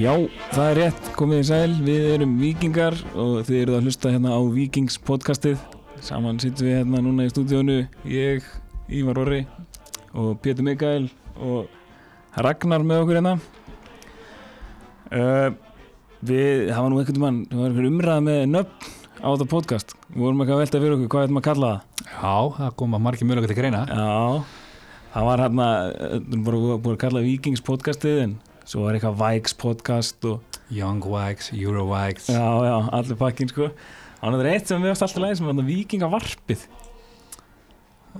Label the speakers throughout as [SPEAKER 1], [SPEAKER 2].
[SPEAKER 1] Já, það er rétt, komið í sæl, við erum vikingar og þið eruð að hlusta hérna á Vikings podcastið Saman sittum við hérna núna í stúdíónu, ég, Ívar Orri og Pétur Mikael og Ragnar með okkur hérna uh, Við, það var nú einhvern mann, það var einhver umræða með nöfn á þetta podcast Við vorum eitthvað að velta fyrir okkur, hvað er þetta maður að kalla það?
[SPEAKER 2] Já, það koma margir mjög til greina
[SPEAKER 1] Já, það var hérna, þetta er bara búið að kalla Vikings podcastið en Svo var eitthvað Vikes podcast og
[SPEAKER 2] Young Wags, Euro Wags
[SPEAKER 1] Já, já, allir pakkin sko Þannig að það er eitt sem við varst alltaf lægið sem var þarna vikingavarpið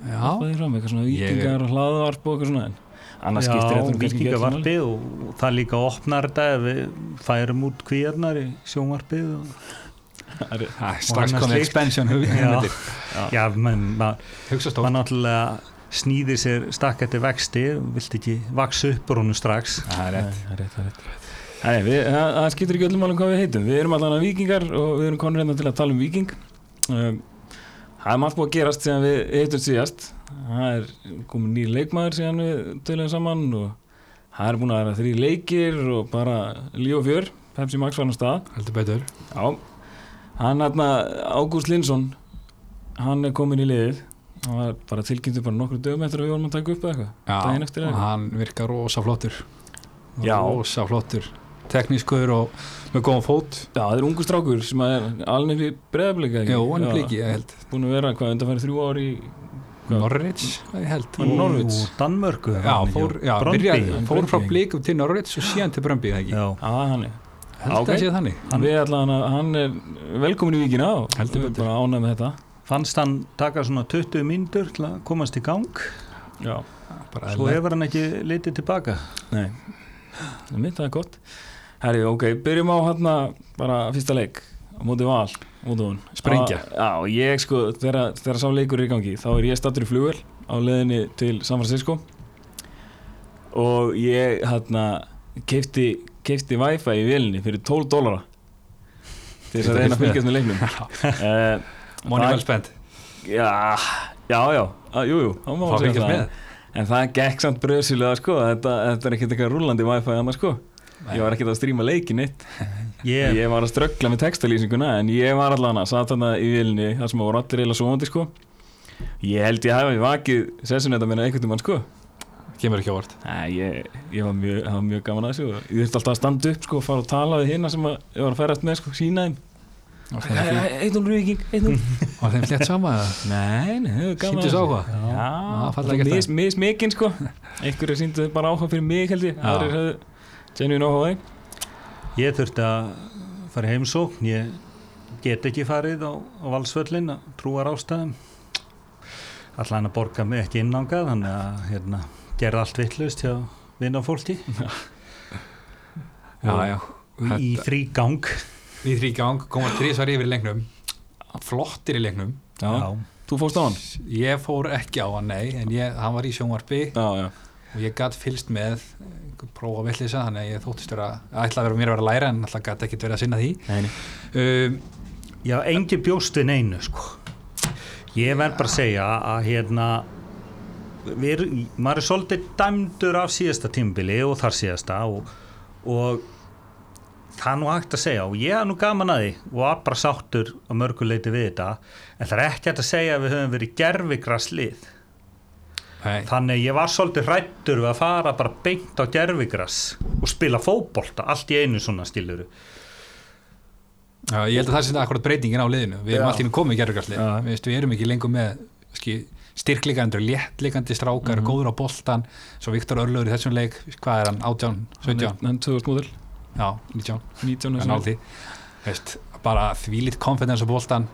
[SPEAKER 2] Já,
[SPEAKER 1] Það er fram, eitthvað svona
[SPEAKER 2] Ég-
[SPEAKER 1] vikingar og hlaðvarp og eitthvað svona en annars
[SPEAKER 3] Já,
[SPEAKER 1] skiptir þetta nú kannski ekki
[SPEAKER 3] vikinga
[SPEAKER 1] öllu máli.
[SPEAKER 3] varpið og það líka opnar þetta ef við færum út kvíarnar í sjónvarpið og,
[SPEAKER 1] Það er-
[SPEAKER 2] það er strax
[SPEAKER 3] annað
[SPEAKER 2] komið
[SPEAKER 3] slíkt.
[SPEAKER 2] expansion
[SPEAKER 3] já,
[SPEAKER 2] hugmyndir.
[SPEAKER 3] já, menn maður
[SPEAKER 2] Hugsa
[SPEAKER 3] mað
[SPEAKER 2] stórt
[SPEAKER 3] náttúrulega snýðir sér stakk eftir vexti, vilt ekki vaks upp úr honum strax
[SPEAKER 2] Það er rétt
[SPEAKER 1] það er rétt, það er rétt Nei, við, það, það skiptir ekki öllum málum hvað við heitum Við erum allan vikingar og við erum konur hérna til að tala um viking um, Það er margt búið að gerast síðan við heitum síðast Það er komin nýr leikmaður síðan við töluðum saman og það er búin að vera þrý leikir og bara líf og fjör Pepsi Max var hann stað
[SPEAKER 2] Heldur betur
[SPEAKER 1] Já, hann hérna Ágúst Linsson hann er komin í liðið hann var bara tilkynntur bara nokkru dögum eftir að við vorum að taka upp eða eitthvað
[SPEAKER 2] Já,
[SPEAKER 1] Daginn eftir
[SPEAKER 2] og
[SPEAKER 1] eða?
[SPEAKER 2] hann virkar rosa flottur
[SPEAKER 1] Já.
[SPEAKER 2] Rosa flottur Teknískur og með góðan fót
[SPEAKER 1] Já, það er ungu strákur sem að er alveg fyrir breðablika
[SPEAKER 2] Jó, hann er bliki, ég held
[SPEAKER 1] Búin að vera hvað undanfæri þrjú ár í Hvað?
[SPEAKER 2] Norwich, ég held
[SPEAKER 1] Hann er
[SPEAKER 2] Og-
[SPEAKER 1] Norwich.
[SPEAKER 3] og Danmörku
[SPEAKER 2] Já, fór, já,
[SPEAKER 3] Brøndby.
[SPEAKER 2] byrjaði,
[SPEAKER 1] Hann
[SPEAKER 2] fór
[SPEAKER 1] Brøndby,
[SPEAKER 2] frá
[SPEAKER 1] ekki?
[SPEAKER 2] blikum til Norwich og síðan til Brömbi, það ekki
[SPEAKER 3] já,
[SPEAKER 1] að hann er
[SPEAKER 2] Held
[SPEAKER 1] Ok.
[SPEAKER 2] að sé þannig
[SPEAKER 3] Hann-
[SPEAKER 1] Við ætlaðan að hann er velkomin í vikina og
[SPEAKER 2] Heldur
[SPEAKER 1] við erum
[SPEAKER 2] betur.
[SPEAKER 1] bara ánægð með þetta
[SPEAKER 3] fannst hann taka svona 20 mínútur til að komast í gang
[SPEAKER 1] Já,
[SPEAKER 2] Bara
[SPEAKER 3] svo hefur hann ekki litið tilbaka
[SPEAKER 1] nei Mitt, það er gott Herri, ok, byrjum á hérna bara fyrsta leik á móti val, móti hún
[SPEAKER 2] Sprengja.
[SPEAKER 1] Já, ég sko, þegar, þegar sá leikur er í gangi þá er ég stattur í flugvel á leiðinni til San Francisco og ég hérna keipti, keipti wifi í vélinni fyrir 12 dólara til þess að reyna að fylgjast með leiknum uh,
[SPEAKER 2] Money
[SPEAKER 1] það-
[SPEAKER 2] well spent
[SPEAKER 1] Já, já, já, að, jú, jú, þá má
[SPEAKER 2] Fá
[SPEAKER 1] maður segja
[SPEAKER 2] fylgjast
[SPEAKER 1] það
[SPEAKER 2] með.
[SPEAKER 1] En það gekk samt bröðsilega sko, þetta, þetta er ekkert eitthvað rúlandi wifi annars sko Ég var ekkert að stríma leikin eitt
[SPEAKER 3] ég,
[SPEAKER 1] Ég var að ströggla með textalýsinguna en ég var allan að satt hana í vilni þar sem voru allir eiginlega svoandi sko. Ég held ég hafi vakið sessunetta minna einhvern tímann sko.
[SPEAKER 2] Kemur ekki á vart
[SPEAKER 1] Æ, ég, ég var mjög, það var mjög gaman að þessu og ég þurfti alltaf að standa upp sko og fara og tala við hérna sem að, ég var að ferast með sko, sína þeim. Æ,
[SPEAKER 2] Var
[SPEAKER 1] æ,
[SPEAKER 2] þeim-
[SPEAKER 1] æ, Eitt og rúking, eitt og
[SPEAKER 2] var þeim hlétt sama eða?
[SPEAKER 1] Nei, nei, það var gaman
[SPEAKER 2] Sýndist
[SPEAKER 1] þessu.
[SPEAKER 2] áhuga? Já,
[SPEAKER 1] Já,
[SPEAKER 2] fallega
[SPEAKER 1] það
[SPEAKER 2] gert
[SPEAKER 1] mis, mis mikinn sko. Einhverju síndu bara áhuga fyrir mig held ég,
[SPEAKER 2] Já.
[SPEAKER 1] aðrir höfðu genuine áhuga á þeim.
[SPEAKER 3] ég þurfti að fara í heimsókn ég get ekki farið á, á valsvöllin að trúar ástæðum allan hann að borga mig ekki innangað þannig að hérna, gerði allt vittlust hjá vinnafólki
[SPEAKER 2] Já, já
[SPEAKER 3] í þrý gang
[SPEAKER 2] Í þrý gang koma trísvar yfir í leiknum Flottir í leiknum
[SPEAKER 1] Já. Þú fórst á hann?
[SPEAKER 2] Ég fór ekki á hann, nei En ég, hann var í sjónvarpi
[SPEAKER 1] Já, já.
[SPEAKER 2] Og ég gatt fylst með eh, prófa villisa Þannig að ég þóttist vera Ætla að vera mér að vera að læra En alltaf gatt ekkit verið að sinna því
[SPEAKER 1] Nei,
[SPEAKER 2] um,
[SPEAKER 3] já, engin bjóst við neinu sko. ég verð bara að segja að hérna við erum, maður er svolítið dæmdur af síðasta tímbili og þar síðasta og, og það er nú hægt að segja og ég er nú gaman að því og var bara sáttur á mörguleiti við þetta en það er ekki hægt að segja að við höfum verið gerfigraslið
[SPEAKER 2] nei,
[SPEAKER 3] þannig að ég var svolítið hrættur við að fara bara beint á gerfigras og spila fótbolta allt í einu svona stíluru
[SPEAKER 2] já, Ég held að það sé þetta akkurat breytingin á liðinu Við erum allt í einu komið gerðugarslið
[SPEAKER 1] Já.
[SPEAKER 2] Við erum ekki lengur með ský, styrkleikandur Léttleikandi strákar,
[SPEAKER 1] Mhm.
[SPEAKER 2] góður á boltan Svo Viktor Örlögur í þessum leik Hvað er hann? 18? 17?
[SPEAKER 1] Hann 2000 módel,
[SPEAKER 2] Já, 19
[SPEAKER 1] 19
[SPEAKER 2] en
[SPEAKER 1] þessum.
[SPEAKER 2] náði veist, bara þvílitt konfidens á boltan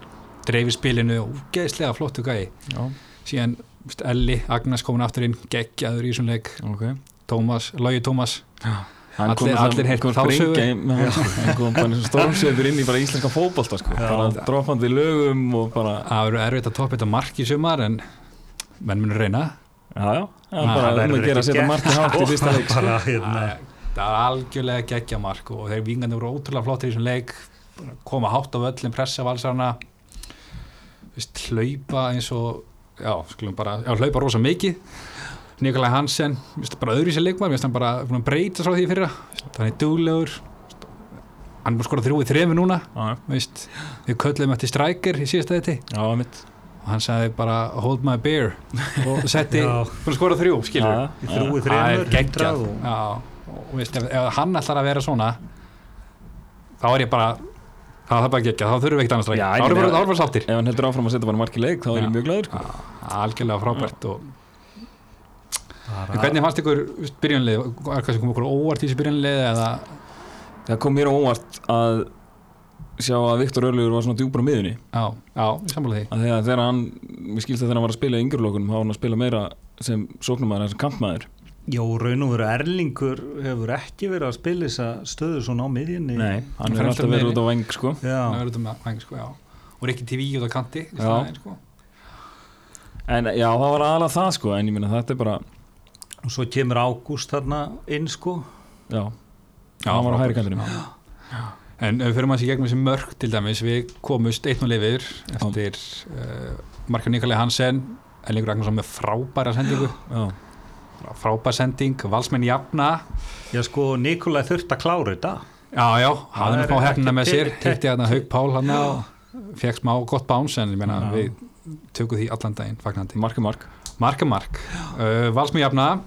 [SPEAKER 2] dreifir spilinu og úgeðslega flottu gæi
[SPEAKER 1] Já,
[SPEAKER 2] síðan veist, Elli, Agnes komin aftur inn geggjaður í þessum leik,
[SPEAKER 1] ok.
[SPEAKER 2] Tómas Lógi Tómas,
[SPEAKER 1] Hann
[SPEAKER 2] Allir-
[SPEAKER 1] það-
[SPEAKER 2] allir heyrt
[SPEAKER 1] kom
[SPEAKER 2] þá
[SPEAKER 1] sprengja
[SPEAKER 2] sögu.
[SPEAKER 1] í- með hann, sko. Hann kom bara eins og stormsveipur inn í bara íslenska fótbolta sko. Bara droppandi lögum og bara,
[SPEAKER 2] það verður erfitt að toppa þetta mark í sumar en menn munur reyna
[SPEAKER 1] já, já. Það
[SPEAKER 2] Nei,
[SPEAKER 1] er bara um
[SPEAKER 3] það verður
[SPEAKER 1] að gera
[SPEAKER 3] ekki
[SPEAKER 1] að setja
[SPEAKER 3] gert,
[SPEAKER 1] margt í hátt í fyrsta leik. sko.
[SPEAKER 3] bara hérna
[SPEAKER 2] það er algjörlega geggja mark og þeir vingandi voru ótrúlega flottir í þessum leik bara koma hátt á völlin, pressa valsarna veist, hlaupa eins og já, skulum bara, já, hlaupa rosa mikið Nikolaj Hansen, veist, bara öðru sér leikmar veist, hann bara búinn að breyta svo því fyrir þannig duglegur, hann er bara skora þrjú í þrefi núna
[SPEAKER 1] Já,
[SPEAKER 2] veist, við köllum eftir strækir í síðasta þetta
[SPEAKER 1] já, mitt
[SPEAKER 2] og hann sagði bara hold my beer og setti,
[SPEAKER 3] Já.
[SPEAKER 2] bara skora þrjú skilur
[SPEAKER 1] Já,
[SPEAKER 3] Í
[SPEAKER 1] já.
[SPEAKER 3] þrúi
[SPEAKER 2] það
[SPEAKER 3] þremur,
[SPEAKER 2] er geggjað
[SPEAKER 3] og-
[SPEAKER 2] Já, og veist, ef, ef hann ætlar að vera svona þá er ég bara þá er það bara geggjað, þá þurfum við ekkert annars
[SPEAKER 1] Já,
[SPEAKER 2] strækir
[SPEAKER 1] ég
[SPEAKER 2] þá erum
[SPEAKER 1] meina-
[SPEAKER 2] við bara alveg sáttir
[SPEAKER 1] Ef hann heldur áfram að setja bara mark í leik þá er
[SPEAKER 2] Já.
[SPEAKER 1] ég mjög glæður sko.
[SPEAKER 2] Já, algjörlega frábært og, en
[SPEAKER 3] Bara-
[SPEAKER 2] hvernig fannst ykkur byrjunlið, er hvað sem kom okkur á óvart í þessu byrjunlið eða
[SPEAKER 1] Það kom mér á óvart að sjá að Viktor Örlugur var svona djúpar á miðunni
[SPEAKER 2] já, já, sammála því
[SPEAKER 1] að þegar, þegar hann, mér skilst að þegar hann var að spila í yngjurlokunum, þá var hann að spila meira sem sóknumæður en sem kampmæður
[SPEAKER 3] Jó, raun og veru Erlingur hefur ekki verið að spila þessa stöðu svona á miðjunni
[SPEAKER 1] Hann er
[SPEAKER 2] Fremstur
[SPEAKER 1] alltaf verið
[SPEAKER 2] miðjunni.
[SPEAKER 1] út á veng sko.
[SPEAKER 2] Það
[SPEAKER 3] Já,
[SPEAKER 2] verður þetta með væng, sko, já. Og Rikki TV út á kanti, í
[SPEAKER 1] Já.
[SPEAKER 2] staðinn, sko.
[SPEAKER 1] En já, það var aðalega það sko, en ég minna þetta er bara
[SPEAKER 3] og svo kemur Ágúst þarna inn sko
[SPEAKER 1] Já, hann var á hægri kantinum
[SPEAKER 2] En ef við fyrir maður sér gegnum þessi mörg til dæmis, við komust einn og lifir eftir uh, Marka Nikolai Hansen, Ellingur Ragnarsson með frábæra sendingu,
[SPEAKER 1] Já,
[SPEAKER 2] frábæra sending, valsmenn jafna,
[SPEAKER 3] Já sko, Nikolai þurft að klára þetta
[SPEAKER 2] já, já, hafði
[SPEAKER 3] Það
[SPEAKER 2] nú
[SPEAKER 3] er
[SPEAKER 2] fá hefnina
[SPEAKER 3] ekki
[SPEAKER 2] með sér,
[SPEAKER 3] til-
[SPEAKER 2] hitti hérna Haug Pál hann og fekk smá gott báns, en ég meina
[SPEAKER 3] Já.
[SPEAKER 2] við tökum því allan daginn, fagnandi.
[SPEAKER 1] marka mark
[SPEAKER 2] Marka mark, uh, valsmenn jafna,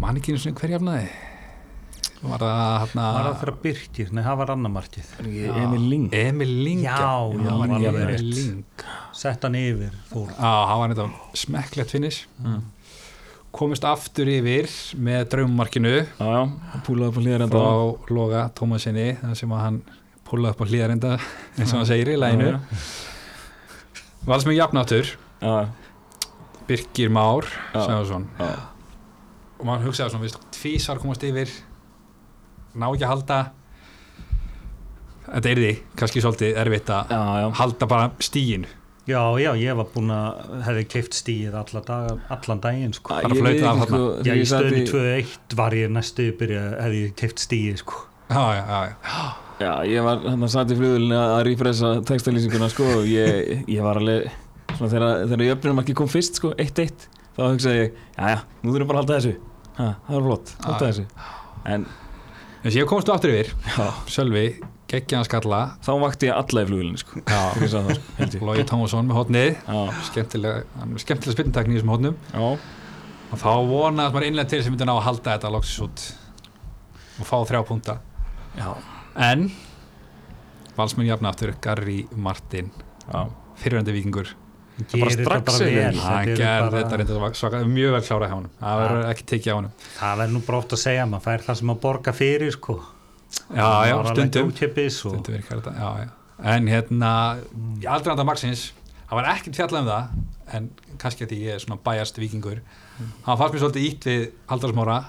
[SPEAKER 2] mann ekki einu sinni hver jafnaði, var það hérna...
[SPEAKER 1] Ah.
[SPEAKER 3] Það var að þeirra Birkir, nei það var annar markið
[SPEAKER 1] Já. Emil Ling
[SPEAKER 2] Emil Ling
[SPEAKER 3] Já,
[SPEAKER 2] já,
[SPEAKER 3] já,
[SPEAKER 2] hann var
[SPEAKER 1] alveg
[SPEAKER 2] Emil
[SPEAKER 3] rétt.
[SPEAKER 2] Ling
[SPEAKER 3] Sett hann yfir, fór
[SPEAKER 2] Já, hann var þetta smekklegt finnis
[SPEAKER 1] Mm.
[SPEAKER 2] komist aftur yfir með draumarkinu
[SPEAKER 1] Já, já, hann púlaði upp á hlýðar enda
[SPEAKER 2] frá Loga Tómasinni þar sem að hann púlaði upp á hlýðarenda eins og hann segir í læginu
[SPEAKER 1] Já,
[SPEAKER 2] Valsmið jafnáttur,
[SPEAKER 1] Já,
[SPEAKER 2] Birgir Már
[SPEAKER 1] Já.
[SPEAKER 2] Sæðarsson
[SPEAKER 1] já,
[SPEAKER 2] og maður hugsaði svona, viðst, tvísar komast yfir ná ekki að halda þetta er því kannski svolítið erfitt að
[SPEAKER 1] já, já.
[SPEAKER 2] halda bara stígin
[SPEAKER 3] Já, já, ég var búinn að hefði keift stíið alla daga, allan daginn sko
[SPEAKER 2] Bara flautað af
[SPEAKER 1] viðurkenni,
[SPEAKER 2] þarna.
[SPEAKER 1] sko,
[SPEAKER 3] Já,
[SPEAKER 1] þegar
[SPEAKER 3] í
[SPEAKER 1] ég sat
[SPEAKER 3] stöðunni 2-1 var ég næstu byrja, hefði ég keift stíið sko
[SPEAKER 2] já, já, já, já
[SPEAKER 1] Já, ég var hann að satt í flugulinu að rífresa textalýsinguna sko og ég, ég var alveg svona þegar, þegar jöfnumarki kom fyrst sko, 1-1 þá hugsaði ég, já já, nú þurfum við bara að halda þessu ha, það var flott, halda
[SPEAKER 2] Já.
[SPEAKER 1] þessu en
[SPEAKER 2] En síðan komstu aftur yfir,
[SPEAKER 1] já,
[SPEAKER 2] Sölvi, geggjaðan skalla,
[SPEAKER 1] þá vakti ég alla í flugulinu sko,
[SPEAKER 2] já,
[SPEAKER 1] ég sagði það sko, held ég
[SPEAKER 2] Lói Tómasson með hotnið,
[SPEAKER 1] Já,
[SPEAKER 2] skemmtilega, hann er skemmtilega spynntakni í þessum hotnum.
[SPEAKER 1] já,
[SPEAKER 2] Og þá vonaðist maður innlega til sem myndi ná að halda þetta loksins út og fá þrjá punta.
[SPEAKER 1] já,
[SPEAKER 2] En, valsmenn jafna aftur, Garri Martin,
[SPEAKER 1] já.
[SPEAKER 2] fyrirvendu vikingur.
[SPEAKER 3] Gerir
[SPEAKER 1] bara
[SPEAKER 3] þetta
[SPEAKER 1] strax
[SPEAKER 3] bara
[SPEAKER 1] yfir.
[SPEAKER 3] vel,
[SPEAKER 2] Hann
[SPEAKER 3] þetta
[SPEAKER 2] gerði
[SPEAKER 3] er
[SPEAKER 2] þetta
[SPEAKER 3] bara-
[SPEAKER 2] reynda svaka, mjög vel klárað hjá honum, það verður ekki tekið á honum.
[SPEAKER 3] Það verður nú bara oft að segja, maður fær það sem að borga fyrir sko
[SPEAKER 2] Já, já, stundum,
[SPEAKER 3] Útjöpis og
[SPEAKER 2] stundum virkar þetta, já, já. En hérna, í aldraðanda Marksins, það var ekkert fjallað um það, en kannski að því ég er svona bæjast vikingur, hann fannst mér svolítið ítt við Haldarsmára,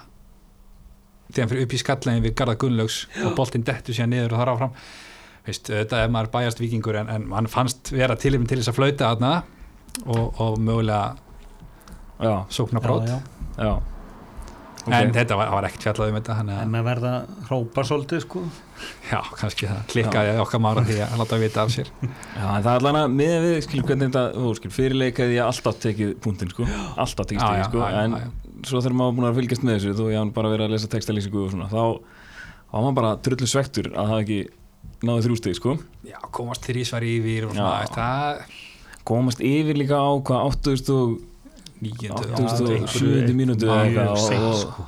[SPEAKER 2] þegar hann fyrir upp í skallegin við Garða Gunnlaugs og boltinn dettu síðan niður og þar áfram. Veist, þetta er maður bæjast vikingur, en, en hann fannst vera tilifin til þess að flauta þarna og, og mögulega
[SPEAKER 1] já,
[SPEAKER 2] sókna
[SPEAKER 3] Já, já.
[SPEAKER 1] já. Ok.
[SPEAKER 2] En þetta var, það var ekkert fjallað um þetta, þannig
[SPEAKER 3] En
[SPEAKER 2] að,
[SPEAKER 3] maður verða hrópa svolítið sko
[SPEAKER 2] já, kannski það klikkaði okkar mára því að láta vita af sér.
[SPEAKER 1] Já, en það er allan að miða við, skilum hvernig þetta, þú skilum, fyrirleikaði ég alltaf tekið punktinn, sko, alltaf tekið
[SPEAKER 2] Já,
[SPEAKER 1] stegið,
[SPEAKER 2] já,
[SPEAKER 1] sko,
[SPEAKER 2] já, já,
[SPEAKER 1] en
[SPEAKER 2] já.
[SPEAKER 1] svo þegar maður var búin að fylgjast með þessu, þú ég hann bara verið að lesa textalýsingu og svona, þá þá var maður bara drullu svektur að það ekki náði þrjú stegi, sko,
[SPEAKER 2] Já, komast þrísvar yfir og svona,
[SPEAKER 1] Já.
[SPEAKER 2] veist, það
[SPEAKER 1] komast yfir líka á hvað, 8.000 og
[SPEAKER 2] nýjöndu
[SPEAKER 1] 8.000 mínútu eða
[SPEAKER 3] Mjög
[SPEAKER 1] eitthvað
[SPEAKER 3] seint,
[SPEAKER 1] og-
[SPEAKER 3] sko.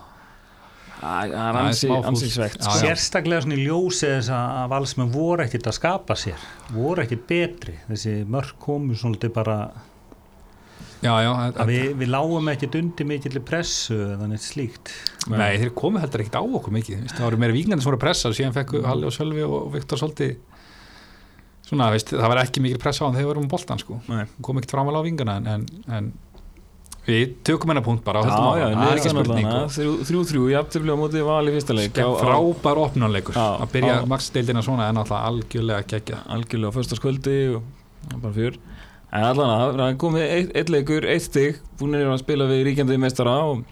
[SPEAKER 1] og það er
[SPEAKER 2] er
[SPEAKER 1] ansi,
[SPEAKER 2] smá fúlt.
[SPEAKER 1] ansi svekt,
[SPEAKER 2] Já,
[SPEAKER 1] sko.
[SPEAKER 2] já.
[SPEAKER 3] Sérstaklega svona í ljósi þess að að valsmenn voru ekkert að skapa sér voru ekkert betri þessi mörg komu svolítið bara
[SPEAKER 2] Já, já,
[SPEAKER 3] að
[SPEAKER 2] að,
[SPEAKER 3] við, við lágum ekkert undir mikill pressu eða neitt slíkt
[SPEAKER 2] nei, þeir komu heldur ekkert á okkur mikið, veist, það voru meira vingandi sem voru að pressa og síðan fekku Halli og Sölvi og Viktor svolítið svona, veist, það var ekki mikil pressa á hann þegar við vorum um boltan, sko
[SPEAKER 1] Nei.
[SPEAKER 2] kom ekkert framalega á vingana en, en, en við tökum hennar punkt bara og
[SPEAKER 1] Já,
[SPEAKER 2] höldum
[SPEAKER 1] já,
[SPEAKER 2] áfram.
[SPEAKER 1] niður
[SPEAKER 2] það er ekki
[SPEAKER 1] saman
[SPEAKER 2] spurning sko.
[SPEAKER 1] þarna,
[SPEAKER 2] og-
[SPEAKER 1] þrjú- þrjú-þrjú, jafntefli á móti Val í fyrsta leik, á- á-
[SPEAKER 2] frábær opnunleikur
[SPEAKER 1] Já,
[SPEAKER 2] að byrja
[SPEAKER 1] á-
[SPEAKER 2] maksdeildina svona en alltaf algjörlega gegja
[SPEAKER 1] algjörlega á föstaskvöldi og það er bara fjör en allan að það er komið eitt, eitt leikur, eitt stig búin er að spila við ríkjandi mestara og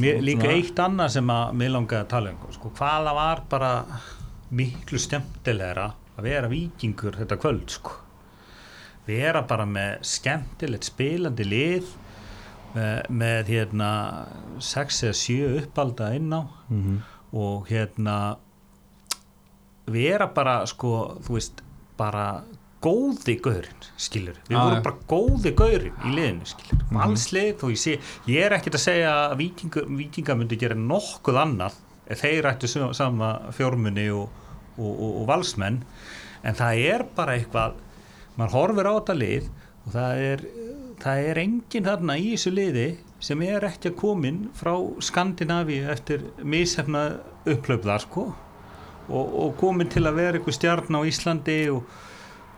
[SPEAKER 3] Mér,
[SPEAKER 1] Og
[SPEAKER 3] Líka
[SPEAKER 1] svona-
[SPEAKER 3] eitt annað sem að mér langaði að tala um sko, hvaða var bara miklu skemmtilegra að vera vikingur þetta kvöld sko. vera bara með skemmtilegt spilandi lið með, með hérna
[SPEAKER 2] Mhm.
[SPEAKER 3] 6 eða 7 uppalda inn á
[SPEAKER 1] mm -hmm.
[SPEAKER 3] og hérna vera bara sko, þú veist, bara góði gaurinn, skilur við
[SPEAKER 2] Já, já.
[SPEAKER 3] vorum bara góði gaurinn í liðinu skilur, valslið, þó ég sé ég er ekkert að segja að vikinga, vikinga myndi gera nokkuð annað ef þeir ættu sum- sama fjórmunni og, og, og, og valsmenn en það er bara eitthvað maður horfir á þetta lið og það er, það er enginn þarna í þessu liði sem er ekki að komin frá Skandinavíu eftir mishefna upplöp þar sko og, og komin til að vera einhver stjarn á Íslandi og,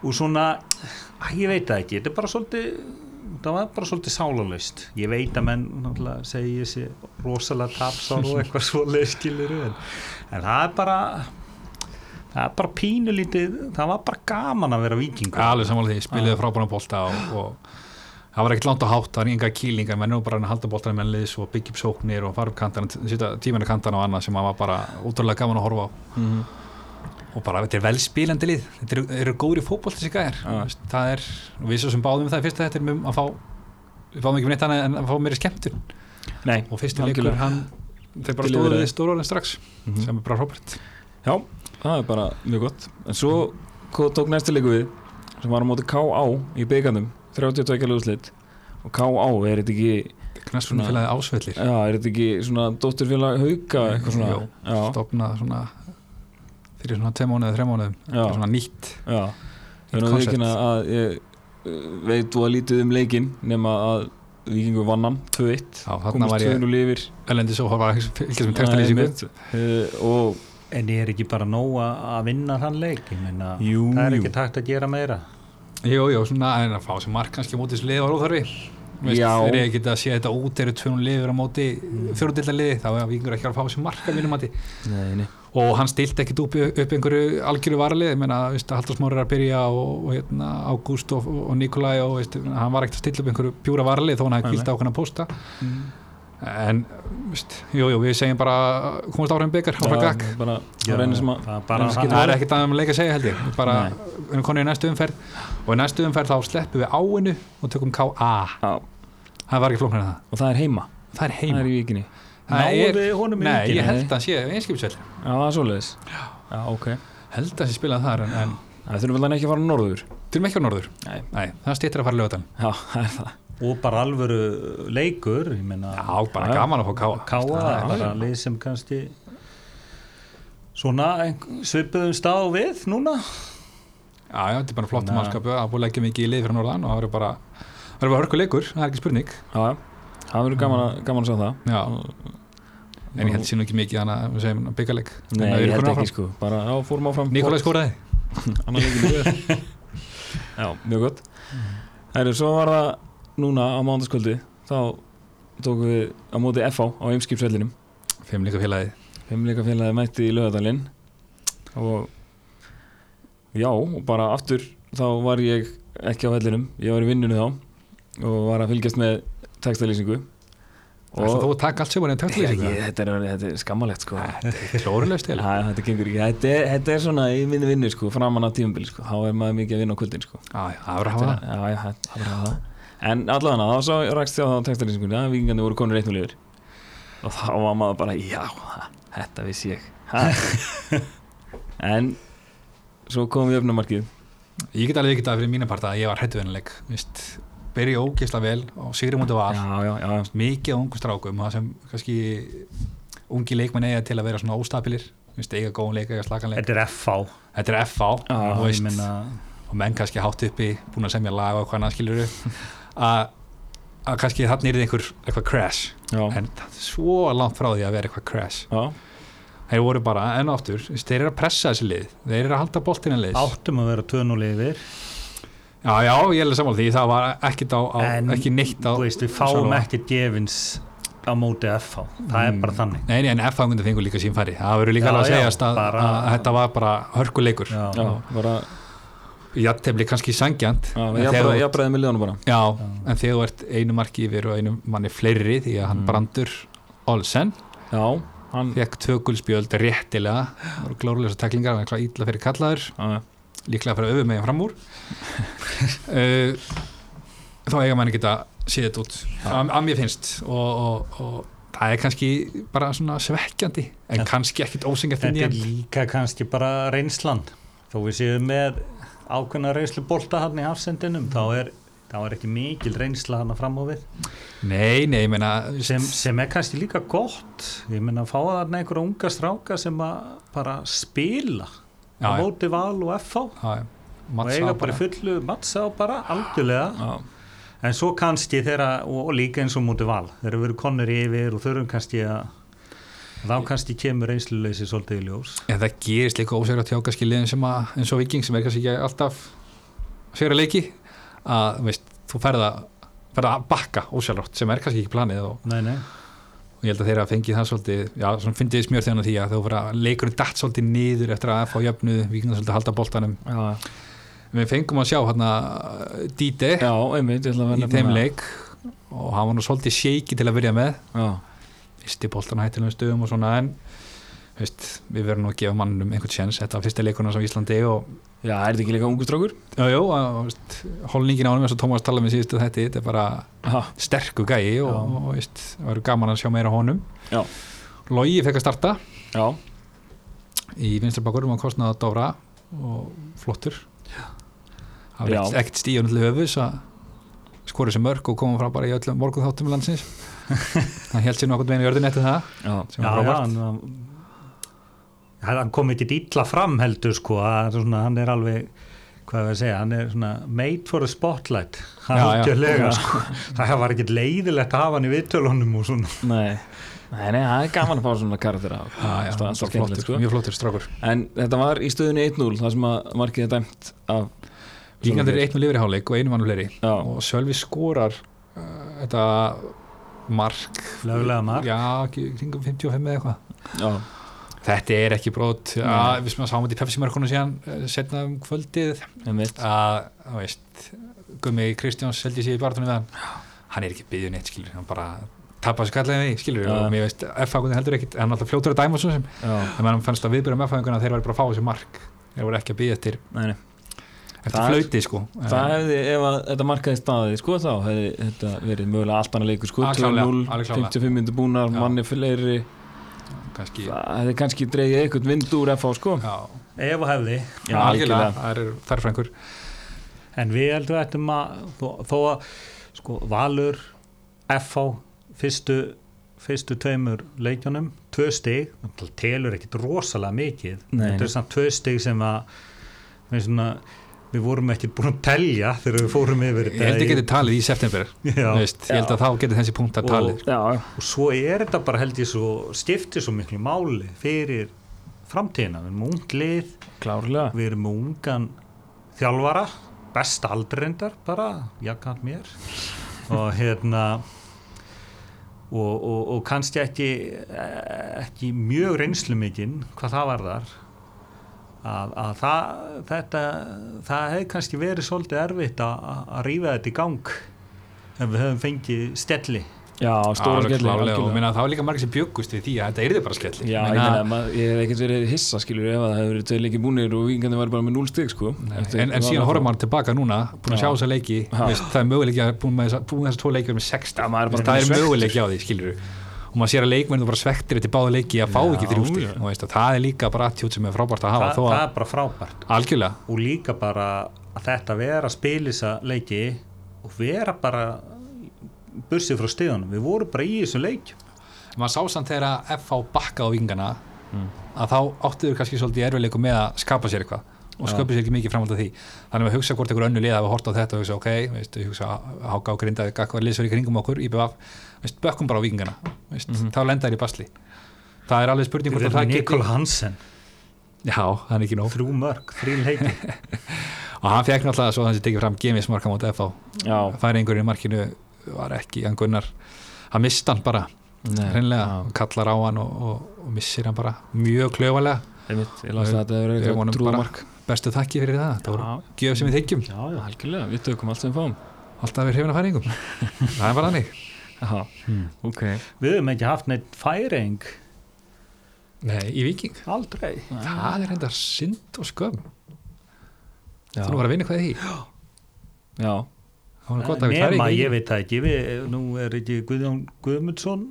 [SPEAKER 3] og svona æ, ég veit það ekki, þetta er bara svolítið það var bara svolítið sálalaust ég veit að menn náttúrulega segi ég sé rosalega tapsár og eitthvað svoleið skilur en, en það er bara það er bara pínulítið það var bara gaman að vera vikingur
[SPEAKER 2] alveg samanlega því, spiluðu frábæna bolta og, og það var ekkert langt að hátt það var enga kýlingar, menn er bara að halda boltan menn liðs og byggja upp sóknir og fara upp kantana setja tímanu kantana og annað sem að var bara útrúlega gaman að horfa á
[SPEAKER 1] Mhm.
[SPEAKER 2] og bara þetta er velspilandi lið þetta eru, eru góðir fótbolt þessi gæðir
[SPEAKER 1] Já.
[SPEAKER 2] það er, og við svo sem báðum það fyrst að þetta er um að fá við fáum ekki með neitt annað en að fá meiri skemmtun
[SPEAKER 1] Nei,
[SPEAKER 2] og fyrsti
[SPEAKER 1] algjörlega.
[SPEAKER 2] leikur hann þeir bara
[SPEAKER 1] Til
[SPEAKER 2] stóðu
[SPEAKER 1] yfirræði.
[SPEAKER 2] við stórólinn strax
[SPEAKER 1] Mhm.
[SPEAKER 2] sem er bara hróprætt
[SPEAKER 1] Já, það er bara mjög gott En svo ko- tók næsti leiku við sem var á móti K.A. í byggarnum 32 lögslit og K.A. er þetta ekki,
[SPEAKER 2] knastunum félagið ásvellir
[SPEAKER 1] já, er þetta ekki svona dótturfélag hauka eitthvað svona
[SPEAKER 2] Jó,
[SPEAKER 1] já,
[SPEAKER 2] stopnað svona fyrir svona tveim mánuðið, þreim mánuðum
[SPEAKER 1] já,
[SPEAKER 2] svona nýtt,
[SPEAKER 1] já
[SPEAKER 2] nýtt
[SPEAKER 1] Þannig að
[SPEAKER 2] koncept
[SPEAKER 1] viðkynna að ég uh, veit og að lítið um leikinn nema að vikingur vann hann 2-1
[SPEAKER 2] Já, þarna
[SPEAKER 1] komist
[SPEAKER 2] var ég
[SPEAKER 1] 2-0 yfir
[SPEAKER 2] öllendis og var að fylgjast með
[SPEAKER 1] Nei,
[SPEAKER 2] textalýsingu
[SPEAKER 1] einmitt. Uh, og
[SPEAKER 3] En ég er ekki bara nóg að að vinna þann leik, ég meina,
[SPEAKER 1] Jú,
[SPEAKER 3] það er
[SPEAKER 1] jú.
[SPEAKER 3] ekki takt að gera meira.
[SPEAKER 2] Jú, jú, svona en að fá sem mark kannski á móti þessu liði var óþarfi Veist,
[SPEAKER 1] Já. Mm.
[SPEAKER 2] Þeir eru ekki að sé þetta út þeir eru tvunum liður á móti fjórundilda liði þá er vingur ekki að fá sem mark að mínum mati
[SPEAKER 1] nei, nei.
[SPEAKER 2] og hann stilt ekkit upp, upp einhverju algjöru varalið, ég meina, veist, Haldur Smári er að byrja og, og hérna, Ágúst og, og Nikolai og veist, hann var ekkit að stilla upp einhverju pjúra varalið þó hann
[SPEAKER 1] Nei,
[SPEAKER 2] hafi kvílt á hvernig að posta
[SPEAKER 1] Mm.
[SPEAKER 2] en, veist, jú, jú, við segjum bara komast áfram í byggar, áfram gagg
[SPEAKER 1] Já, bara, það var einu sem að
[SPEAKER 3] það er
[SPEAKER 1] en
[SPEAKER 3] bara það.
[SPEAKER 1] skilur-
[SPEAKER 2] það er ekkert aðeins um leik að segja held ég Við bara, við erum konið í næstu umferð og í næstu umferð þá sleppum við áinu og tökum K.A.
[SPEAKER 1] Já.
[SPEAKER 2] það var ekki flóknar en það,
[SPEAKER 1] og það er heima,
[SPEAKER 2] það er
[SPEAKER 1] það
[SPEAKER 2] heima
[SPEAKER 1] er í vikinni
[SPEAKER 2] það
[SPEAKER 3] Náðu
[SPEAKER 2] er,
[SPEAKER 3] þið honum í
[SPEAKER 2] nei,
[SPEAKER 3] vikinni?
[SPEAKER 2] ég held að hann sé einskipsveld,
[SPEAKER 1] Já, það er svoleiðis Já, ok
[SPEAKER 2] held að hann sé spilað þar en, en
[SPEAKER 1] Það þurfum vel að ekki að fara norður
[SPEAKER 2] þurfum ekki á norður,
[SPEAKER 1] Nei.
[SPEAKER 2] það stýttir að fara lögatan
[SPEAKER 1] Já, það er það
[SPEAKER 3] Og bara alvöru leikur, ég meina,
[SPEAKER 2] já, bara
[SPEAKER 1] Já.
[SPEAKER 2] gaman að fá K.A.
[SPEAKER 3] káa, það er bara lið sem kannski svona ein- svipuðum stá við núna.
[SPEAKER 2] já, já, þetta er bara flott
[SPEAKER 3] Nei.
[SPEAKER 2] mannskapu að búið að leggja mikið í lið fyrir norðan og það verður bara það verður bara hörku leikur, það er ekki spurning
[SPEAKER 1] Já, já Það verður gaman, að- gaman að sjá það
[SPEAKER 2] já, en ég held sín ekki mikið hann að við segjum byggarleik
[SPEAKER 1] Nei, ég held ekki sko Bara, já, fórum áfram
[SPEAKER 2] Nikolai skoraði
[SPEAKER 1] Annar leikin í við Já, mjög gott Herru, svo var það núna á mándaskvöldi Þá tókum við á móti FH á Eimskipsvellinum
[SPEAKER 2] Fimmleika félagi
[SPEAKER 1] Fimmleikafélagi mætti í Laugardalinn og já, og bara aftur þá var ég ekki á vellinum ég var í vinnunni þá og var að fylgjast með textalýsingu
[SPEAKER 2] Það er þú að taka allt sem var en
[SPEAKER 1] Já, ég,
[SPEAKER 2] tökulýsingu
[SPEAKER 1] þetta, er, þetta er skammalegt sko Æ,
[SPEAKER 2] Klórulega stil
[SPEAKER 1] þetta, gengur, ekki. þetta, er, þetta er svona í minni vinnu sko, framan af tímabili sko þá er maður mikið að vinna á kvöldin sko
[SPEAKER 2] Það verður að hafa það
[SPEAKER 1] já, já, þetta er bara það en allavega þá svo rakst ég á þá textalýsingunni að vikingandi voru konur eitt núliður og þá var maður bara, já, þetta vissi ég Ha. en svo komum við öfnumarkið
[SPEAKER 2] Ég get alveg ekki það fyrir mínu part að ég var hrættu vennileg Byrja ógeðsla vel og sigri mútið val
[SPEAKER 1] já, já, já, já,
[SPEAKER 2] Mikið á ungu strákum það sem kannski ungi leikmenn eiga til að vera svona óstabilir Vist, eiga góðan leik, eiga slagan leik
[SPEAKER 3] Þetta er FH,
[SPEAKER 2] Þetta er FA
[SPEAKER 1] Já,
[SPEAKER 2] þú
[SPEAKER 3] ég
[SPEAKER 2] veist,
[SPEAKER 3] meina,
[SPEAKER 2] og menn kannski hátt uppi búin að semja lag og hvað annað skilur að að kannski þannig er einhver eitthvað crash
[SPEAKER 1] já,
[SPEAKER 2] en það er svo langt frá því að vera eitthvað crash
[SPEAKER 1] já.
[SPEAKER 2] þeir voru bara enn og aftur þú veist, þeir eru að pressa þessi lið, þeir eru að halda boltinn en liðs
[SPEAKER 3] áttum að vera 2-0 yfir,
[SPEAKER 2] já, já, ég er alveg sammála því, það var ekkit á, á
[SPEAKER 3] En,
[SPEAKER 2] ekki neitt á
[SPEAKER 3] þú veist, við
[SPEAKER 2] Sjálfa.
[SPEAKER 3] fáum ekkert gefins á móti FH, það er bara þannig.
[SPEAKER 2] nei, nei, en F-fangundu fengur líka sín færi það verður líka
[SPEAKER 3] Já,
[SPEAKER 2] alveg að
[SPEAKER 3] já,
[SPEAKER 2] segjast að,
[SPEAKER 3] bara-
[SPEAKER 2] að þetta var bara hörkuleikur
[SPEAKER 3] Já.
[SPEAKER 1] já bara,
[SPEAKER 2] jættefli kannski sangjant
[SPEAKER 1] já,
[SPEAKER 2] en
[SPEAKER 1] ég
[SPEAKER 2] þegar þú-
[SPEAKER 1] bræði, ég bræði miljónu bara
[SPEAKER 2] Já, en þegar þú ert einu marki yfir og einu manni fleiri því að hann
[SPEAKER 3] Mm.
[SPEAKER 2] brandur Olsen
[SPEAKER 1] já, hann
[SPEAKER 2] fekk tökulspjöld réttilega það voru glórulega teklingar, hann er klá ítla fyrir kallaður
[SPEAKER 1] já,
[SPEAKER 2] líklega fyrir öfum meginn fram úr uh, þá eiga mann ekki að sé þetta út að að mér finnst og, og, og það það er kannski bara svona svekkjandi en
[SPEAKER 3] Þetta-
[SPEAKER 2] kannski ekkit ósengjast inn í
[SPEAKER 3] Þetta er
[SPEAKER 2] hann
[SPEAKER 3] líka kannski bara reynslan þó við séum með ákveðna reynslu bolta hann í hafsendinum þá er, þá er ekki mikil reynsla hann fram á við
[SPEAKER 2] Nei, nei, ég meina
[SPEAKER 3] sem, sem er kannski líka gott ég meina að fá þarna einhverja unga stráka sem að bara spila
[SPEAKER 2] Já,
[SPEAKER 3] á
[SPEAKER 2] já.
[SPEAKER 3] móti val og FH
[SPEAKER 2] já, já,
[SPEAKER 3] og
[SPEAKER 2] Mats
[SPEAKER 3] eiga
[SPEAKER 2] á
[SPEAKER 3] bara í fullu mattsa og bara algjörlega
[SPEAKER 2] já,
[SPEAKER 3] en svo kannski þeirra og, og líka eins og móti val þeir eru verið konur yfir og þurfum kannski að þá kannski kemur reynsluleysi svolítið í ljós
[SPEAKER 2] En það gerist líka ósegur að tjáka skiljiðin sem að eins og viking sem er kannski ekki alltaf segra leiki að þú veist, þú ferð að ferð að bakka ósjálfrátt sem er kannski ekki planið og
[SPEAKER 3] nei, nei.
[SPEAKER 2] og ég held að þeirra fengið það svolítið já, svona fyndið smjör þegar því að þú verða leikurinn datt svolítið niður eftir að FH jöfnuð vikingar svolítið að halda boltanum
[SPEAKER 1] Já,
[SPEAKER 2] við fengum að sjá hérna Díti
[SPEAKER 1] já einmitt, ég ætla að
[SPEAKER 2] í
[SPEAKER 1] vera
[SPEAKER 2] þeim leik og hann var nú svolítið shaky til að byrja með
[SPEAKER 1] Já,
[SPEAKER 2] misti boltana hættilegum stöðum og svona en veist, við verðum nú að gefa mannum einhvern sjens þetta var fyrsta leikurinn á Íslandi og
[SPEAKER 1] já, er þetta ekki líka ungu strákur?
[SPEAKER 2] já, já, að, veist, holningin á honum eins og Tómas talaði með síðustu þetta þetta er bara
[SPEAKER 1] Já,
[SPEAKER 2] sterku gæi og,
[SPEAKER 1] Já.
[SPEAKER 2] og veist, verður gaman að sjá meira af honum
[SPEAKER 1] Já.
[SPEAKER 2] Logi fekk að starta
[SPEAKER 1] já,
[SPEAKER 2] í vinstrabakurum á kostnaða Dóra og flottur það var
[SPEAKER 1] Já.
[SPEAKER 2] ekkert- ekkert stíðun til höfus að skora sem mörg og koma fram bara í öllum morgun þáttum landsins hann held sér nokkurn veginn í örðin eftir það
[SPEAKER 1] já,
[SPEAKER 2] sem
[SPEAKER 3] Já,
[SPEAKER 2] var
[SPEAKER 3] já,
[SPEAKER 2] frábært
[SPEAKER 3] hann, var- Já, hann kom ekki illa fram heldur sko, að svona, hann er alveg hvað við að segja, hann er svona made for the spotlight
[SPEAKER 2] Já, já.
[SPEAKER 3] algjörlega sko það var ekkert leiðilegt að hafa hann í viðtölunum og svona
[SPEAKER 1] nei Nei, nei, það er gaman að fá svona karaktera
[SPEAKER 2] Já, já,
[SPEAKER 1] Alltaf-
[SPEAKER 2] hann
[SPEAKER 1] alltaf
[SPEAKER 2] var
[SPEAKER 1] skemmtilegt,
[SPEAKER 2] flottur,
[SPEAKER 1] sko.
[SPEAKER 2] mjög flottur strákur
[SPEAKER 1] En þetta var í stöðunni 1-0 þar sem að markið er dæmt af
[SPEAKER 2] Líkandir er eitt með lifri háleik og einu mann fleiri
[SPEAKER 1] Já,
[SPEAKER 2] og Sölvi skorar uh, þetta mark
[SPEAKER 3] lögulega marg
[SPEAKER 2] já, ekki- kringum 55 eða eitthvað
[SPEAKER 1] já,
[SPEAKER 2] þetta er ekki brot að, við sem að sáum þetta í Pepsi-mörkunum síðan setna um kvöldið
[SPEAKER 1] einmitt
[SPEAKER 2] að, þú veist, Gummi Kristjáns seldi sig í barðunum við hann hann er ekki byggðin eitt, skilur, hann bara tapar sér kallega því, skilur,
[SPEAKER 1] Já.
[SPEAKER 2] og mér veist F-fagundin heldur ekkit, hann er alltaf fljótur að dæma og svona sem
[SPEAKER 1] Já,
[SPEAKER 2] en mann fannst að viðbyrja um með F-fagunguna að þeir væri bara að fá þessi mark þeir voru ekki að byggja eftir,
[SPEAKER 1] nei, nei
[SPEAKER 2] eftir
[SPEAKER 1] Það-
[SPEAKER 2] flöyti, sko
[SPEAKER 1] Það hefði, ef að þetta markaði staðið, sko, þá hefði þetta verið mögulega allt annað leikur, sko,
[SPEAKER 2] Ah, klárlega,
[SPEAKER 1] 2-0,
[SPEAKER 2] alveg klárlega.
[SPEAKER 1] 55 myndir búnar,
[SPEAKER 2] Já.
[SPEAKER 1] manni fleiri,
[SPEAKER 2] kannski, já,
[SPEAKER 1] það hefði kannski dreigið eitthvað vind úr FH, sko.
[SPEAKER 3] ef og hefði,
[SPEAKER 1] Já,
[SPEAKER 2] algjörlega,
[SPEAKER 1] algjörlega.
[SPEAKER 2] það er þarfrængur
[SPEAKER 3] en við heldum að ættum að þó, þó að sko, Valur FH fyrstu, fyrstu tveimur leikjunum, tvö stig náttúrulega telur ekkit rosalega mikið
[SPEAKER 1] Nei,
[SPEAKER 3] þetta
[SPEAKER 1] nei.
[SPEAKER 3] er samt tvö stig sem að við, svona, við vorum ekkit búin að telja þegar við fórum yfir
[SPEAKER 2] ég held ekki þetta talið í september
[SPEAKER 3] já,
[SPEAKER 2] þú veist, ég held að þá getur þessi punkt
[SPEAKER 3] Og-
[SPEAKER 2] að talið
[SPEAKER 1] Já, já.
[SPEAKER 3] og svo er þetta bara held ég svo skiptir svo miklu máli fyrir framtíðina, við erum með ung lið
[SPEAKER 1] klárlega.
[SPEAKER 3] við erum með ungan þjálfara besta aldreindar bara jakant mér og hérna og, og, og kannski ekki ekki mjög reynslu mikinn hvað það var þar að, að það, þetta það hefði kannski verið svolítið erfitt að, að- að rífa þetta í gang ef við höfum fengið stelli
[SPEAKER 1] Já, stóra
[SPEAKER 2] Alveg
[SPEAKER 1] skellir,
[SPEAKER 2] klárlega, og
[SPEAKER 1] algjörlega.
[SPEAKER 2] meina, það var líka margir sem bjöggust við því að þetta yrði bara skellir
[SPEAKER 1] Já, ég, meina, maður- ég hef ekkert verið hissa, skilur, ef að það hefur verið tveir leikir búnir og vingandi var bara með 0 stig, sko. Þetta-
[SPEAKER 2] en, en
[SPEAKER 1] það
[SPEAKER 2] síðan
[SPEAKER 1] var-
[SPEAKER 2] horfum maður tilbaka núna búin að
[SPEAKER 1] Já.
[SPEAKER 2] sjá þessa leiki
[SPEAKER 1] Já.
[SPEAKER 2] veist, það er möguleiki að búin, með, þessa- búin þessar tvo leikir með 60
[SPEAKER 1] Já, maður er bara
[SPEAKER 2] það er
[SPEAKER 1] svektur.
[SPEAKER 2] möguleiki á því, skilur og maður sér að leikmennu bara svektir eftir báða leiki að fá
[SPEAKER 1] Já,
[SPEAKER 2] ekki þrjústi
[SPEAKER 1] já.
[SPEAKER 2] og veist, að það er líka bara attjótt sem er frábært að hafa
[SPEAKER 3] það,
[SPEAKER 2] þó
[SPEAKER 3] það
[SPEAKER 2] að
[SPEAKER 3] er bara frábært
[SPEAKER 2] algjörlega
[SPEAKER 3] og líka bara að þetta vera að spilisa leiki og vera bara bursið frá stíðunum, við vorum bara í þessum leik
[SPEAKER 2] maður sá samt þegar að FH bakka á vingana
[SPEAKER 1] Mm.
[SPEAKER 2] að þá áttuður kannski svolítið erfileiku með að skapa sér eitthvað og sköpu sér ekki mikið framhald að því þannig að hugsa hvort einhver önnu lið að við horta á þetta og hugsa ok, veist, hugsa háka á grinda hvað liðsverð í kringum okkur, IBF veist, bökkum bara á vingana, veist,
[SPEAKER 1] Mhm.
[SPEAKER 2] þá lenda þér í basli það er alveg spurning
[SPEAKER 3] við
[SPEAKER 2] hvort að
[SPEAKER 3] erum
[SPEAKER 2] það
[SPEAKER 3] með
[SPEAKER 2] geti
[SPEAKER 3] Nikol Hansen,
[SPEAKER 2] já, það er ekki nóg
[SPEAKER 3] þrjú mörg, þrjú leiki
[SPEAKER 2] og hann fekk náttúrulega svo þessi tekið fram gemismarka mot FH,
[SPEAKER 1] Já,
[SPEAKER 2] færi einhverjum í markinu var ekki, hann gunnar hann mist hann bara,
[SPEAKER 1] nei.
[SPEAKER 2] hreinlega kallar á hann og, og, og missir hann bara mjög klöfalega
[SPEAKER 1] Einmitt, ég las að þetta hefur verið
[SPEAKER 2] Við
[SPEAKER 1] eitthvað
[SPEAKER 2] vonum bara-
[SPEAKER 1] trúmark.
[SPEAKER 2] bestu þakki fyrir það, það voru
[SPEAKER 1] Já,
[SPEAKER 2] gjöf sem við þykjum
[SPEAKER 1] já, já, algjörlega, við tökum allt sem við fáum.
[SPEAKER 2] alltaf við hrifin að færingum það er bara þannig
[SPEAKER 1] Já, Hmm. ok.
[SPEAKER 3] við höfum ekki haft neitt færing
[SPEAKER 2] Nei, í viking,
[SPEAKER 3] aldrei
[SPEAKER 2] það er hendar synd og skömm
[SPEAKER 1] Já,
[SPEAKER 2] þú nú var að vinna hvað í því það
[SPEAKER 1] já,
[SPEAKER 2] var nú gott að við
[SPEAKER 3] nema,
[SPEAKER 2] færingum
[SPEAKER 3] ég veit það ekki við, nú er ekki Guðjón Guðmundsson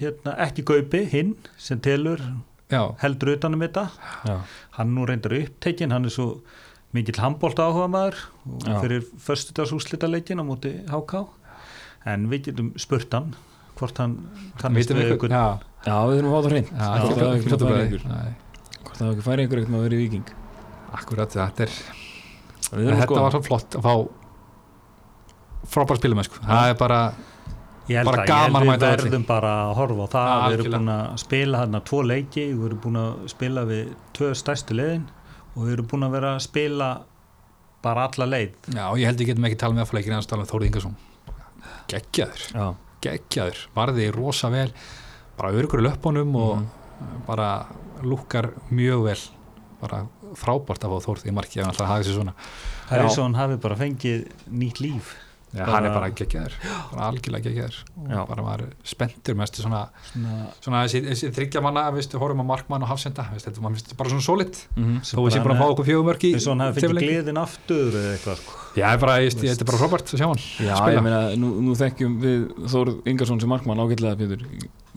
[SPEAKER 3] hérna, ekki Gaupi, hinn sem telur
[SPEAKER 2] já,
[SPEAKER 3] heldur utanum þetta
[SPEAKER 1] já,
[SPEAKER 3] hann er nú reyndar upptekinn, hann er svo mikill handbólt áhuga maður og
[SPEAKER 1] Já.
[SPEAKER 3] fyrir förstudags úrslitaleikin á móti HK en við getum spurt hann hvort hann kannist
[SPEAKER 2] vitum
[SPEAKER 3] við
[SPEAKER 2] við
[SPEAKER 3] ykkur
[SPEAKER 2] já,
[SPEAKER 1] já, við þurfum að fá það hreint
[SPEAKER 2] já,
[SPEAKER 1] Hvort það hafi ekki
[SPEAKER 2] fljótu
[SPEAKER 1] færi
[SPEAKER 2] bragði.
[SPEAKER 1] ykkur.
[SPEAKER 2] Nei,
[SPEAKER 1] Hvort það hafi ekki færi ykkur eitthvað að vera í viking
[SPEAKER 2] akkurat, þetta er
[SPEAKER 1] Við
[SPEAKER 2] En
[SPEAKER 1] erum
[SPEAKER 2] þetta
[SPEAKER 1] sko
[SPEAKER 2] var svo flott að fá frábæra spilamennsku það er bara,
[SPEAKER 3] ég held
[SPEAKER 2] Bara
[SPEAKER 3] að, ég
[SPEAKER 2] gaman að
[SPEAKER 3] held við
[SPEAKER 2] mæta velli.
[SPEAKER 3] verðum bara að horfa á það
[SPEAKER 2] Ja,
[SPEAKER 3] við erum
[SPEAKER 2] algjörlega.
[SPEAKER 3] búin að spila hann tvo leiki við erum búin að spila við tvö stærstu leiðin og við erum búin að vera að spila bara alla leið
[SPEAKER 2] já, ég held ég getum ekki talað með að flækir ennast alveg Þórið Ingarsson geggjaður,
[SPEAKER 1] Já,
[SPEAKER 2] geggjaður varði rosa vel, bara örgur í löppunum og
[SPEAKER 1] Mhm.
[SPEAKER 2] bara lukkar mjög vel bara frábært að fá Þórið í marki ef hann alltaf hafi sér svona
[SPEAKER 3] það er eins og hann hafi bara fengið nýtt líf
[SPEAKER 2] já,
[SPEAKER 3] Bara-
[SPEAKER 2] hann er bara geggjaður, bara algjörlega geggjaður
[SPEAKER 1] Já.
[SPEAKER 2] og bara var spenntur mest í svona,
[SPEAKER 3] svona
[SPEAKER 2] svona þessi, þessi þryggja manna, veistu, horfum á markmann og hafsenda veistu, þetta var veistu, bara svona solid
[SPEAKER 1] mhm.
[SPEAKER 2] þó við séum bara að fá okkur fjögumörki
[SPEAKER 3] eins og hann hafi fengið gleðin aftur eða eitthvað sko.
[SPEAKER 2] Já, ég bara, ég, ég, þetta er bara Robert að sjá hann
[SPEAKER 1] já ég
[SPEAKER 2] spila.
[SPEAKER 1] meina, nú, nú þekkjum við Þórð Ingarsson sem markmann ágætlega, Pétur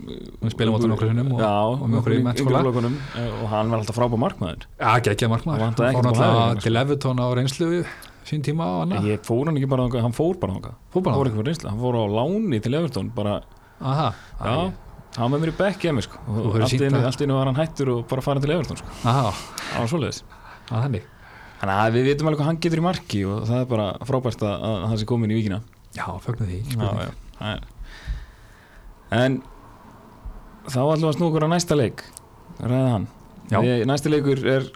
[SPEAKER 2] Við spilum á
[SPEAKER 1] Okkur-
[SPEAKER 2] tónu okkur sinnum og-
[SPEAKER 1] Já,
[SPEAKER 2] og með okkur í mennskóla.
[SPEAKER 1] mennskólanum Og hann var alltaf frábæð markmaður
[SPEAKER 2] Já, geggja markmaður
[SPEAKER 1] Það
[SPEAKER 2] Hann
[SPEAKER 1] vantaði
[SPEAKER 2] fór
[SPEAKER 1] ekkert upp á hægri,
[SPEAKER 2] náttúrulega
[SPEAKER 1] sko.
[SPEAKER 2] til Evertón á reynslu sín tíma og annað
[SPEAKER 1] Ég fór hann ekki bara þangað, hann fór bara þangað Hann fór
[SPEAKER 2] Fótbolna
[SPEAKER 1] ekki bara reynsla, hann fór á láni til Everton bara,
[SPEAKER 2] Aha,
[SPEAKER 1] já, hann var með mér í bekk hjá mér sko
[SPEAKER 2] Þú
[SPEAKER 1] og
[SPEAKER 2] hefur
[SPEAKER 1] allt í
[SPEAKER 2] sýnt
[SPEAKER 1] einu-
[SPEAKER 2] það.
[SPEAKER 1] allt í einu var hann hættur og bara farin til Everton sko,
[SPEAKER 2] aha,
[SPEAKER 1] það var svoleiðis
[SPEAKER 2] að þannig
[SPEAKER 1] Þannig að við vitum alveg hvað hann getur í marki og það er bara frábært að, að hann sé komin í vikina
[SPEAKER 2] Já, fögnu því
[SPEAKER 1] já, sko. já, það er En þá ætlum við að snú okkur á næsta leik ræða hann
[SPEAKER 2] Já.
[SPEAKER 1] Við, Næsti leikur er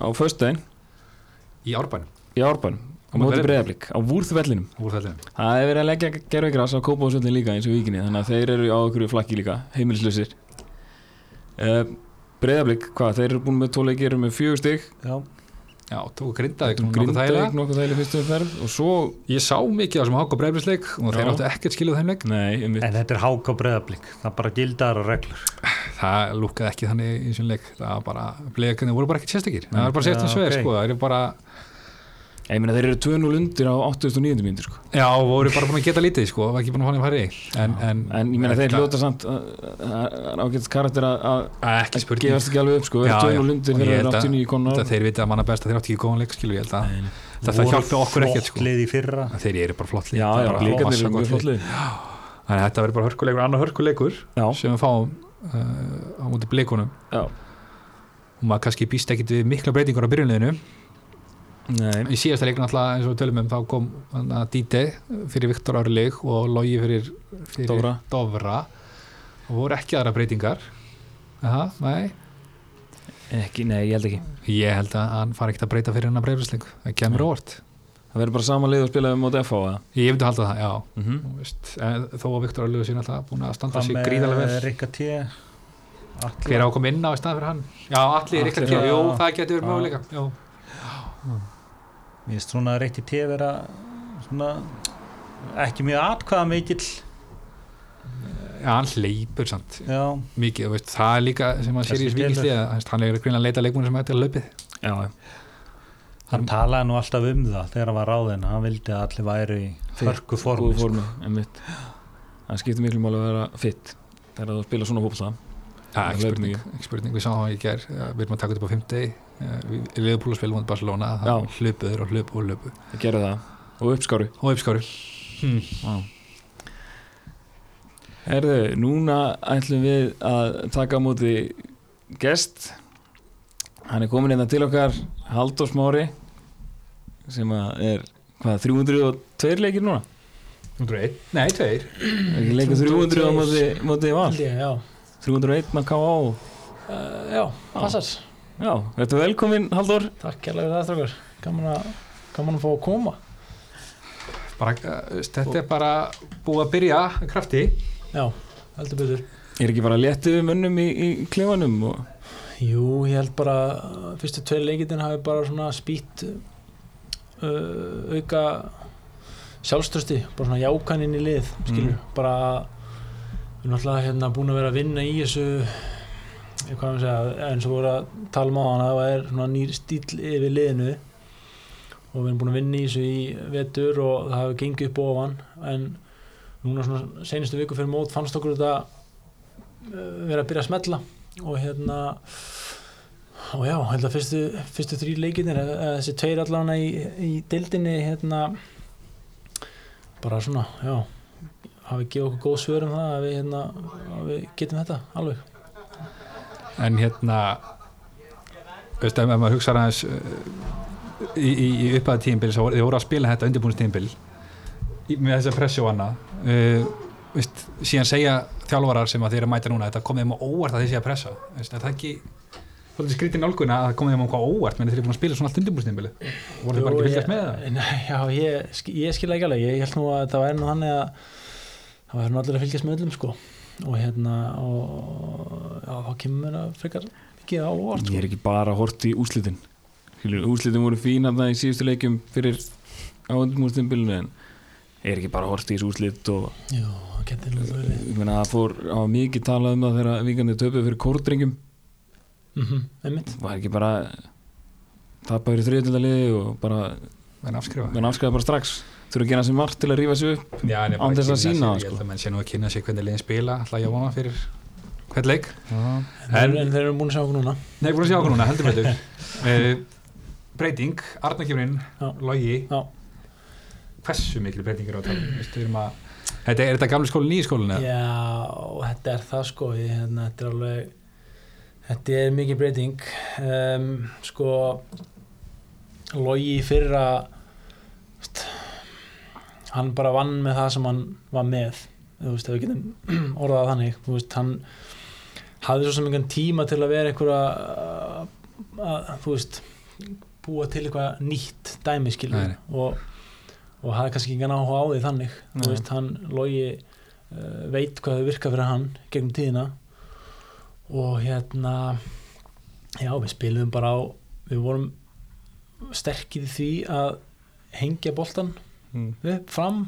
[SPEAKER 1] á föstudaginn
[SPEAKER 2] Í árbænum,
[SPEAKER 1] í Árbænum á
[SPEAKER 2] Á móti
[SPEAKER 1] móti breyðablík,
[SPEAKER 2] Breiðablik.
[SPEAKER 1] á vúrþvellinum
[SPEAKER 2] úr þellum
[SPEAKER 1] Það er verið að leggja gerðvigras á Kópavóðsvöldin líka eins og vikinni þannig að þeir eru á okkur flakki líka, heimilislausir uh, Breiðablík, hvað, þeir eru búin með tóleiki eru með fjögur stygg
[SPEAKER 3] já,
[SPEAKER 2] Já, tóku grindaðik
[SPEAKER 1] Grindavík nokkuð þægileg fyrstu umferð og svo,
[SPEAKER 2] Ég sá mikið á þessum háka breyfisleik og þeir
[SPEAKER 1] Já.
[SPEAKER 2] áttu ekkert skiluð þeimleik
[SPEAKER 1] nei, um
[SPEAKER 2] Eh,
[SPEAKER 3] en þetta er háka breðablík það er bara gildar og reglur
[SPEAKER 2] Það lúkkaði ekki þannig í þessum leik Það var bara, bleikarnir voru bara ekkert sérstakir Það var bara
[SPEAKER 3] Já,
[SPEAKER 2] sérstum sveir,
[SPEAKER 3] ok.
[SPEAKER 2] sko Það er bara,
[SPEAKER 1] ég meina þeir eru 2-0 undir á 89. mínútur sko.
[SPEAKER 2] já, voru bara búin að geta lítið, sko Var ekki búin að fá þeim færri En, en,
[SPEAKER 1] en ég meina þeir
[SPEAKER 2] þetta-
[SPEAKER 1] hljóta samt að- að- að ágætast karakter að að
[SPEAKER 2] Ekki spurning
[SPEAKER 1] gefast ekki alveg upp sko, þeir
[SPEAKER 2] Já, já.
[SPEAKER 1] eru 2-0 undir
[SPEAKER 2] Og ég
[SPEAKER 1] þegar þeir
[SPEAKER 2] held
[SPEAKER 1] eru
[SPEAKER 2] að-
[SPEAKER 1] 89 konar
[SPEAKER 2] Þetta þeir vita að manna best að þeir átti ekki góðan leik skilu ég held að þetta
[SPEAKER 3] Voru
[SPEAKER 2] hjálpi okkur ekkert
[SPEAKER 3] flott
[SPEAKER 2] sko.
[SPEAKER 3] lið í fyrra
[SPEAKER 2] En þeir eru bara flott lið
[SPEAKER 1] Já,
[SPEAKER 2] það er
[SPEAKER 1] já,
[SPEAKER 2] bara
[SPEAKER 1] blíkarnir
[SPEAKER 2] massa
[SPEAKER 1] eru mjög
[SPEAKER 2] gott lið.
[SPEAKER 1] flottlið
[SPEAKER 2] Þannig að þetta verður bara hörkuleikur, annar hörkuleikur
[SPEAKER 1] Já,
[SPEAKER 2] sem við fáum uh, á múti blikunum
[SPEAKER 1] já,
[SPEAKER 2] og maður kannski býst ekkit við mikla breytingur á byrjunliðinu
[SPEAKER 1] nei
[SPEAKER 2] í síðasta leikna alltaf eins og við tölum um þá kom hana, Díte fyrir Viktor Árlig og Logi fyrir, fyrir
[SPEAKER 1] Dofra.
[SPEAKER 2] Dofra. og voru ekki aðra breytingar Aha, nei,
[SPEAKER 1] Ekki, nei, ég held ekki
[SPEAKER 2] ég held að hann fari ekkit að breyta fyrir hennar breyfisleik það kemur
[SPEAKER 1] Nei.
[SPEAKER 2] óvart
[SPEAKER 1] Það verður bara sama lið að spila um á DFA eða?
[SPEAKER 2] ég myndi halda það, já
[SPEAKER 1] Mm -hmm.
[SPEAKER 2] Þú veist, en þó að Viktor Örlugur sín alltaf búin að standa
[SPEAKER 3] Hvað
[SPEAKER 2] sig
[SPEAKER 3] með
[SPEAKER 2] gríðarlega vel
[SPEAKER 3] Rikka T
[SPEAKER 2] hver á að koma inn á í stað fyrir hann já, allir er
[SPEAKER 3] Atli,
[SPEAKER 2] ekki
[SPEAKER 3] já.
[SPEAKER 2] jú, það getur verið
[SPEAKER 3] Já.
[SPEAKER 2] möguleika jú.
[SPEAKER 3] Mér finnst svona Rikki T vera svona ekki mjög atkvaða mikill
[SPEAKER 2] já, hann hleypur samt
[SPEAKER 3] já,
[SPEAKER 2] mikið, þú veist, það er líka sem að sér í
[SPEAKER 3] Þessi
[SPEAKER 2] svíkisli
[SPEAKER 3] skilur.
[SPEAKER 2] hann er greinlega að leita leikmuna sem ætti að laupið
[SPEAKER 1] Já, já
[SPEAKER 3] hann talaði nú alltaf um það þegar hann var ráðinn, hann vildi að allir væri í hörku formi
[SPEAKER 1] góðu
[SPEAKER 3] sko.
[SPEAKER 1] formi, einmitt það skiptir miklu máli að vera fitt þegar þú spila svona fólkvall
[SPEAKER 2] já,
[SPEAKER 1] Hann
[SPEAKER 2] ekki
[SPEAKER 1] laupir
[SPEAKER 2] spurning, ekki spurning, við sáum það í ger við erum að taka þetta upp á 50 við liðum púl að spila mútið Barcelona
[SPEAKER 1] Já.
[SPEAKER 2] hlöpuður og hlöpu og hlöpu
[SPEAKER 1] það gera það og uppskáru
[SPEAKER 2] og uppskáru
[SPEAKER 1] Herðu, núna ætlum við að taka á móti gest hann er komin hérna til okkar Halldór Smári sem að er hvað, 302 leikir núna?
[SPEAKER 2] nei, tveir
[SPEAKER 4] Mm,
[SPEAKER 1] Er ekki leikur 300 á móti, móti val?
[SPEAKER 4] Held ég, já.
[SPEAKER 1] 301 á K.A.
[SPEAKER 4] Uh, já, passar.
[SPEAKER 1] Já, þetta er velkomin Halldór
[SPEAKER 4] Takk kærlega fyrir það, strákar. Gaman að, gaman að fá að koma.
[SPEAKER 2] bara, eh, þú veist, þetta er bara búið að byrja af krafti
[SPEAKER 4] Já, heldur betur.
[SPEAKER 1] er ekki bara léttið við mönnum í, í klefanum og
[SPEAKER 4] Jú, ég held bara að fyrstu tveir leikitin hafi bara svona spýtt uh, auka sjálfströsti, bara svona jákan inn í lið, skilur. Bara við erum alltaf hérna búin að vera að vinna í þessu ég hvað ég að segja, eins og voru að tala um á hana, það er svona nýr stíl yfir liðinu og við erum búin að vinna í þessu í vetur og það hafi gengið upp ofan en núna svona senastu viku fyrir mót fannst okkur þetta verið að byrja að smetla og hérna og já, held að fyrstu, fyrstu þrý leikinir eh, þessi tveir allavega í, í dildinni hérna bara svona, já hafi gefið okkur góð svör um það að við, hérna, að við getum þetta alveg
[SPEAKER 2] en hérna veist, ef ef maður hugsa aðeins uh, í, í, í upphæða tímbil þið voru að spila þetta undirbúinist tímbil með þessa pressu og annað uh, veist, síðan segja þjálfarar sem að þeir eru að mæta núna þetta komið þeim á óvart að þeir sé að pressa veist, er það ekki svolítið skrítið nálguna að það komið þeim á hvað óvart menn þeir eru búin að spila svona allt undirbúinist tímbil voru þeir bara ekki að fylgjast með það
[SPEAKER 4] Nei, já, ég, sk- ég skil ekki alveg, ég held nú að það væri nú þannig að það væri nú allir að fylgjast með öllum sko og hérna og já, þá kemur mér að frekar ekki á
[SPEAKER 1] Ég
[SPEAKER 4] óvart sko.
[SPEAKER 1] er ekki bara hort í úslitin Skilur, úslitin voru fín hann í síðustu leikjum fyrir áhundumúrstimbilinu en er ekki bara hort í þessu úslit og
[SPEAKER 4] Jú, það getur nú verið
[SPEAKER 1] ég meina það fór á mikið talað um það þegar vikandi töpuð fyrir kórdringum
[SPEAKER 4] mm
[SPEAKER 2] Mhm.
[SPEAKER 4] einmitt
[SPEAKER 1] var ekki bara tapað fyrir þriðutildaliði og bara
[SPEAKER 2] menn afskrifa
[SPEAKER 1] menn afskæða bara strax þurfa að gera sem margt til að rífa sig upp
[SPEAKER 2] Já, en
[SPEAKER 1] Án
[SPEAKER 2] ég bara
[SPEAKER 1] þess að
[SPEAKER 2] kynna
[SPEAKER 1] sýna
[SPEAKER 2] sér,
[SPEAKER 1] það,
[SPEAKER 2] ég
[SPEAKER 1] sko.
[SPEAKER 2] held að menn sé nú að kynna sér hvernig liðin spila alltaf ég vona fyrir hvern leik
[SPEAKER 4] en, en þeir eru búin að sjá okkur núna
[SPEAKER 2] Nei, búin að sjá okkur núna, heldur betur uh, Breyting, Arna kemur inn
[SPEAKER 4] Já.
[SPEAKER 2] Logi,
[SPEAKER 4] já,
[SPEAKER 2] hversu miklu breytingar á talum Vistu, erum að Þetta er þetta gamli skólinn, nýji skólinn eða?
[SPEAKER 4] já, og þetta er það sko ég, hérna, þetta er alveg þetta er mikið breyting um, sko logi í fyrra veist, hann bara vann með það sem hann var með þú veist, ef við getum orðað þannig þú veist, hann hafði svo sem engan tíma til að vera einhverja að, að, þú veist búa til eitthvað nýtt dæmi skilur
[SPEAKER 2] Nei,
[SPEAKER 4] og, og hafði kannski engan áhuga á því þannig
[SPEAKER 1] Nei.
[SPEAKER 4] þú veist, hann logi uh, veit hvað þau virka fyrir hann gegnum tíðina og hérna já, við spilum bara á við vorum sterkið í því að hengja boltan
[SPEAKER 1] Mm.
[SPEAKER 4] upp, fram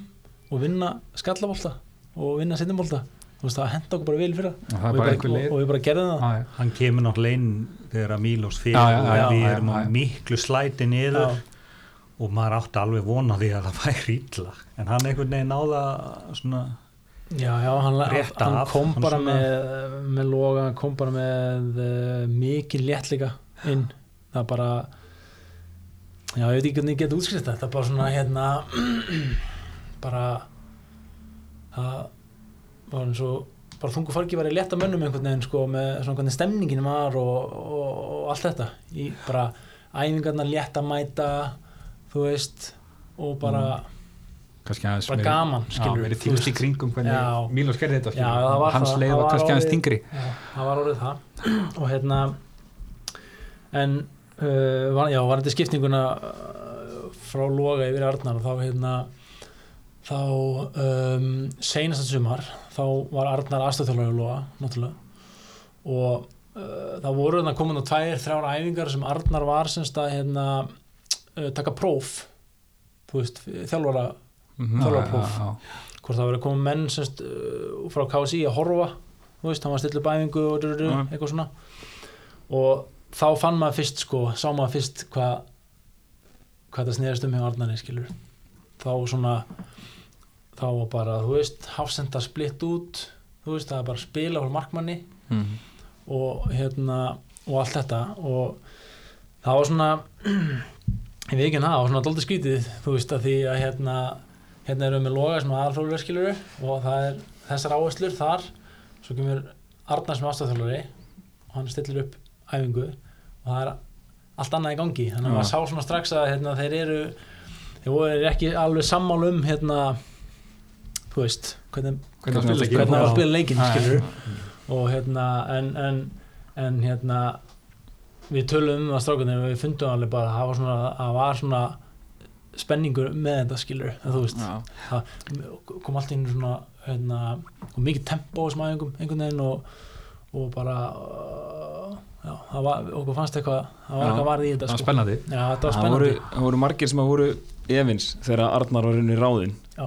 [SPEAKER 4] og vinna skallabolta og vinna setjumbolta þú veist það henda okkur bara vel fyrir
[SPEAKER 2] Og það er
[SPEAKER 4] og
[SPEAKER 2] bara
[SPEAKER 4] við, bara,
[SPEAKER 2] einhver
[SPEAKER 4] og,
[SPEAKER 2] leið
[SPEAKER 4] og við bara gerðum það
[SPEAKER 2] Já, já.
[SPEAKER 3] hann kemur náttúrulega inn þegar að Mílos fyrir
[SPEAKER 2] Já, já, já,
[SPEAKER 3] og við
[SPEAKER 2] já,
[SPEAKER 3] erum á
[SPEAKER 2] já, já.
[SPEAKER 3] miklu slæti niður og maður átti alveg vona því að það væri illa en hann einhvern veginn náða svona
[SPEAKER 4] já, já, hann,
[SPEAKER 3] Rétt
[SPEAKER 4] hann
[SPEAKER 3] af,
[SPEAKER 4] kom
[SPEAKER 3] hann
[SPEAKER 4] bara
[SPEAKER 3] svona-
[SPEAKER 4] með, með loga, hann kom bara með uh, mikið léttleika inn það bara já, ég veit ekki hvernig ég get útskrift þetta það er bara svona hérna bara það var eins og bara þungu fargi var í létta mönnum einhvern veginn sko með svona hvernig stemningin var og, og, og allt þetta í bara æfingarnar létta mæta þú veist og bara
[SPEAKER 3] Mm.
[SPEAKER 2] Kannski aðeins
[SPEAKER 4] Bara gaman, skilur
[SPEAKER 2] Já,
[SPEAKER 4] við,
[SPEAKER 2] meiri
[SPEAKER 4] þú
[SPEAKER 2] þýmst í
[SPEAKER 4] veist.
[SPEAKER 2] kringum
[SPEAKER 4] Já.
[SPEAKER 2] hvernig Mílos gerði þetta
[SPEAKER 4] Já, það var
[SPEAKER 2] Hans
[SPEAKER 4] það,
[SPEAKER 2] leið
[SPEAKER 4] það
[SPEAKER 2] var
[SPEAKER 4] var
[SPEAKER 2] kannski aðeins
[SPEAKER 4] orðið-
[SPEAKER 2] þingri
[SPEAKER 4] Já, það var orðið það og hérna en uh, var, já, var þetta skiptinguna uh, frá Loga yfir Arnar þá hérna þá um, seinasta sumar þá var Arnar aðstöðtjálfari Loga náttúrulega og uh, það voru hérna komin á tvær, þrjár æfingar sem Arnar var semst að hérna uh, taka próf þú veist, þjálfara
[SPEAKER 2] Mhm,
[SPEAKER 4] Þorlákur
[SPEAKER 2] já,
[SPEAKER 4] próf.
[SPEAKER 2] já,
[SPEAKER 4] hvort það verið að koma menn semst, uh, frá KSI að horfa þú veist, hann var stillu bæfingu og drurru,
[SPEAKER 1] Já.
[SPEAKER 4] eitthvað svona og þá fann maður fyrst sko, sá maður fyrst hvað hvað það snerist um hjá Arnari skilur þá svona þá var bara, þú veist, hafsenda splitt út þú veist, það er bara að spila frá markmanni
[SPEAKER 1] mm.
[SPEAKER 4] og hérna og allt þetta og það var svona ég veit ekki hann það, það var svona daldið skrítið þú veist að því að hérna hérna erum við með loga sem aðalfrólur skilur og það er þessar áherslur þar svo kemur Arnar sem aðstæðþjólari og hann stillir upp æfingu og það er allt annað í gangi þannig að
[SPEAKER 1] Já.
[SPEAKER 4] maður sá svona strax að hérna, þeir eru þeir voru ekki alveg sammál um hérna þú veist hvernig
[SPEAKER 2] já. Hvernig að spila ekki
[SPEAKER 4] hvernig það var að
[SPEAKER 2] Já.
[SPEAKER 4] spila
[SPEAKER 2] Já,
[SPEAKER 4] leikinn
[SPEAKER 2] já.
[SPEAKER 4] skilur og hérna en, en, en hérna við tölum um það strákunni við fundum alveg bara að það var svona, að var svona spenningur með þetta skilur en þú veist,
[SPEAKER 1] Já.
[SPEAKER 4] kom allt inn svona hérna, og mikið tempo á þessum æfingum einhvern veginn og, og bara uh, já, það var, okkur fannst eitthvað það var
[SPEAKER 1] Já.
[SPEAKER 4] eitthvað varð í
[SPEAKER 2] Það
[SPEAKER 4] þetta
[SPEAKER 2] var
[SPEAKER 4] sko.
[SPEAKER 2] spennandi
[SPEAKER 4] já, þetta var
[SPEAKER 1] það
[SPEAKER 4] spennandi
[SPEAKER 1] voru, það voru margir sem að voru efins þegar Arnar var henni ráðinn
[SPEAKER 4] Já.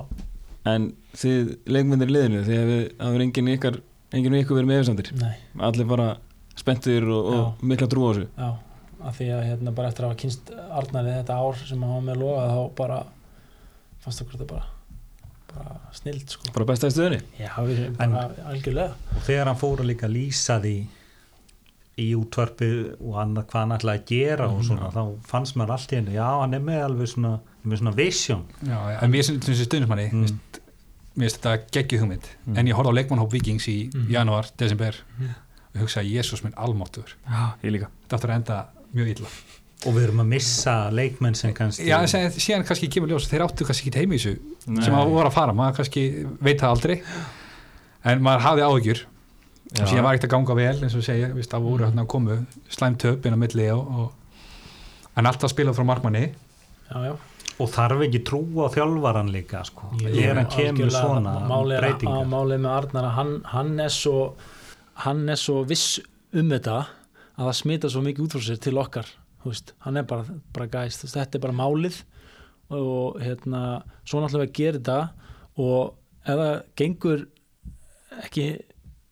[SPEAKER 1] en þið leikmyndir í liðinu því að það var enginn ykkar enginn við ykkur verið með efinsandir
[SPEAKER 4] nei,
[SPEAKER 1] allir bara spenntir og, og mikla trú á þessu
[SPEAKER 4] já, af því að hérna bara eftir að hafa kynst Arnari þetta ár sem hann var með loga þá bara fannst okkur þetta bara bara snild sko.
[SPEAKER 1] bara besta í stöðunni
[SPEAKER 4] já, við erum
[SPEAKER 3] En-
[SPEAKER 4] bara algjörlega
[SPEAKER 3] og þegar hann fór að líka lýsa því í útvarpi og hann, hvað hann ætlaði að gera
[SPEAKER 4] Mhm.
[SPEAKER 3] og svona, þá fannst maður allt í henni já, hann er með alveg svona, með svona vision
[SPEAKER 2] Já, já, en mér sem þessi stundismanni
[SPEAKER 3] Mm.
[SPEAKER 4] Mhm.
[SPEAKER 2] mm. mér finnst þetta geggjuð hugmynd en ég horfði á leikmannhóp Vikings í
[SPEAKER 4] Mm.
[SPEAKER 2] janúar, desember og hugsaði, Jésús minn almáttur
[SPEAKER 1] ég líka
[SPEAKER 2] þetta áttur að enda mjög illa
[SPEAKER 3] og við erum að missa leikmenn sem kannski
[SPEAKER 2] Já, en sen- síðan kannski kemur ljós að þeir áttu kannski ekki heim í þessu
[SPEAKER 1] Nei.
[SPEAKER 2] sem að voru að fara, maður kannski veit það aldrei en maður hafði áhyggjur
[SPEAKER 1] Já.
[SPEAKER 2] síðan var ekkert að ganga vel eins og segja, viðst, það voru hérna að komu slæmt upp inn á milli og, og en alltaf spilað frá markmanni
[SPEAKER 4] já, já.
[SPEAKER 3] og þarf ekki trú á þjálfaran líka sko.
[SPEAKER 4] Jú,
[SPEAKER 3] þegar hann kemur
[SPEAKER 4] algjörlega.
[SPEAKER 3] svona um
[SPEAKER 4] Málið er- á-
[SPEAKER 3] breytingar
[SPEAKER 4] málið með Arnar að hann, hann er svo hann er svo viss um þetta að það smita svo mikið út frá sér til okkar þú veist, hann er bara, bara gæst þú veist, þetta er bara málið og hérna, svona ætlum við að gera þetta og ef það gengur ekki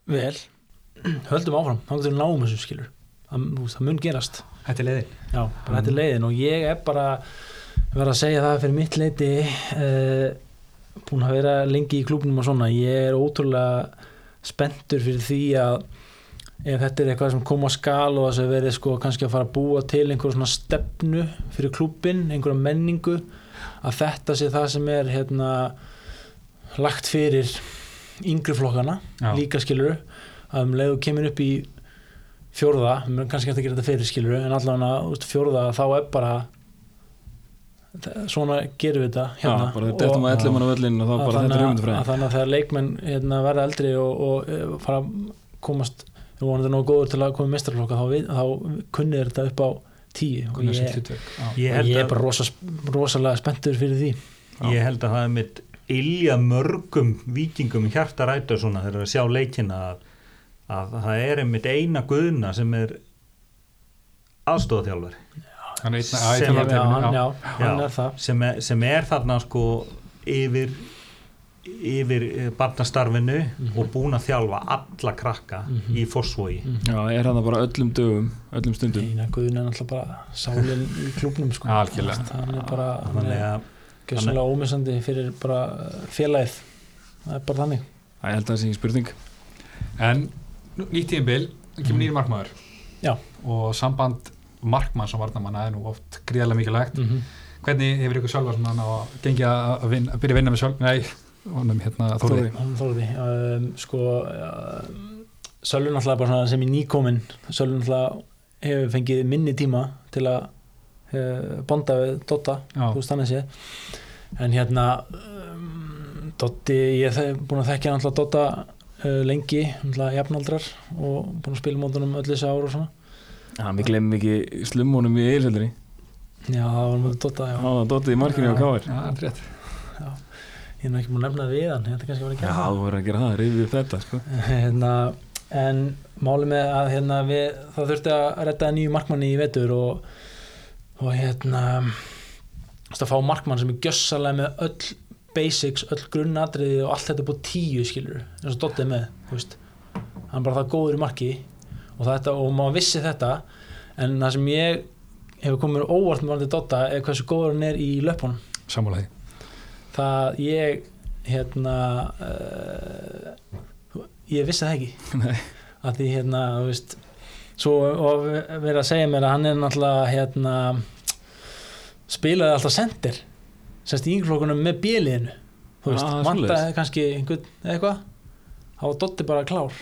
[SPEAKER 4] vel höldum áfram, þá getur við náum þessu skilur það, þú veist, það mun gerast
[SPEAKER 2] Þetta er leiðin
[SPEAKER 4] Já, bara þetta er leiðin og ég er bara verið að segja það fyrir mitt leiti uh, búin að vera lengi í klúbnum og svona ég er ótrúlega spenntur fyrir því að ef þetta er eitthvað sem kom á skal og þess að verið sko kannski að fara að búa til einhver svona stefnu fyrir klúbin, einhverja menningu að þetta sé það sem er hérna lagt fyrir yngri flokkana
[SPEAKER 2] Já.
[SPEAKER 4] líka skilur að um leiðu kemur upp í fjórða, mér er kannski eftir að gera þetta fyrir skilur en allavega þú veist, fjórða þá er bara þa- svona gerum við þetta
[SPEAKER 1] já,
[SPEAKER 4] hérna
[SPEAKER 1] bara þetta er maður ellum hann á völlin og þá
[SPEAKER 4] Að
[SPEAKER 1] bara þetta er
[SPEAKER 4] þannig að- að
[SPEAKER 1] hugmyndafræðin
[SPEAKER 4] þannig að þegar leikmenn hérna, verða eldri og, og eh, fara að komast er vonandi nógu góður til að koma í mestarflokka þá, við- þá kunnið er þetta upp á tíu og
[SPEAKER 2] Gunnar sitt
[SPEAKER 4] ég,
[SPEAKER 2] hlutverk. Já.
[SPEAKER 3] ég
[SPEAKER 4] ég
[SPEAKER 3] held,
[SPEAKER 4] er bara rosa, rosalega spenntur fyrir því
[SPEAKER 3] að, ég held að það er mitt ilja mörgum vikingum hjarta ræta svona þegar við sjá leikina að, að það er einmitt eina guðna sem er aðstofþjálfari
[SPEAKER 2] Hann er einn-
[SPEAKER 3] Sem-
[SPEAKER 2] einn af
[SPEAKER 4] ég, já, hann,
[SPEAKER 2] þeim,
[SPEAKER 4] já,
[SPEAKER 2] já.
[SPEAKER 4] hann er það
[SPEAKER 3] sem, er, sem er þarna sko yfir yfir eh, barnastarfinu og búin að þjálfa alla krakka í fórsvogi
[SPEAKER 1] já, er hann bara öllum dögum, öllum stundum
[SPEAKER 4] Einar Guðun er náttúrulega bara sálinn í klubnum sko.
[SPEAKER 2] Algjörlega.
[SPEAKER 4] hann er bara hann
[SPEAKER 3] þannig
[SPEAKER 4] er
[SPEAKER 3] að
[SPEAKER 4] gjössalega ómissandi fyrir bara eh, félagið það er bara þannig
[SPEAKER 1] það er held að það sé ekki spurning
[SPEAKER 2] En nú- nýtt tíðinbil, kemur nýri markmaður
[SPEAKER 4] Mm. Já.
[SPEAKER 2] og samband markmanns og varnamanna er nú oft gríðarlega mikilvægt
[SPEAKER 4] mm -hmm.
[SPEAKER 2] Hvernig hefur ykkur sjálfar svona ná að gengi að, að, vinna, að byrja að vinna með sjálf? Nei, honum hérna Þóri
[SPEAKER 4] Hann Þórði um, sko uh, Sölvi náttúrulega bara svona sem í nýkomin Sölvi náttúrulega hefur fengið minni tíma til að uh, bonda við Dotta
[SPEAKER 2] Já.
[SPEAKER 4] þú veist þannig sé en hérna um, Dotti, ég hef búin að þekkja náttúrulega Dotta uh, lengi, náttúrulega jafnaldrar og búin að spila mótunum öll þessi ár og svona
[SPEAKER 1] já, við glemum ekki slummunum í eilsöldinni
[SPEAKER 4] já, það var mjög Dotta, já
[SPEAKER 1] já, dottið í markinu á káir
[SPEAKER 2] Já, það er rétt
[SPEAKER 4] ég er nú ekki búin að nefna það við hann, þetta er kannski var
[SPEAKER 1] já,
[SPEAKER 4] ekki
[SPEAKER 1] þú verður að gera það, rifið upp þetta sko.
[SPEAKER 4] hérna, en málið með að hérna, við, það þurfti að redda nýju markmanni í vetur og, og hérna þú veist, að fá markmann sem er gjössalega með öll basics, öll grunnatriði og allt þetta búið tíu skilur eins og Dotti er með, þú veist hann er bara það góður í marki og, þetta, og maður vissi þetta en það sem ég hefur komið mér á óvart með varandi Dotta er hversu góður hann er í löpunum
[SPEAKER 2] Sammála því
[SPEAKER 4] það ég hérna uh, ég vissi það ekki
[SPEAKER 1] Nei.
[SPEAKER 4] að því hérna þú veist, svo og verið að segja mér að hann er náttúrulega hérna spilaði alltaf sendir semst í yngflokkunum með bjöliðinu þú
[SPEAKER 1] Ah,
[SPEAKER 4] veist, ah,
[SPEAKER 1] svoleiðis.
[SPEAKER 4] vantaði kannski einhvern eða eitthvað þá var Dotti bara klár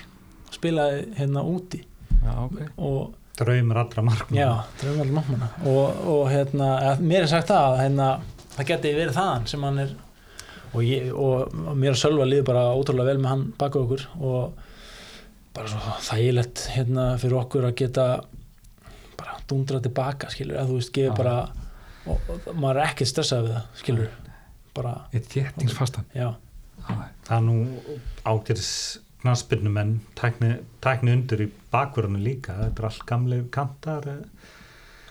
[SPEAKER 4] spilaði hérna úti
[SPEAKER 1] já, ok
[SPEAKER 4] og
[SPEAKER 3] draumur allra markmann
[SPEAKER 2] Mhm.
[SPEAKER 4] Já, drömmal mamma og, og hérna, að mér er sagt það að hérna, það geti verið þaðan sem hann er og, ég, og mér að sölva líður bara ótrúlega vel með hann baka okkur og bara svo þægilegt hérna fyrir okkur að geta bara dundra tilbaka skilur, að þú veist, gefur
[SPEAKER 2] Já.
[SPEAKER 4] bara og, og maður er ekkert stressað við það skilur, bara,
[SPEAKER 2] Eitt þéttingsfastan
[SPEAKER 4] já
[SPEAKER 2] Já,
[SPEAKER 3] það er nú ágætis knaspinnumenn tækni, tækni undir í bakvörunum líka þetta er allt gamle kantar eh.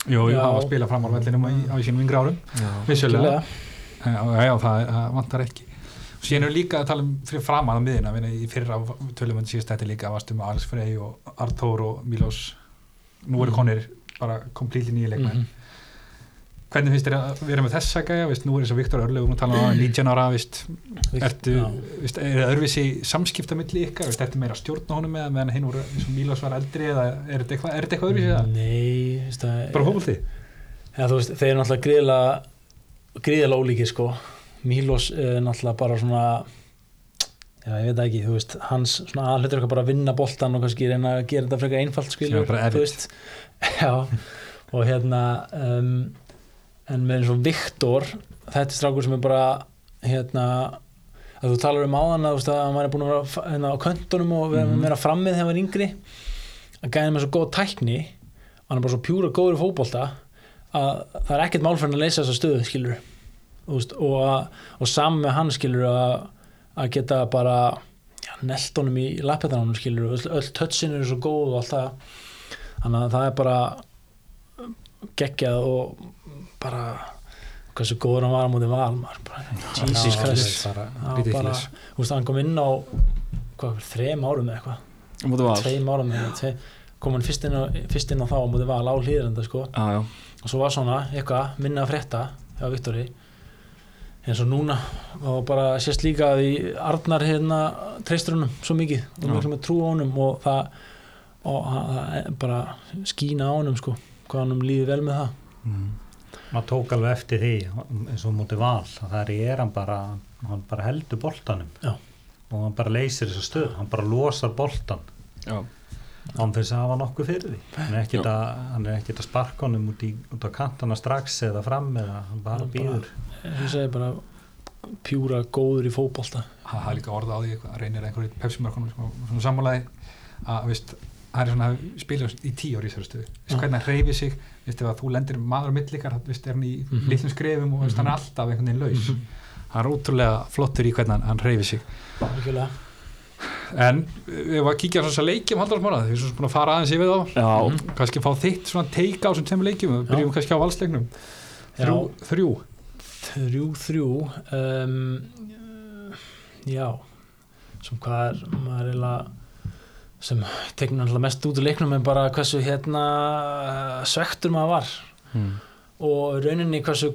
[SPEAKER 2] Jú, jú,
[SPEAKER 4] Já.
[SPEAKER 2] hann var að spila fram á vellinum í- á sínum yngri árum Vissulega
[SPEAKER 4] algjörlega.
[SPEAKER 2] Já, já, já, það það vantar ekki Síðan er líka að tala um fyrir framan að miðina minna, í fyrra tölum við síðast þetta líka varstu með Alex Frey og Mhm. Arthur og Milos nú eru konir bara komplíli nýja leikmenn
[SPEAKER 4] Mhm.
[SPEAKER 2] hvernig finnst þér að vera með þessa gæja veist, nú er eins og Viktor Örlöf, hún tala um 19 ára veist, ertu,
[SPEAKER 4] Mhm. Já.
[SPEAKER 2] veist, er það örfisi samskipta milli ykkar, veist, ertu meira að stjórna honum eða meðan hinn voru eins og Mílas var eldri eða er þetta eitthvað, er þetta eitthvað örfisi eða
[SPEAKER 4] Nei, þú veist að-
[SPEAKER 2] bara fókvöldi,
[SPEAKER 4] Já, þú veist, þeir eru náttúrulega gríðilega gríðilega ólíkir sko Mílos er náttúrulega bara svona já, ég veit það ekki, þú veist hans svona aðhlutur eitthvað bara að vinna boltan og kannski reyna að gera þetta frekar einfalt skilur
[SPEAKER 2] Sem er bara erfitt.
[SPEAKER 4] þú veist já, og hérna um, en með eins og Viktor þetta er strákur sem er bara hérna að þú talar um áðan að, þú veist, að hann væri búin að vera hérna, á köntunum og vera meira frammið þegar hann var yngri að gæði með svo góð tækni og hann er bara svo pjúra góður í fótbolta að það er ekkert málfærin að leysa þessa stöðu skilur veist, og, að- og saman með hann skilur að, að geta bara já, nelt honum í lappetanum skilur öll, öll tötsin eru svo góð og allt það þannig að það er bara geggjað og bara hversu góður hann var á móti valmar bara, Jesus Christ
[SPEAKER 2] bara,
[SPEAKER 4] Já, bara,
[SPEAKER 2] ridiculous.
[SPEAKER 4] þú veist, hann kom inn á hvað, fyrir þrem árum eða
[SPEAKER 1] á
[SPEAKER 4] eitthvað
[SPEAKER 1] móti val
[SPEAKER 4] tveim árum eða tve, kom hann fyrst inn, á, fyrst inn á þá og mútið val á hlýðranda sko
[SPEAKER 1] Já, já,
[SPEAKER 4] og svo var svona eitthvað minna að frétta hjá Viktori eins og núna og bara sést líka að í Arnar hérna treystur honum svo mikið og
[SPEAKER 1] Já.
[SPEAKER 4] mjög sem að trúa honum og það og hann- það bara skína á honum sko hvað honum líði vel með það
[SPEAKER 3] maður tók alveg eftir því eins og múti val að það er hann bara, hann bara heldur boltanum
[SPEAKER 4] Já.
[SPEAKER 3] og hann bara leysir þessa stöð hann bara losar boltan
[SPEAKER 1] já,
[SPEAKER 3] án þess að hafa nokkuð fyrir því hann er ekkert að, hann er ekkert að sparka honum út, í, út á kantana strax eða fram eða hann bara
[SPEAKER 4] Hann bara-
[SPEAKER 3] býður
[SPEAKER 4] eins og segi bara pjúra góður í fótbolta
[SPEAKER 2] hann hafði líka orða á því eitthvað, reynir einhverju pepsimörkunum sko, svona, svona sammálaði að veist, hann er svona að spila í tíu ári í þessari stöðu, veist,
[SPEAKER 4] Já.
[SPEAKER 2] hvernig hann hreyfi sig veist, ef að þú lendir maður á millikar þá veist, er hann í
[SPEAKER 4] Mhm.
[SPEAKER 2] litlum skrefum og veist, hann er alltaf einhvern veginn laus hann er ótrúlega flottur í hvernig hann, hann hreyfi sig
[SPEAKER 4] algjörlega
[SPEAKER 2] en við varum að kíkja á þess að leikjum haldarsmála, við erum svona búin að fara aðeins yfir þá
[SPEAKER 1] já
[SPEAKER 2] kannski fá þitt svona teika á þessum tveim leikjum við
[SPEAKER 4] Já.
[SPEAKER 2] byrjum kannski á valsleiknum þrjú, þrjú.
[SPEAKER 4] þrjú þrjú um, já sem hvað er maður eiginlega sem tegnum alltaf mest út úr leiknum er bara hversu hérna svektur maður var
[SPEAKER 1] Mm.
[SPEAKER 4] og í rauninni hversu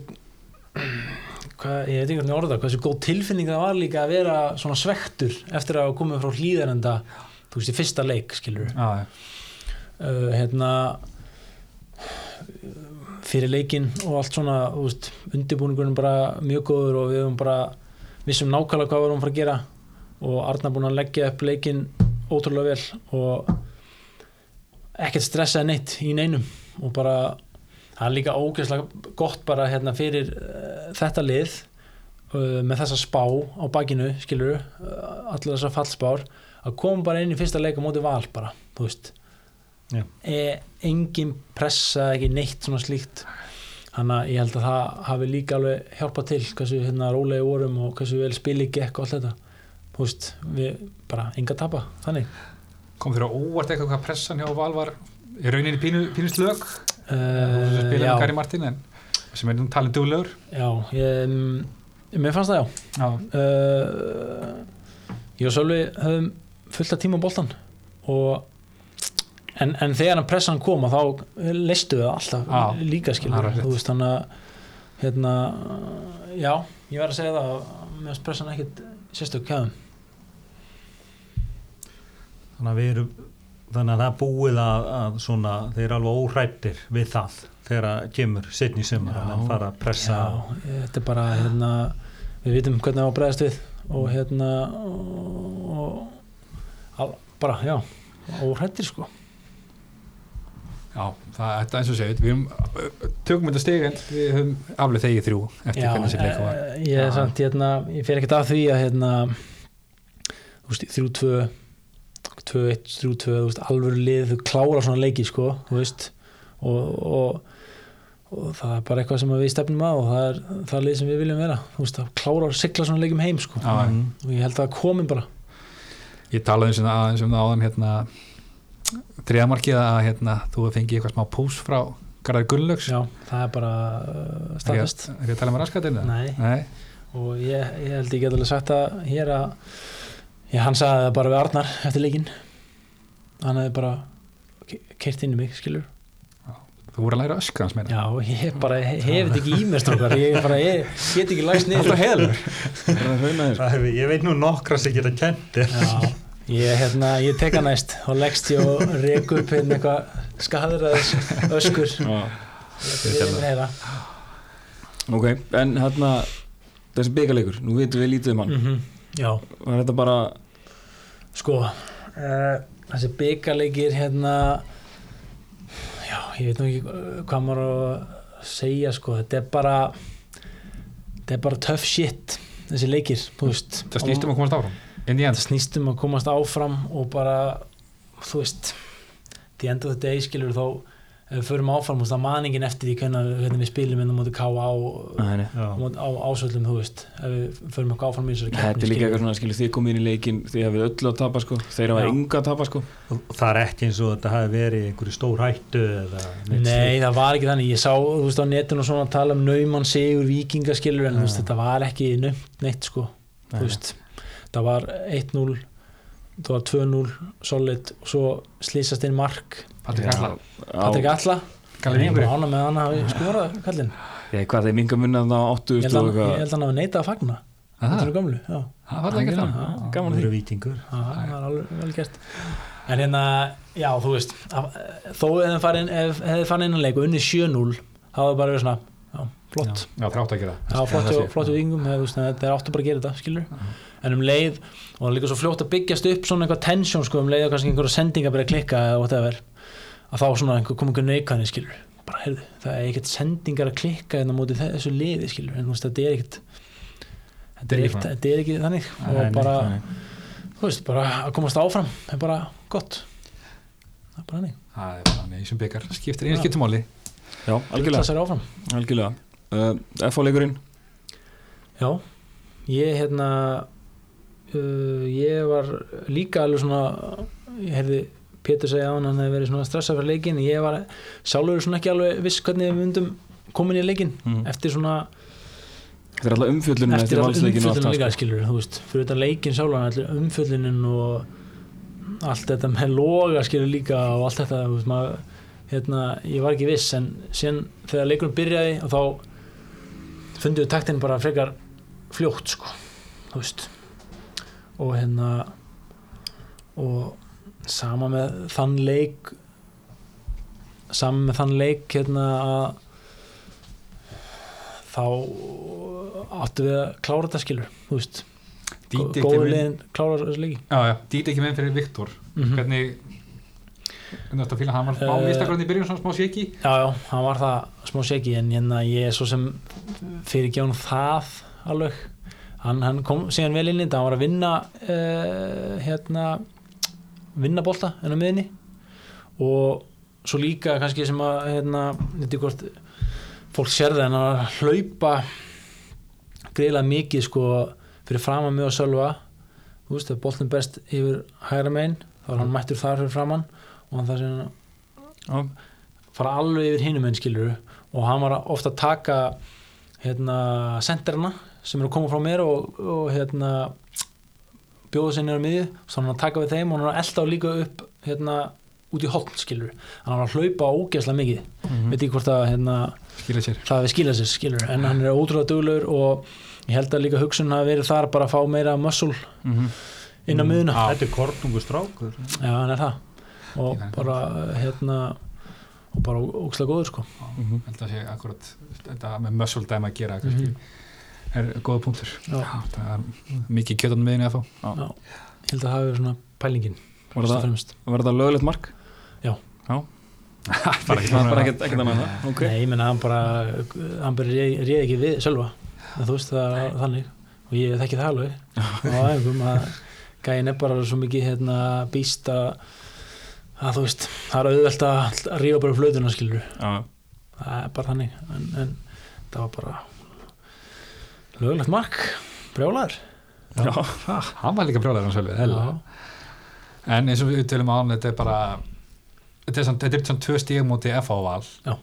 [SPEAKER 4] hvað, ég veit ekki hvernig orða það, hversu góð tilfinning það var líka að vera svona svektur eftir að hafa komið frá hlýðarenda þú veist í fyrsta leik skilur
[SPEAKER 2] Já, já.
[SPEAKER 4] uh, hérna fyrir leikinn og allt svona þú veist, undirbúningurinn bara mjög góður og við höfum bara vissum nákvæmlega hvað við erum að fara að gera og Arnar búinn að leggja upp leikinn ótrúlega vel og ekkert stressaði neitt í neinum og bara það er líka ógeðslega gott bara hérna fyrir uh, þetta lið uh, með þessa spá á bakinu skilur, uh, allar þessar fallspár að koma bara inn í fyrsta leik á móti val bara, þú veist
[SPEAKER 3] Já.
[SPEAKER 4] e, engin pressa ekki neitt svona slíkt þannig að ég held að það hafi líka alveg hjálpað til hversu hérna rólegi vorum og hversu vel spili gekk og allt þetta þú veist, við bara enga tapa þannig
[SPEAKER 2] kom þér á óvart eitthvað hvað pressan hjá Val var í rauninni pínu, pínu slög þú veist að
[SPEAKER 4] uh,
[SPEAKER 2] spila með
[SPEAKER 4] já,
[SPEAKER 2] Gary Martin en sem er nú talin duglegur
[SPEAKER 4] já ég, mm, mér fannst það já
[SPEAKER 2] já,
[SPEAKER 4] uh, ég og Sölvi höfum fullt af tíma á boltan og en, en þegar hann pressan kom að þá leistu við það alltaf
[SPEAKER 2] Á,
[SPEAKER 4] líka
[SPEAKER 2] það
[SPEAKER 4] skilur
[SPEAKER 2] er rétt.
[SPEAKER 4] þú veist þannig að hérna, já, ég verð að segja það að mér finnst pressan ekkit sérstök kæðum
[SPEAKER 3] þannig að við erum þannig að það er búið að, að svona, þeir eru alveg óhrættir við það þegar að kemur setni sumar
[SPEAKER 1] Já.
[SPEAKER 3] að menn fara að
[SPEAKER 4] já,
[SPEAKER 3] pressa
[SPEAKER 4] þetta er bara hérna, við vitum hvernig það var bregðast við og hérna og, og bara, já, óhrættir sko
[SPEAKER 2] já það þetta er eins og segið við höfum, tökum þetta stig en við höfum aflega þegið þrjú eftir
[SPEAKER 4] Já,
[SPEAKER 2] hvernig þessi leika var
[SPEAKER 4] eh, Ég, er
[SPEAKER 2] Já.
[SPEAKER 4] samt, hérna, ég fer ekkert að því að hérna, þú veist, 3-2 2-1, 3-2 þú veist, alvöru lið, þú klára svona leiki sko, þú veist og, og, og það er bara eitthvað sem við stefnum að og það er það er lið sem við viljum vera, þú veist, að klára og sigla svona leikum heim sko,
[SPEAKER 2] Já.
[SPEAKER 3] Mm.
[SPEAKER 4] og ég held að það komi bara
[SPEAKER 2] ég talaði eins og það- aðeins um það áðan hérna þriðamarkið að hérna, þú hefur fengið eitthvað smá pós frá Garðar Gunnlaugs
[SPEAKER 4] já, það er bara uh, staðfest
[SPEAKER 2] er ég að tala með raskatinn það?
[SPEAKER 4] Nei,
[SPEAKER 2] Nei,
[SPEAKER 4] og ég, ég held ég get alveg sagt það hér að ég, hann sagði það bara við Arnar eftir leikinn hann hefði bara keirt inn í mig, skilur
[SPEAKER 2] þú Þú voru að læra öskra hans meina
[SPEAKER 4] Já, ég bara hef þetta ekki í mér strókar ég bara ég, get ekki læst niður
[SPEAKER 2] Alltaf heður
[SPEAKER 1] Það er að hrauna þér.
[SPEAKER 3] Það hef ég- ég veit nú nokkra sem geta kentir
[SPEAKER 4] Já, ég, hérna, ég teka næst og leggst ég og rek upp hérna eitthvað skadræðis öskur
[SPEAKER 1] Já.
[SPEAKER 4] Við erum heyra
[SPEAKER 1] Ok, en hérna þessi byggarleikur, nú veitum við lítið um hann
[SPEAKER 4] -hmm. Já,
[SPEAKER 1] var þetta bara
[SPEAKER 4] sko uh, þessi byggarleikir hérna já, ég veit nú ekki eh, hvað maður á að segja sko, þetta er bara þetta er bara tough shit þessi leikir,
[SPEAKER 1] Mm,
[SPEAKER 4] þú veist
[SPEAKER 2] Það
[SPEAKER 1] um
[SPEAKER 2] snýstum að komast áfram Inn í
[SPEAKER 4] það
[SPEAKER 2] end
[SPEAKER 4] snýst um að komast áfram og bara, þú veist the end of the day skilur þá ef við förum áfram, þú veist, það maningin eftir því hvernig, hvernig við spilum inn á móti KA og
[SPEAKER 1] Æ, nei.
[SPEAKER 4] á móti- á ásöldum, þú veist ef við förum eitthvað áfram í þessari
[SPEAKER 1] Mm. þetta er líka eitthvað svona, skilur þið komið inn í leikin þið hafið öllu að tapa sko, þeir hafið
[SPEAKER 4] Já.
[SPEAKER 1] enga að tapa sko
[SPEAKER 3] Það er ekki eins og þetta hafi verið í einhverju stór hættu eða neitt
[SPEAKER 4] Nei,
[SPEAKER 3] slíkt.
[SPEAKER 4] það var ekki þannig, ég sá þú veist á netinu og svona að tala um nauman sigur vikingaskilur en þú veist, þetta var ekki naumt neitt sko,
[SPEAKER 1] Nei,
[SPEAKER 4] þú veist það var 1-0 það var 2-0, solid og svo slýsast inn mark
[SPEAKER 2] Patrik Alla
[SPEAKER 4] Patrik
[SPEAKER 1] Á-
[SPEAKER 4] Alla,
[SPEAKER 2] Kallir
[SPEAKER 4] ég er
[SPEAKER 2] Ingebrið
[SPEAKER 4] bara ána með hann að hafi skorað kallinn,
[SPEAKER 1] Ég, hvað þeir minga munna þannig á 80
[SPEAKER 4] ég held
[SPEAKER 1] og
[SPEAKER 4] að
[SPEAKER 1] eitthvað
[SPEAKER 4] ég held að hann hafi neitað að fagna þetta
[SPEAKER 2] Það
[SPEAKER 4] eru gömlu, já,
[SPEAKER 2] var ekki það
[SPEAKER 4] Já.
[SPEAKER 1] gaman
[SPEAKER 3] Þú
[SPEAKER 1] að því
[SPEAKER 3] eru vítingur
[SPEAKER 4] Já, það var alveg vel gert en hérna, já, þú veist af- þó ef þið fann inn hann leik og unni 7-0, það var bara verið svona, já, flott
[SPEAKER 2] Já, þrátt að gera
[SPEAKER 4] Já, flott hjá-
[SPEAKER 2] Þessi-
[SPEAKER 4] flott hjá yngum, þetta er áttu bara að gera þetta, skilur En um leið, og það er líka svo fljótt að byggjast upp svona eitthvað tensjón, sko, um leið og kannski einhverja sendinga byrja að klikka eða whatever að þá svona einhver, kom einhver neikvæðni, skilur bara, heyrðu, það er ekkert sendingar að klikka en á móti þessu liði, skilur en þú veist, þetta er ekkert þetta er, ekkert, þetta er ekki þannig og
[SPEAKER 3] Nei, nei,
[SPEAKER 4] bara,
[SPEAKER 1] nei.
[SPEAKER 4] þú veist, bara að komast áfram er bara gott það er bara hannig,
[SPEAKER 2] Það er þannig sem byggar Skiptir einu skiptumáli
[SPEAKER 1] Já,
[SPEAKER 4] það
[SPEAKER 1] algjörlega,
[SPEAKER 4] sér áfram
[SPEAKER 1] algjörlega. Uh, F-leikurinn,
[SPEAKER 4] Já, ég hérna uh, ég var líka alveg svona ég hefði Pétur segja á hann að hann hefði verið svona stressað fyrir leikin ég var sjálfur svona ekki alveg viss hvernig við myndum komin í leikin
[SPEAKER 1] Mhm.
[SPEAKER 4] eftir svona,
[SPEAKER 1] þetta er alltaf umfjöllunum
[SPEAKER 4] eftir
[SPEAKER 1] eftir
[SPEAKER 4] all
[SPEAKER 1] valsleikinu og allt
[SPEAKER 4] umfjöldunum
[SPEAKER 1] það
[SPEAKER 4] líka
[SPEAKER 1] sko.
[SPEAKER 4] skilur þú veist, fyrir þetta leikin sjálfan allir umfjöldunin og allt þetta með loga skilur líka og allt þetta þú veist, maður, hérna, ég var ekki viss en síðan þegar leikurinn byrjaði og þá fundið við taktin bara frekar fljótt sko, þú veist og hérna og sama með þann leik sama með þann leik hérna að þá áttu við að klára þetta skilur þú veist,
[SPEAKER 2] Díti ekki
[SPEAKER 4] góðu
[SPEAKER 2] minn
[SPEAKER 4] liðin klára þessu leiki
[SPEAKER 2] Já, já, Díti ekki minn fyrir Viktor
[SPEAKER 4] mm
[SPEAKER 2] Hvernig Hvernig þetta fíla hann var smá
[SPEAKER 4] Eh,
[SPEAKER 2] vistakrönd í byrjun Svona smá séki
[SPEAKER 4] já, já, hann var það smá seki en hérna ég er svo sem fyrir gján það alveg hann, hann kom síðan vel inn í þetta hann var að vinna uh, hérna vinna bolta en á miðinni og svo líka kannski sem að hérna, þetta hvort fólk sér það en hann var að hlaupa greiðlega mikið sko fyrir framan mig og Sölva þú veist, ef boltin berst yfir hægra megin þá er hann mættur þar fyrir framan og hann þar sem
[SPEAKER 1] Já.
[SPEAKER 4] fara alveg yfir hinum enn skilur og hann var ofta að taka hérna senderna sem eru að koma frá mér og, og hérna bjóða sér nýra miðið og svo hann var að taka við þeim og hann var að elda á líka upp hérna út í hóln skilur hann var að hlaupa ógeðslega mikið
[SPEAKER 2] Mm.
[SPEAKER 4] veit ekki hvort að hérna
[SPEAKER 2] Skilja sér
[SPEAKER 4] það við skilja sér skilur en hann er ótrúlega duglegur og ég held að líka hugsun hafi verið þar bara að fá meira mössul Mhm. inn á miðuna
[SPEAKER 3] Þetta er kornungu strákur
[SPEAKER 4] já hann er það og
[SPEAKER 2] Ég-
[SPEAKER 4] bara hérna og bara ógeðslega góður sko
[SPEAKER 1] Mhm.
[SPEAKER 2] Ég held að sé akkurat þetta með muscle dæma að gera kannski, er góða punktur
[SPEAKER 4] Mhm. Já.
[SPEAKER 2] það er mikið kjötan meðin eða þá
[SPEAKER 4] Ég held að það hefur svona pælingin
[SPEAKER 1] Var
[SPEAKER 4] fyrst og
[SPEAKER 1] það-
[SPEAKER 4] fremst.
[SPEAKER 1] Var þetta löglegt mark?
[SPEAKER 4] Já.
[SPEAKER 1] Já.
[SPEAKER 2] bara
[SPEAKER 1] Það var bara ekkert ekkert annað en það, ok
[SPEAKER 4] Nei, ég menna hann bara hann bara réð, réð ekki við sjálfa en þú veist það er þannig og ég þekki það alveg á æfingum að gæin er bara svo mikið hérna, býst að að þú veist, það er auðvelt að að rífa bara upp flötuna skilur
[SPEAKER 1] Já.
[SPEAKER 4] það er bara þannig en, en það var bara lögulegt mark, brjálar
[SPEAKER 1] Já.
[SPEAKER 2] hann var líka brjóðar hann sjálfur en eins og við tölum á hann þetta er bara þetta er svona, þetta er svona tvö stíg múti FH val
[SPEAKER 4] Já.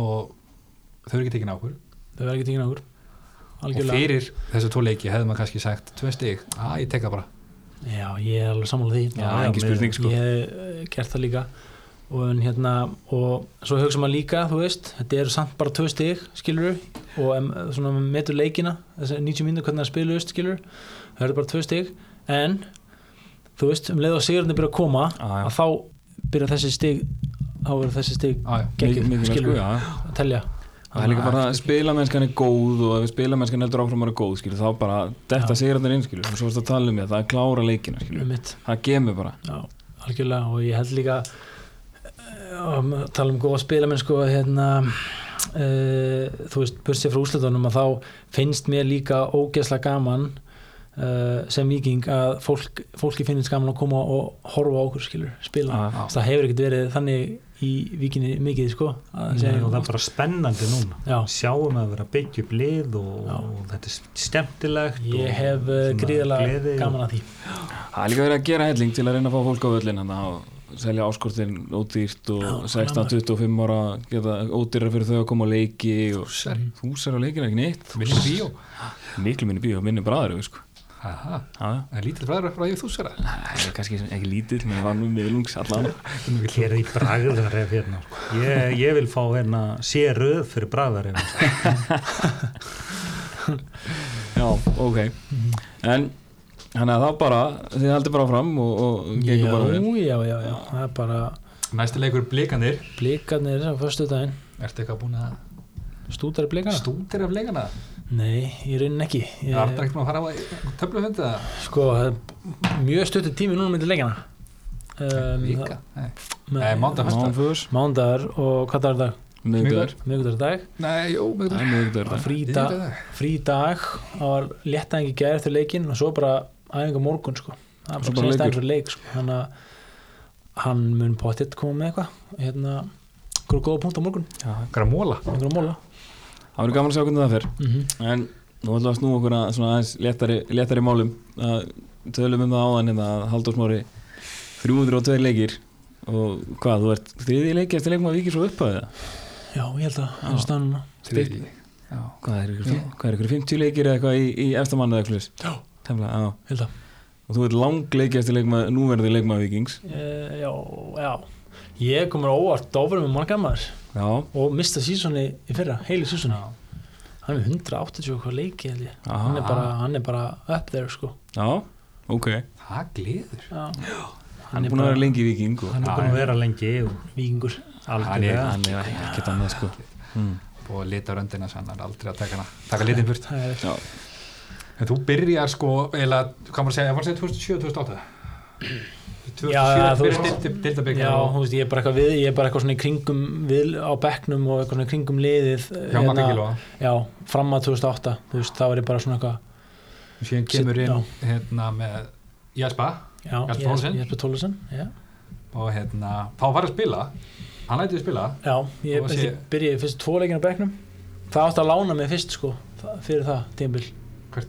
[SPEAKER 2] og þau eru ekki tekin á okkur
[SPEAKER 4] það verður ekki tíkin águr
[SPEAKER 2] og fyrir þessu tvo leiki hefði maður kannski sagt tvö stíg, að ég tek það bara
[SPEAKER 4] Já, ég er alveg sammála því
[SPEAKER 1] Já, engin spurning, sko.
[SPEAKER 4] Ég hef eh, gert það líka og, en hérna, og svo hugsa maður líka þú veist, þetta eru samt bara tvö stig skilur og em, svona metur leikina þessi 90 mínútur hvernig það spiluðust skilur það eru bara tvö stig en þú veist, um leið og sigurinn byrja að koma
[SPEAKER 2] Já, já.
[SPEAKER 4] að þá byrja þessi stig þá eru þessi stig
[SPEAKER 2] Já, já.
[SPEAKER 4] Gekkið,
[SPEAKER 1] Mikið- mikið
[SPEAKER 4] skilur.
[SPEAKER 1] sko, já.
[SPEAKER 4] að telja
[SPEAKER 1] Það er líka bara að spila mennskan er góð og ef spila mennskan heldur áfram að vera góð skilur, þá bara detta sigrandir inn skilur, og svo varst að tala um ég, það er klára leikina skilur,
[SPEAKER 4] um mitt
[SPEAKER 1] það gemur bara
[SPEAKER 4] Já, algjörlega og ég held líka um, tala um góða spilamenn sko hérna uh, þú veist, bursið frá úslutunum að þá finnst mér líka ógeðslega gaman uh, sem viking að fólk, fólki finnst gaman að koma og horfa á okkur skilur,
[SPEAKER 3] Ah.
[SPEAKER 4] spila
[SPEAKER 1] Já.
[SPEAKER 4] það hefur ekkert verið þannig í vikinni mikið sko að
[SPEAKER 3] Nei,
[SPEAKER 4] segja-
[SPEAKER 3] og það er bara spennandi núna
[SPEAKER 4] Já,
[SPEAKER 3] sjáum að vera að byggja upp lið og,
[SPEAKER 4] Já.
[SPEAKER 3] og þetta er stemtilegt
[SPEAKER 4] ég hef uh, gríðilega gaman að því
[SPEAKER 1] Það er líka verið að gera helling til að reyna að fá fólk á völlin hann að selja áskortin ódýrt og 16-25 ára geta ódýra fyrir þau að koma á leiki og þúsar á leikina ekki neitt
[SPEAKER 2] Minni bíó
[SPEAKER 1] miklu minni bíó, minni bræður sko.
[SPEAKER 2] Aha,
[SPEAKER 1] Ha,
[SPEAKER 2] Það er lítið fræður frá ég þú sér að
[SPEAKER 1] það er kannski ekki lítill menn var nú miðlungs allan
[SPEAKER 3] Ég er í bragðaref hérna sko. ég, ég vil fá hérna séröð fyrir bragðaref sko.
[SPEAKER 1] Já, ok En þannig að það bara, þið heldur bara fram og, og gengur bara vel
[SPEAKER 4] já, já, já, já, það er bara
[SPEAKER 2] Næsti leikur blikanir
[SPEAKER 4] blikarnir á förstu daginn,
[SPEAKER 2] Ertu eitthvað búin að
[SPEAKER 4] stúdari blikana
[SPEAKER 2] stútir af leikana?
[SPEAKER 4] Nei, í rauninni ekki
[SPEAKER 2] Er
[SPEAKER 4] ég,
[SPEAKER 2] það ekki búin að fara á töflufundi það?
[SPEAKER 4] Sko, það er mjög stuttur tími núna myndi leikjana um,
[SPEAKER 2] Vika? Nei,
[SPEAKER 4] það-
[SPEAKER 2] Nei, mánudag, föstudag.
[SPEAKER 1] Mánföðs,
[SPEAKER 4] Mánudagur og hvað dagur er í dag?
[SPEAKER 1] miðvikudagur
[SPEAKER 4] Miðgudagur dag
[SPEAKER 2] Nei, jú, með
[SPEAKER 1] Það er miðvikudagur dag.
[SPEAKER 4] Frí dag, frí dag Það var léttæðing í gerð eftir leikin og svo bara æfinga morgun sko
[SPEAKER 1] Svo
[SPEAKER 4] Það er
[SPEAKER 1] bara
[SPEAKER 4] bara sérst
[SPEAKER 1] leikur.
[SPEAKER 4] aðeins fyrir leik sko Þannig að hann mun pottitt koma með eitthvað Hérna, hverju góða punkt á morgun
[SPEAKER 2] Hvað er að móla?
[SPEAKER 4] Einhverju móla
[SPEAKER 1] Það verður gaman að sjá hvernig það fer
[SPEAKER 4] mm -hmm.
[SPEAKER 1] En nú ætlum við að snúa okkur að svona aðeins léttari, léttari málum að tölum um það áðan hérna að Halldór Smári 302 leikir og hvað, þú ert þriði leiki eftir leikum að vikið svo upp að það?
[SPEAKER 4] Já, ég held að það er staðan núna
[SPEAKER 1] Þriðji.
[SPEAKER 2] Já.
[SPEAKER 1] Hvað er ykkur, hvað er ykkur 50 leikir eða eitthvað í, í efstamannu eða eitthvað?
[SPEAKER 4] Já.
[SPEAKER 1] Temla, já.
[SPEAKER 4] Ég held að
[SPEAKER 1] Og þú ert langleiki eftir leikum að núverði leikum að vikings.
[SPEAKER 4] Eh, Já, já Ég komur óvart dofur með marga maður
[SPEAKER 1] Já,
[SPEAKER 4] og mista sísoni í fyrra, heilu sísoni
[SPEAKER 2] Já.
[SPEAKER 4] hann er 180 eitthvað leiki held ég
[SPEAKER 1] Aha.
[SPEAKER 4] hann er, bara, hann er bara up there sko
[SPEAKER 1] já, ok.
[SPEAKER 2] Það gleður.
[SPEAKER 4] hann,
[SPEAKER 1] Hann er búin að vera lengi í sko. viking og
[SPEAKER 3] hann er búin að vera lengi og
[SPEAKER 4] vikingur
[SPEAKER 3] algjörlega
[SPEAKER 1] hann er ekkert annað sko. Mm.
[SPEAKER 2] Búið að lita röndina sem hann er aldrei að taka, hana, taka litin burt.
[SPEAKER 4] það er
[SPEAKER 1] Já,
[SPEAKER 2] En þú byrjar sko, eða, hvað maður að segja, ég var að segja 2007-2008? 2007
[SPEAKER 4] Já, þú
[SPEAKER 2] byrjar
[SPEAKER 4] veist-
[SPEAKER 2] dildi- deildabikarinn
[SPEAKER 4] Já,
[SPEAKER 2] og-
[SPEAKER 4] þú veist, ég er bara eitthvað við, ég er bara eitthvað svona í kringum við á bekknum og eitthvað svona í kringum liðið
[SPEAKER 2] hjá
[SPEAKER 4] hérna-
[SPEAKER 2] Magga Gilva.
[SPEAKER 4] Já, fram að 2008, þú veist, þá er ég bara svona eitthvað
[SPEAKER 2] Síðan kemur
[SPEAKER 4] Sitt-
[SPEAKER 2] inn hérna með Jaspa
[SPEAKER 4] Já,
[SPEAKER 2] Jesper
[SPEAKER 4] ég
[SPEAKER 2] Thoresen?
[SPEAKER 4] er Jesper Tólesen Já,
[SPEAKER 2] og hérna, þá var að spila. Hann lætið spila.
[SPEAKER 4] já
[SPEAKER 2] Og
[SPEAKER 4] ég,
[SPEAKER 2] sé-
[SPEAKER 4] ég byrjaði fyrst tvo leikin á bekknum Það átti að lána mig fyrst sko, það- fyrir það, tímbil
[SPEAKER 2] Hvert?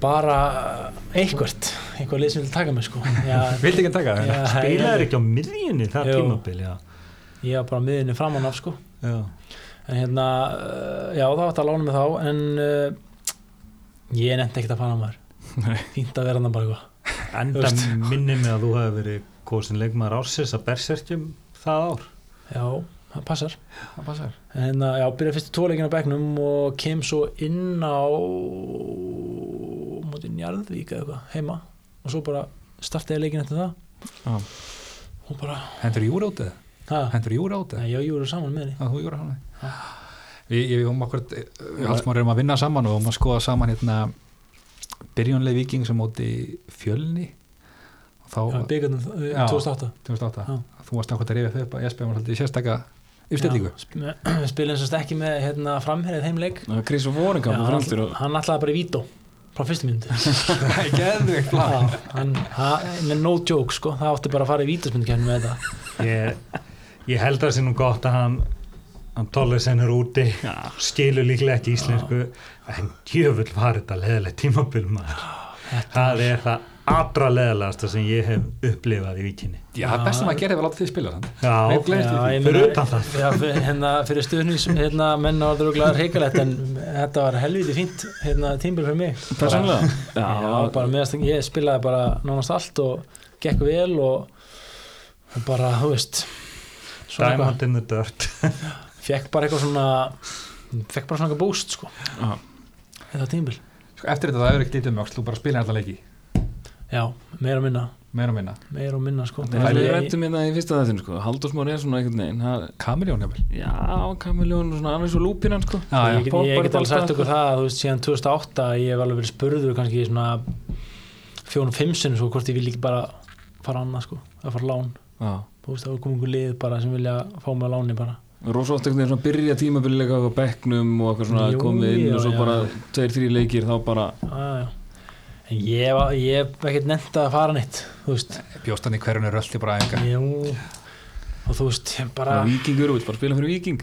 [SPEAKER 4] bara eitthvert eitthvað lið sem vil taka mig sko já,
[SPEAKER 2] Vildi ekki taka það?
[SPEAKER 4] já,
[SPEAKER 3] spilaður
[SPEAKER 4] ég,
[SPEAKER 3] ekki á miðjunni það
[SPEAKER 4] Jú.
[SPEAKER 3] tímabil já.
[SPEAKER 4] ég var bara miðinni framan af sko
[SPEAKER 3] Já.
[SPEAKER 4] en hérna, uh, já það átti að lána mig þá en uh, ég nefndi ekkert að fara maður
[SPEAKER 1] Nei.
[SPEAKER 4] fínt að vera hann bara eitthvað
[SPEAKER 3] enda
[SPEAKER 4] Veist.
[SPEAKER 3] minni mig að þú hefur verið kosin leikmaður ársins að berserkjum það ár
[SPEAKER 4] já, það passar
[SPEAKER 2] Það passar.
[SPEAKER 4] en hérna, já, byrjaði fyrstu tóleikin á bekknum og kem svo inn á móti Njarðvík eða eitthvað, heima og svo bara startaði leikin eftir það
[SPEAKER 1] já.
[SPEAKER 4] og bara,
[SPEAKER 2] Hendur Júra út eða?
[SPEAKER 4] hæ,
[SPEAKER 2] Hendur Júra út eða?
[SPEAKER 4] já, ég voru saman með henni
[SPEAKER 2] Það þú Júra hann Við, ég, við um okkur, við halsmáður erum að vinna saman og við um að skoða saman hérna byrjónlega viking sem móti fjölni og þá,
[SPEAKER 4] já, byggarnum
[SPEAKER 2] Já.
[SPEAKER 4] 2008
[SPEAKER 2] 2008,
[SPEAKER 4] Já.
[SPEAKER 2] þú varst nákvæmt að rifja þau upp að Jesper var svolítið í sérstaka uppstillingu.
[SPEAKER 4] Já, sp- Við spilum semst ekki með hérna, framherið þeim leik
[SPEAKER 1] Chris Voring
[SPEAKER 4] Já,
[SPEAKER 1] kom
[SPEAKER 4] hann,
[SPEAKER 1] framtur og
[SPEAKER 4] hann ætlaði bara í vító frá fyrstu myndu
[SPEAKER 2] Það er geðveikt plan.
[SPEAKER 4] hann, hann er no joke sko það átti bara að fara í vítaspindkjörnum með þetta
[SPEAKER 3] ég, ég held að það sé nú gott að hann hann Tollesen er úti skilur líklega ekki íslensku en djöfull var þetta leðilegt tímabil maður það er það allra leðilegasta sem ég hef upplifað í vikinni
[SPEAKER 2] Já, það er best sem að gera ef við láta þið spila þannig. Nei,
[SPEAKER 3] já,
[SPEAKER 2] gle- Gleymst því,
[SPEAKER 4] ég
[SPEAKER 3] fyrir
[SPEAKER 4] meina-
[SPEAKER 3] utan það.
[SPEAKER 4] já, fyrir, hérna, fyrir stuðnins hérna, menna var þetta reykalegt en þetta var helviti fínt hérna, tímbil fyrir mig
[SPEAKER 1] persónlega
[SPEAKER 4] Já, bara meðast, ég spilaði bara nánast allt og gekk vel og og bara, þú veist svona
[SPEAKER 3] Diamond in the dirt
[SPEAKER 4] eitthvað, fekk bara eitthvað svona fekk bara svona eitthvað boost sko
[SPEAKER 1] Já.
[SPEAKER 4] þetta tímbil,
[SPEAKER 2] Sko, eftir þetta það hefur ekkert lítið með þú bara spilir alltaf leiki,
[SPEAKER 4] já, meira og minna
[SPEAKER 2] meira og minna
[SPEAKER 4] meira og minna sko
[SPEAKER 1] Það er við
[SPEAKER 4] Ég-
[SPEAKER 1] rættum hérna í fyrsta þessum sko Haldur smá er svona einhvern veginn það-
[SPEAKER 2] Kamiljón hefur
[SPEAKER 1] Já, kamiljón og svona annars og lúpinan sko
[SPEAKER 2] Já, já.
[SPEAKER 4] ég, get- ég get alveg sagt okkur það að, þú veist, síðan 2008 ég hef alveg verið spurður kannski í svona fjónum fimmsinn svo sko, hvort ég vil ekki bara fara annað sko að fara á lán,
[SPEAKER 1] Já,
[SPEAKER 4] þú veist það er komið einhver lið bara sem vilja fá mig á láni bara
[SPEAKER 1] rosa oft einhvern veginn svona byrja tímabililega á bekknum og eitthvað svona
[SPEAKER 4] Jú,
[SPEAKER 1] komið inn
[SPEAKER 4] já,
[SPEAKER 1] og svo
[SPEAKER 4] já.
[SPEAKER 1] bara tveir, þrý leikir þá bara
[SPEAKER 4] já, já. en ég hef- ég hef ekkert nefnt að fara neitt þú veist,
[SPEAKER 2] bjóst hann í hverjunu rölti bara enga
[SPEAKER 4] jú og þú veist, ég bara
[SPEAKER 1] bara vikingur og vill bara spila fyrir viking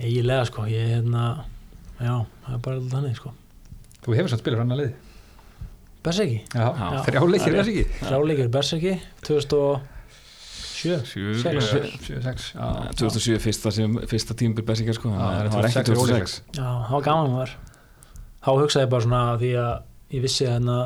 [SPEAKER 4] eiginlega sko, ég hérna já, það er bara alltaf þannig sko
[SPEAKER 2] þú hefur samt spilað fyrir annar lið
[SPEAKER 4] Berserki,
[SPEAKER 2] já,
[SPEAKER 1] Já.
[SPEAKER 2] þrjá leikir
[SPEAKER 4] Já.
[SPEAKER 2] er ekki
[SPEAKER 4] þráleikir Berserki 2007 Sex.
[SPEAKER 2] 7-6
[SPEAKER 1] Eh,
[SPEAKER 2] já,
[SPEAKER 1] 2007 fyrsta, sem, fyrsta tímabil Bessingar sko
[SPEAKER 2] Já,
[SPEAKER 1] það
[SPEAKER 2] það
[SPEAKER 1] var
[SPEAKER 2] er
[SPEAKER 1] ekki
[SPEAKER 2] 2006.
[SPEAKER 1] 2006
[SPEAKER 4] Já, það var gaman var Þá hugsaði ég bara svona af því að ég vissi að hérna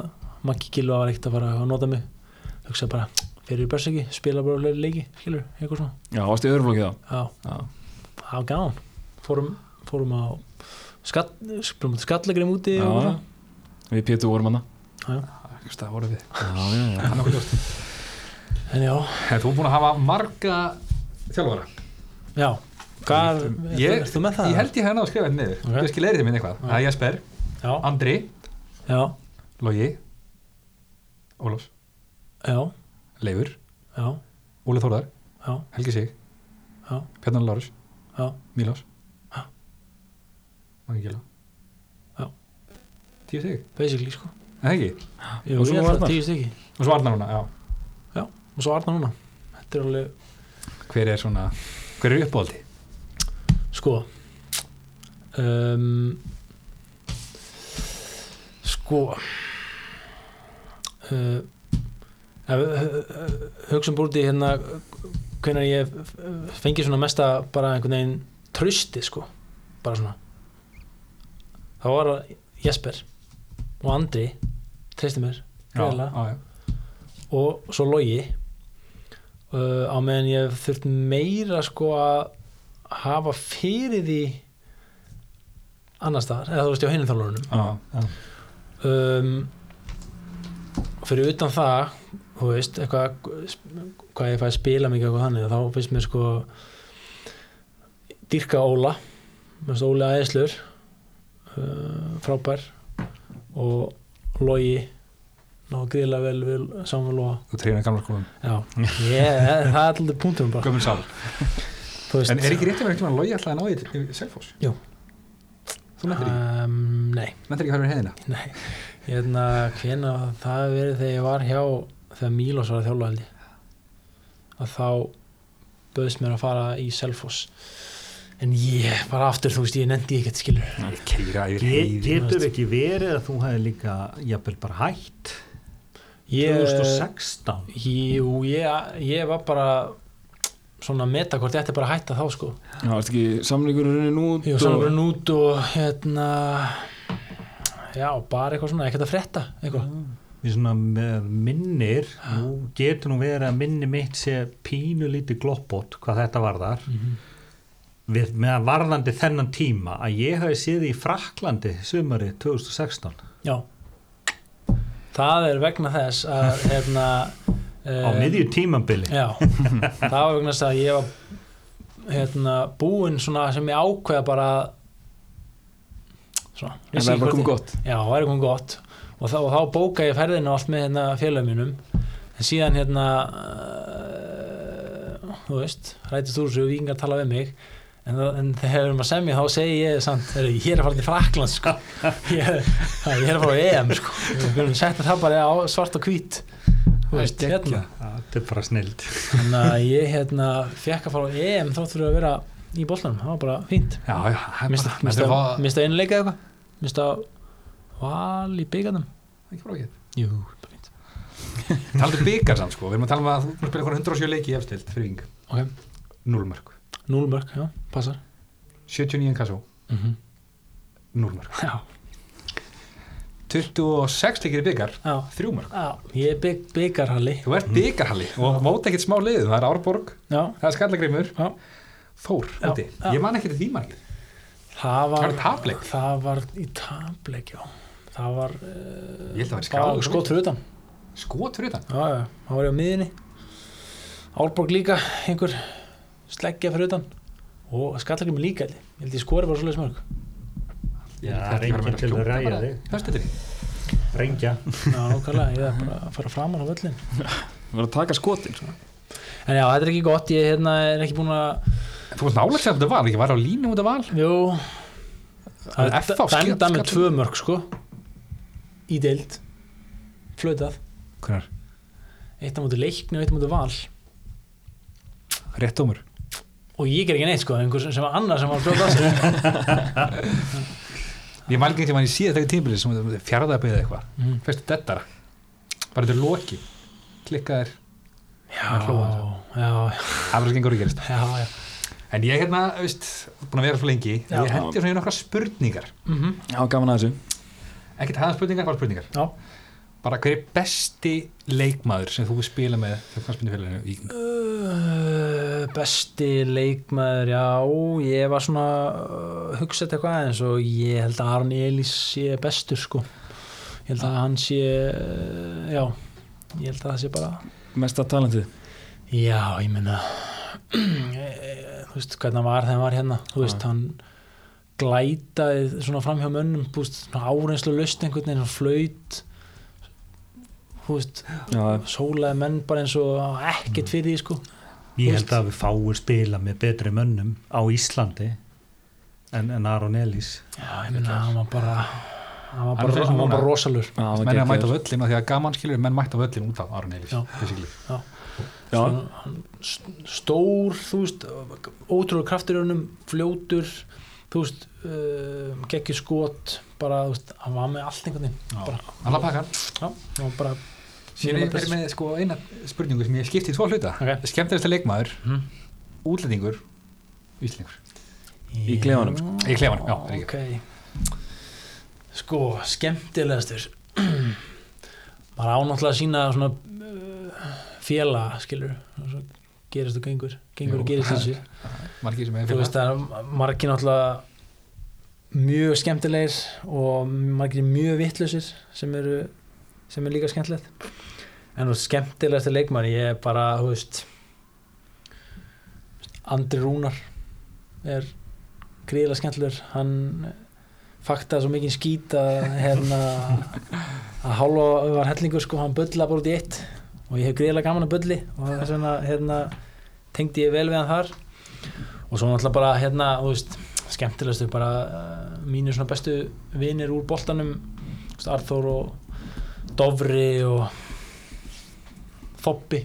[SPEAKER 4] Maggi Gilva var ekkert að fara að nota mig hugsaði bara, fyrir Berserki, spila bara fleiri leiki, skilur, eitthvað svona
[SPEAKER 1] Já, það varst í öðruflokki þá
[SPEAKER 4] Já,
[SPEAKER 1] Já.
[SPEAKER 4] það var gaman fórum, fórum á skatt, spilum á skallegrim úti
[SPEAKER 1] Já,
[SPEAKER 4] og
[SPEAKER 1] já.
[SPEAKER 4] svona.
[SPEAKER 1] Við Pétur vorum hana
[SPEAKER 4] já, já.
[SPEAKER 2] einhvers staðar voru við.
[SPEAKER 1] Já, já, já
[SPEAKER 2] Það er nokkuð ljóst.
[SPEAKER 4] En já,
[SPEAKER 2] En þú er búin að hafa marga þjálfara
[SPEAKER 4] já Hvað er,
[SPEAKER 2] Ég-
[SPEAKER 4] ertu með það?
[SPEAKER 2] Ég held ég hef náðu að skrifa þetta niður
[SPEAKER 4] Ok.
[SPEAKER 2] okay. Ég skil eirið minn eitthvað Það er Jesper,
[SPEAKER 4] Já,
[SPEAKER 2] Andri,
[SPEAKER 4] já,
[SPEAKER 2] Logi Ólafs,
[SPEAKER 4] já,
[SPEAKER 2] Leifur
[SPEAKER 4] já,
[SPEAKER 2] Óli Þórðar,
[SPEAKER 4] já,
[SPEAKER 2] Helgi Sig
[SPEAKER 4] Já.
[SPEAKER 2] Pjarnan Lárus,
[SPEAKER 4] já.
[SPEAKER 2] Mílás
[SPEAKER 4] Já.
[SPEAKER 2] Mangi Gjöla
[SPEAKER 4] Já.
[SPEAKER 2] Tíu sig,
[SPEAKER 4] basically sko
[SPEAKER 2] en það ekki
[SPEAKER 4] Jú,
[SPEAKER 1] Og svo
[SPEAKER 4] ég held
[SPEAKER 1] Arnar.
[SPEAKER 4] það, tíu stykki
[SPEAKER 2] Og svo Arnar núna, já
[SPEAKER 4] og svo Arna núna Þetta er alveg
[SPEAKER 2] Hver er svona, hver er uppáhaldi?
[SPEAKER 4] Sko um, Sko uh, ef við hugsaum búið í hérna hvenær ég eh, fengi svona mesta bara einhvern veginn trösti sko bara svona það var að Jesper og Andri treysti mér greiðlega
[SPEAKER 2] já, já
[SPEAKER 4] og svo logi uh, á meðan ég hef þurft meira sko að hafa fyrir því annar staðar, eða þú veist, hjá hinum þjálfurunum
[SPEAKER 2] Já, já.
[SPEAKER 4] um, fyrir utan það þú veist, eitthvað hvað ég fæ að spila mikið eitthvað þannig þá finnst mér sko dýrka Óla mér finnst Óli aðeinslur uh, frábær og logi ná gríðlega vel við samfélag
[SPEAKER 2] Þú treyna gamla skólan
[SPEAKER 4] Já, ég, það er alltaf punktum bara
[SPEAKER 2] Gömul sál
[SPEAKER 4] Þú veist,
[SPEAKER 2] En er ekki rétt að vera eitthvað að logi alltaf að náði til Selfoss?
[SPEAKER 4] Jú.
[SPEAKER 2] Þú nættir ekki,
[SPEAKER 4] um, Nei,
[SPEAKER 2] nættir ekki að fara við heiðina
[SPEAKER 4] nei Hérna, hvena það hefur verið þegar ég var hjá þegar Mílos var að þjálfa held ég að þá bauðst mér að fara í Selfoss en ég bara aftur, þú veist, ég nendi ekkert skilur
[SPEAKER 2] Keira yfir
[SPEAKER 3] Ge-
[SPEAKER 2] heiði
[SPEAKER 3] Getur ekki verið að þú hefði líka jafnvel bara hætt
[SPEAKER 4] ég,
[SPEAKER 3] 2016
[SPEAKER 4] Jú, ég, ég var bara svona að meta hvort ég ætti bara að hætta þá sko
[SPEAKER 1] Já, varst ekki samlingur runnin út
[SPEAKER 4] Ég var
[SPEAKER 1] og-
[SPEAKER 4] saman brunn út og hérna já, bara eitthvað svona, ekkert að frétta eitthvað
[SPEAKER 3] Við svona með minnir nú getur nú verið að minni mitt sé pínu lítið gloppot hvað þetta varðar við, með að varðandi þennan tíma að ég hafi séð í Fraklandi sumari 2016
[SPEAKER 4] Já Það er vegna þess að hérna, eh,
[SPEAKER 3] á miðju tímambili
[SPEAKER 4] Já, það var vegna þess að ég var hérna, búinn svona sem ég ákveða bara að- svona,
[SPEAKER 1] En
[SPEAKER 4] vissi
[SPEAKER 1] það er
[SPEAKER 4] ekki
[SPEAKER 1] bara
[SPEAKER 4] hvort
[SPEAKER 1] komið
[SPEAKER 4] ég-
[SPEAKER 1] gott
[SPEAKER 4] Já, það er komið gott og þá, og þá bóka ég ferðinu allt með hérna, félagum mínum en síðan hérna uh, þú veist, rætist úr þessu og vingar tala við mig en, það- en þegar maður semja þá segi ég samt, heyrðu, ég er að fara til Frakland sko. ég, ég er að fara á EM sko. við verðum setja það bara á svart og hvít þú veist, hérna
[SPEAKER 3] þetta er bara snild
[SPEAKER 4] þannig að ég hérna fekk að fara á EM þátt fyrir að vera í boltanum, það var bara fínt
[SPEAKER 2] Já, já, það er bara-
[SPEAKER 4] mista,
[SPEAKER 2] þetta er
[SPEAKER 4] mista,
[SPEAKER 2] bara-
[SPEAKER 4] mista einleika eitthvað mista val í byggarnum
[SPEAKER 2] ekki frágið
[SPEAKER 4] Jú, bara fínt
[SPEAKER 2] Taldu byggar samt sko, við erum að tala um að þú spila eitthvað 107 leiki í efstild fyrir ving
[SPEAKER 4] Ok,
[SPEAKER 2] 0 mörg,
[SPEAKER 4] núlmörk, já, passar
[SPEAKER 2] 79 kassó,
[SPEAKER 4] mm
[SPEAKER 2] 0 mörg
[SPEAKER 4] Já,
[SPEAKER 2] 26 leikir í byggar,
[SPEAKER 4] já,
[SPEAKER 2] þrjú mörg
[SPEAKER 4] já, ég er bygg, byggarhalli
[SPEAKER 2] þú ert byggarhalli og móta ekkert smá liðu, það er Árborg
[SPEAKER 4] já,
[SPEAKER 2] það er Skallagrimur,
[SPEAKER 4] já,
[SPEAKER 2] Þór
[SPEAKER 4] Já,
[SPEAKER 2] úti.
[SPEAKER 4] já.
[SPEAKER 2] ég man ekki til því margir
[SPEAKER 4] það
[SPEAKER 2] það
[SPEAKER 4] var
[SPEAKER 2] var tapleik,
[SPEAKER 4] það var í tableik, já það var,
[SPEAKER 2] ég held að það var
[SPEAKER 4] var skot
[SPEAKER 2] skráð
[SPEAKER 4] fyrir utan
[SPEAKER 2] skot fyrir utan
[SPEAKER 4] já, já, það var ég á miðinni Árborg líka, einhver sleggja fyrir utan og skallakrum líka, held ég. ég held ég skori bara svoleiðis mörg
[SPEAKER 2] Ég held
[SPEAKER 3] Já,
[SPEAKER 2] að þetta var
[SPEAKER 3] er enginn
[SPEAKER 2] meira
[SPEAKER 3] til að
[SPEAKER 2] skjóta
[SPEAKER 3] ræja
[SPEAKER 2] bara.
[SPEAKER 3] þig.
[SPEAKER 2] Föstudaginn.
[SPEAKER 3] Rengja
[SPEAKER 4] já, nákvæmlega, ég er bara að fara framan á völlin
[SPEAKER 1] var að taka skotin sko.
[SPEAKER 4] en já, þetta er ekki gott, ég hérna, er ekki búin að
[SPEAKER 2] Þú varst nálega sem þetta var, ekki var á línu út af val
[SPEAKER 4] Jú
[SPEAKER 2] En
[SPEAKER 4] Það er
[SPEAKER 2] FH skall-
[SPEAKER 4] dæmda með
[SPEAKER 2] skall-
[SPEAKER 4] tvö mörg sko Í deild Flötað
[SPEAKER 2] Hvernar?
[SPEAKER 4] Eitt á móti leikni og eitt á móti val
[SPEAKER 2] Rétt dómur
[SPEAKER 4] Og ég ger ekki neitt sko Einhver sem var annar sem var að fljóta sig
[SPEAKER 2] Ég mælgir ekki mann í síðan þegar tímbilið sem þetta fjárðabæðið eitthvað
[SPEAKER 4] Mhm.
[SPEAKER 2] Fyrstu dettara Bara þetta er loki Klikkaðir
[SPEAKER 4] Já, já,
[SPEAKER 2] Afræs gengur að gerist
[SPEAKER 4] já, já.
[SPEAKER 2] En ég hérna, veist, búin að vera svo lengi
[SPEAKER 4] Já.
[SPEAKER 2] Ég hendi svona í nokkra spurningar
[SPEAKER 4] Mm -hmm.
[SPEAKER 1] já, gaman að þessu
[SPEAKER 2] Ekkert hafðan spurningar, bara spurningar
[SPEAKER 4] já.
[SPEAKER 2] Bara hver er besti leikmaður sem þú spila með hjá knattspyrnufélaginu Víking?
[SPEAKER 4] Uh, Besti leikmaður Já, ég var svona uh, Hugsað eitthvað aðeins Og ég held að Aron Elís sé bestur sko Ég held að hann sé uh, Já, ég held að það sé bara
[SPEAKER 1] mesta talentið
[SPEAKER 4] Já, ég meina eh, þú veist hvernig hann var þegar hann var hérna þú veist, hann glætaði svona framhjá mönnum þú veist, svona áreynslu löst einhvern veginn svona flaut þú veist,
[SPEAKER 1] já,
[SPEAKER 4] sólaði menn bara eins og ekkert fyrir því sko
[SPEAKER 3] Ég held að við fáum spila með betri mönnum á Íslandi en, en Aron Elís
[SPEAKER 4] Já, ég meina, hann var bara hann var
[SPEAKER 2] Hann er
[SPEAKER 4] bara,
[SPEAKER 2] svona
[SPEAKER 4] hann var
[SPEAKER 2] núna.
[SPEAKER 4] bara rosalur
[SPEAKER 1] já, það var
[SPEAKER 2] Menn er að mæta
[SPEAKER 1] geggjaður.
[SPEAKER 2] á völlin og því að gaman skilur menn mæta á völlin út af Aron Eilís
[SPEAKER 4] Já.
[SPEAKER 2] basically.
[SPEAKER 1] já,
[SPEAKER 4] Svona, hann st- stór, þú veist ótrúlega kraftur í honum, fljótur þú veist, uh, geggjur skot bara, þú veist, hann var með allt einhvern veginn Bara-
[SPEAKER 2] Alla pakkan
[SPEAKER 4] Já, hann var bara
[SPEAKER 2] Sér ég fyrir með sko eina spurningu sem ég skipti í tvo hluta
[SPEAKER 4] Ok.
[SPEAKER 2] Skemmtilegsta leikmaður,
[SPEAKER 4] Mhm.
[SPEAKER 2] útlendingur, íslendingur
[SPEAKER 1] í klefanum sko.
[SPEAKER 2] Í klefanum, já, það er ekki.
[SPEAKER 4] ok sko, skemmtilegastur maður ánáttúrulega að sína svona uh, féla, skilur svo gerist og gengur, gengur
[SPEAKER 2] Jú,
[SPEAKER 4] og gerist
[SPEAKER 2] það
[SPEAKER 4] þessi
[SPEAKER 2] Margir sem er
[SPEAKER 4] þú
[SPEAKER 2] fyrir
[SPEAKER 4] veist að margir náttúrulega mjög skemmtilegir og margir mjög vittlausir sem eru sem er líka skemmtilegt en þú veist, skemmtilegasta leikmann ég er bara, þú veist Andri Rúnar er gríðilega skemmtilegur hann faktaði svo mikið skít að hérna að hálfa var hellingur sko, hann bölla bara út í eitt og ég hef gríðilega gaman að bölli og þess vegna hérna tengdi ég vel við hann þar og svo náttúrulega bara hérna, þú veist skemmtilegastu bara uh, mínir svona bestu vinir úr boltanum þú veist, Arþór og Dofri og Foppi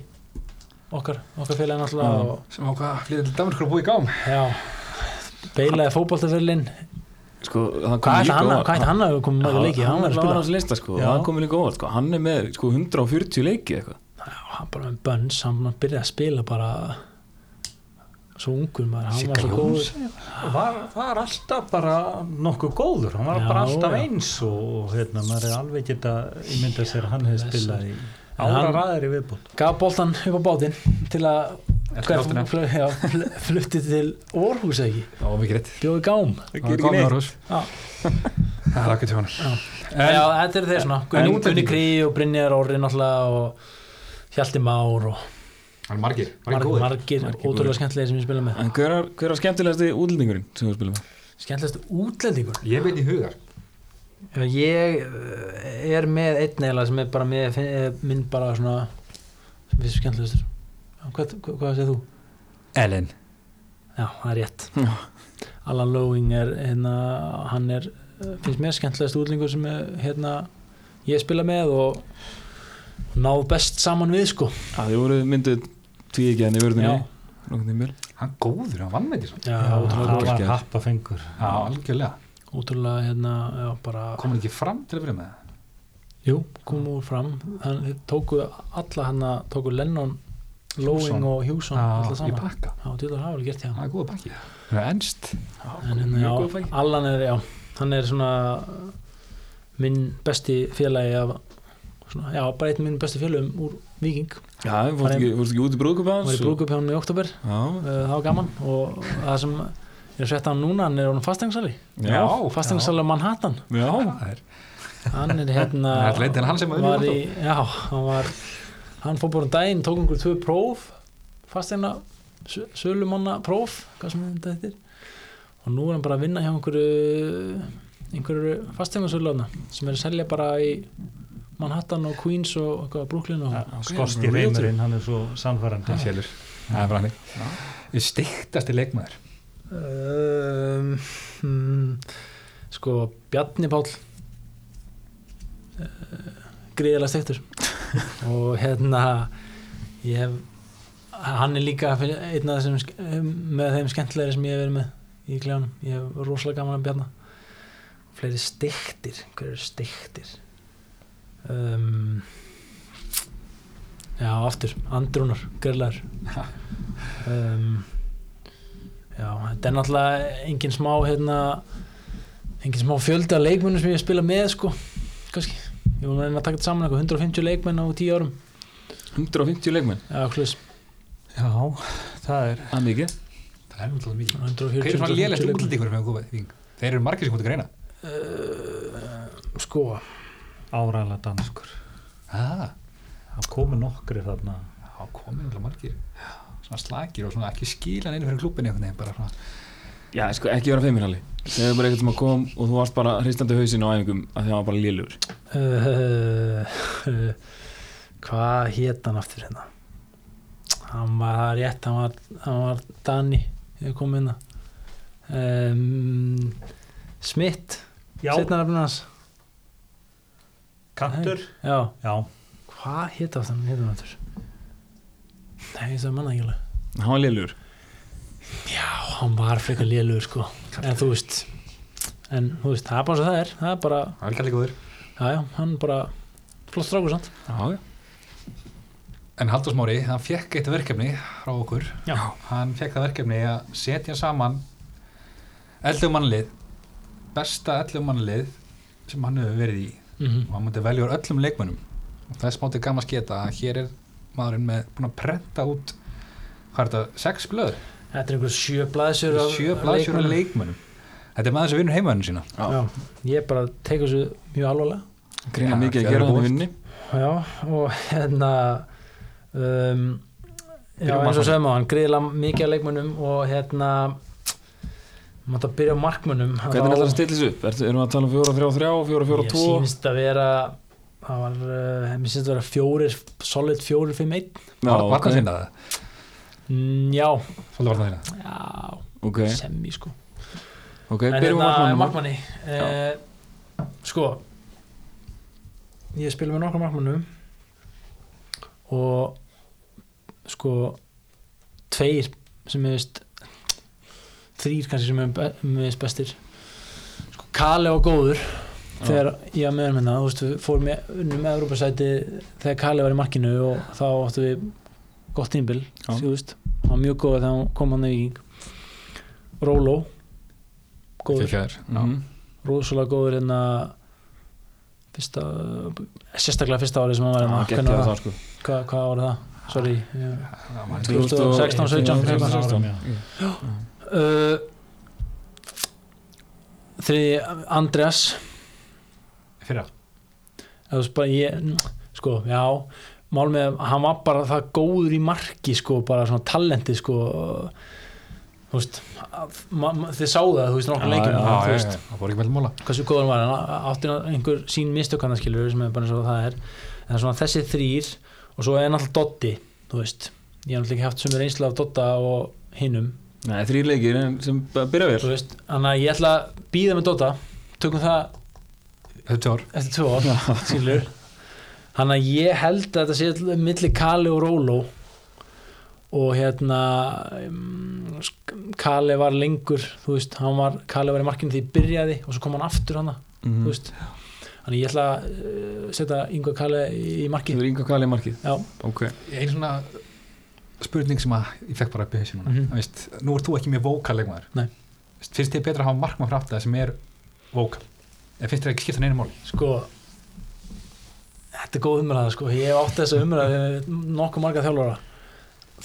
[SPEAKER 4] okkar, okkar félagi náttúrulega
[SPEAKER 1] Já.
[SPEAKER 4] og
[SPEAKER 2] sem ákvað að flytja til Danmarkur og búið í gám
[SPEAKER 4] Já, beilaði fótboltaförlinn
[SPEAKER 1] sko, það kom
[SPEAKER 4] Hvað ætti
[SPEAKER 1] líka
[SPEAKER 4] hann,
[SPEAKER 1] óvart.
[SPEAKER 4] hvað ætti hann að hafa komið mörgur leiki? Hann var að
[SPEAKER 1] hann
[SPEAKER 4] spila
[SPEAKER 1] hans lista sko,
[SPEAKER 4] Já.
[SPEAKER 1] það kom líka óvart sko. hann er með sko, 140 leiki eitthvað
[SPEAKER 4] Já, hann bara með bönns, hann byrjaði að spila bara svo ungur maður, hann
[SPEAKER 2] Sigga
[SPEAKER 4] var svo góður
[SPEAKER 2] Jóns
[SPEAKER 3] var, var alltaf bara nokkuð góður hann var
[SPEAKER 4] Já,
[SPEAKER 3] bara alltaf
[SPEAKER 4] já.
[SPEAKER 3] eins og, og hérna, maður er alveg geta ímyndað sér að hann hefði spilað í ára
[SPEAKER 4] hann-
[SPEAKER 3] ræðir í viðbútt
[SPEAKER 4] Gaf boltan upp á bátinn til að
[SPEAKER 2] Eftir áttina.
[SPEAKER 4] fl- já, fl- flutti til Orhus ekki,
[SPEAKER 2] Já, mikið rétt
[SPEAKER 4] bjóði gám
[SPEAKER 2] Það er gám í Árhus
[SPEAKER 4] Já.
[SPEAKER 2] Það er okkur til hann
[SPEAKER 4] Já,
[SPEAKER 2] En
[SPEAKER 4] þetta er þeir svona,
[SPEAKER 2] en
[SPEAKER 4] Gunni, Gunni
[SPEAKER 2] útlendingur?
[SPEAKER 4] Krí og Brynjar Orri náttúrulega og Hjalti Már og
[SPEAKER 2] hann er margir, margir
[SPEAKER 4] margir,
[SPEAKER 2] góðir
[SPEAKER 4] margir
[SPEAKER 1] Margir góðir.
[SPEAKER 4] ótrúlega skemmtilegir sem ég spila með
[SPEAKER 1] en hver er, hver er skemmtilegasti útlendingurinn sem þú spilum með
[SPEAKER 4] Skemmtilegast útlendingur
[SPEAKER 2] Ég veit í hugar
[SPEAKER 4] Já, ég eh, er með einn eila sem er bara með, eh, minn bara svona sem finnst skemmtilegastur Já, hvað, hvað, hvað segir þú?
[SPEAKER 2] Ellen
[SPEAKER 4] Já, það er rétt
[SPEAKER 1] Já.
[SPEAKER 4] Alan Lowing er hérna, hann er, eh, finnst mér skemmtilegast útlingur sem er, hérna, ég spila með og og náð best saman við sko
[SPEAKER 1] að þið voru mynduð tvíkjæðin í vörðinni
[SPEAKER 4] Já.
[SPEAKER 1] nokkuð tímil
[SPEAKER 2] Hann góður, hann vann með því svona
[SPEAKER 4] Já,
[SPEAKER 3] það
[SPEAKER 4] ótrúlega,
[SPEAKER 1] góður
[SPEAKER 3] var
[SPEAKER 1] gæði.
[SPEAKER 3] happa fengur
[SPEAKER 2] Já, algjörlega
[SPEAKER 4] ótrúlega hérna, já, bara
[SPEAKER 2] Komur ekki fram til að vera með það
[SPEAKER 4] Jú, kom úr fram Þann, þeir tóku alla hann að tóku Lennon, Lowing
[SPEAKER 2] Hugson.
[SPEAKER 4] og Hjússon alla
[SPEAKER 2] Já, í
[SPEAKER 4] saman
[SPEAKER 2] pakka
[SPEAKER 4] Já, djúlar hafa vel gert hjá
[SPEAKER 2] Það er góða pakki Það er ennst
[SPEAKER 4] en, en,
[SPEAKER 1] mjög góð
[SPEAKER 4] já,
[SPEAKER 1] fækki.
[SPEAKER 4] Allan er, já, hann er svona minn besti félagi af, svona, já, bara einn minn besti félagum úr Viking
[SPEAKER 1] Já, fórstu ekki, fórstu ekki út í
[SPEAKER 4] hann var í
[SPEAKER 1] brúðkupans
[SPEAKER 4] brúkupjónum í oktober uh,
[SPEAKER 1] Já,
[SPEAKER 4] það var gaman og það sem ég er sett hann núna, hann er honum fastengsali
[SPEAKER 1] já,
[SPEAKER 4] fastengsali á Manhattan
[SPEAKER 1] já
[SPEAKER 2] Það er-
[SPEAKER 4] hann er hérna
[SPEAKER 2] Það er leitt en hann sem að
[SPEAKER 4] var í, já, hann var hann fór bara um daginn, tók einhver tvö próf fasteina sölumanna próf, hvað sem þetta heitir og nú er hann bara að vinna hjá einhverju einhverju fasteina söluna sem er að selja bara í Manhattan og Queens og eitthvað, Brooklyn og
[SPEAKER 3] skosti
[SPEAKER 1] Realtor.
[SPEAKER 3] reymurinn, hann er svo samfærandi
[SPEAKER 2] Sjálfur, það er bara hann Stiktasti leikmaður
[SPEAKER 4] um, hmm, sko Bjarni Páll uh, gríðilega stektur og hérna ég hef hann er líka fyrir- einn af þessum sk- um, með þeim skemmtilegri sem ég hef verið með í kljónum, ég hef rosalega gaman að Bjarna fleiri stektir hver eru stektir um, já aftur, Andrúnar grillar um, Já, þetta er náttúrulega engin smá hérna, engin smá fjöldi af leikmennum sem ég hef spilað með sko, kannski ég var að reyna að taka þetta saman eitthvað, 150 leikmenn á 10 árum
[SPEAKER 1] 150 leikmenn,
[SPEAKER 4] Já, hlust,
[SPEAKER 3] já, það er
[SPEAKER 1] það er mikið
[SPEAKER 2] Það er náttúrulega mikið Hver
[SPEAKER 4] 140
[SPEAKER 2] er svona
[SPEAKER 4] 150
[SPEAKER 2] lélegt
[SPEAKER 4] leikmenn.
[SPEAKER 2] útlendingur með komið? í Víking? Þeir eru margir sem komið til greina
[SPEAKER 4] Sko,
[SPEAKER 3] áræðlega danskur
[SPEAKER 2] ah,
[SPEAKER 3] það komu nokkri þarna
[SPEAKER 2] Já, komið náttúrulega margir Svona slagir og svona ekki skila neina fyrir klúbinni einhvern veginn bara svona
[SPEAKER 1] Já, sko, ekki vera feimirali Það er bara eitthvað sem að kom og þú varst bara hristandi hausinn á æfingum að það var bara lélur
[SPEAKER 4] uh, hvað hét hann aftur hérna hann var það er rétt hann var, hann var Dani ég kom hérna um, Smith
[SPEAKER 3] já,
[SPEAKER 4] seinna nafnið hans
[SPEAKER 3] kantur
[SPEAKER 4] já,
[SPEAKER 3] já,
[SPEAKER 4] Hvað hétt aftur hann? Hétt hann aftur? Nei, það manna ekki alveg.
[SPEAKER 1] Það var lélur
[SPEAKER 4] Já, hann var frekar lélugur sko. En þú veist, en þú veist, það er bara svo það er. Það er bara,
[SPEAKER 2] Það er ekki allir góður
[SPEAKER 4] já, já, hann bara flott strákur samt.
[SPEAKER 1] Já, já
[SPEAKER 2] En Haldur Smári, hann fekk eitt verkefni frá okkur
[SPEAKER 4] Já.
[SPEAKER 2] Hann fekk það verkefni að setja saman 11 mannlið Besta 11 mannlið sem hann hefur verið í
[SPEAKER 4] Mm
[SPEAKER 2] og hann myndi velja úr öllum leikmönnum og þess mátti gaman sketa að hér er maðurinn með búin að prenta út hvað er þetta, sex blöð?
[SPEAKER 4] Þetta er einhver sjö blaðsjör af
[SPEAKER 2] sjö blaðsjör af leikmönnum þetta er maður sem vinnur heimönnum sína
[SPEAKER 4] Já, ég bara teka þessu mjög alvarlega.
[SPEAKER 1] Greina
[SPEAKER 2] Já,
[SPEAKER 1] mikið að
[SPEAKER 2] það er
[SPEAKER 1] gera þannig
[SPEAKER 2] búið.
[SPEAKER 1] vinni
[SPEAKER 4] Já, og hérna, um, já,
[SPEAKER 2] Byrjum á
[SPEAKER 4] eins og
[SPEAKER 2] markmanni.
[SPEAKER 4] sögum á hann, gríðilega mikið af leikmönnum og hérna, maður þetta byrja á markmönnum.
[SPEAKER 1] Hvernig
[SPEAKER 4] Þá-
[SPEAKER 1] ætlar að stilla þessu upp? Er, erum við að tala um 4-3-3, 4-4-2
[SPEAKER 4] Ég sínst að vera það var, uh, mér sínst að vera fjórir solid fjórir fimm einn
[SPEAKER 1] Já,
[SPEAKER 2] var
[SPEAKER 1] ok,
[SPEAKER 2] það sinna það?
[SPEAKER 4] mm, já,
[SPEAKER 2] Svolítið var það hérna, sinna
[SPEAKER 4] já,
[SPEAKER 1] ok,
[SPEAKER 4] semmi sko
[SPEAKER 1] ok, byrjum á
[SPEAKER 4] hérna,
[SPEAKER 1] markmannum
[SPEAKER 4] markmanni uh, sko ég spila með nokkra markmannum og sko tveir sem ég veist þrýr kannski sem ég veist bestir sko Kale og Góður þegar ég var með hann hérna, þú veist, við fórum með, unnum Evrópasæti þegar Kali var í markinu og þá áttum við gott tímbil,
[SPEAKER 1] Já.
[SPEAKER 4] þú veist hann var mjög góð þegar hann kom hann í viking Róló góður,
[SPEAKER 2] Kekjaður, já.
[SPEAKER 4] Mm-hmm.
[SPEAKER 1] Mhm.
[SPEAKER 4] rosalega góður hérna fyrsta, sérstaklega fyrsta árið sem hann var hérna,
[SPEAKER 1] Gekkið
[SPEAKER 4] hvernig
[SPEAKER 1] að
[SPEAKER 4] var
[SPEAKER 1] það
[SPEAKER 4] það,
[SPEAKER 1] sko
[SPEAKER 4] hvað, hvað var það sorry, ég
[SPEAKER 2] Já, hérna maður-
[SPEAKER 4] 2016, 17,
[SPEAKER 1] 2016
[SPEAKER 4] uh, þriði Andreas
[SPEAKER 2] fyrra
[SPEAKER 4] Þú veist, bara ég, sko, já mál með að hann var bara það góður í marki sko, bara svona talenti sko þú veist að- ma- ma- þið sáðu það, þú veist, nokkur
[SPEAKER 2] Já,
[SPEAKER 4] leikjum
[SPEAKER 2] já,
[SPEAKER 4] þú
[SPEAKER 2] já,
[SPEAKER 4] veist,
[SPEAKER 2] já, það fór ekki með móla
[SPEAKER 4] hversu góður var hann á- átti hann einhver sín mistökana skilur sem er bara eins og það er en svona þessi þrýr og svo er náttúrulega Dotti, þú veist ég hef náttúrulega ekki haft sem er einslega af Dotta og hinnum,
[SPEAKER 1] Nei, þrý leikir en sem bara byrja vel
[SPEAKER 4] þú veist þannig að ég ætla að býða með Dotta tökum það
[SPEAKER 2] Þetta er tvö ár
[SPEAKER 4] eftir tvö ár, skilur þannig að ég held að þetta sé milli Kali og Róló og hérna um, sk- Kali var lengur þú veist, hann var, Kali var í markinu því ég byrjaði og svo kom hann aftur hana
[SPEAKER 1] Mhm.
[SPEAKER 4] þú veist, þannig að ég ætla að uh, setja yngva Kali í
[SPEAKER 1] Þú
[SPEAKER 4] markið
[SPEAKER 1] er yngur kalið markið
[SPEAKER 4] já,
[SPEAKER 1] Ok,
[SPEAKER 2] Einn svona spurning sem að ég fekk bara upp í hausin núna
[SPEAKER 4] Mhm.
[SPEAKER 2] mm veist, Nú ert þú ekki mjög vókal leikmaður
[SPEAKER 4] Nei.
[SPEAKER 2] Veist, Finnst þið betra að hafa markmann frá aftur sem er vókal En finnst þér ekki skipta neina máli?
[SPEAKER 4] sko þetta er góð umræða sko ég hef átt þessa umræða við nokkuð marga þjálfara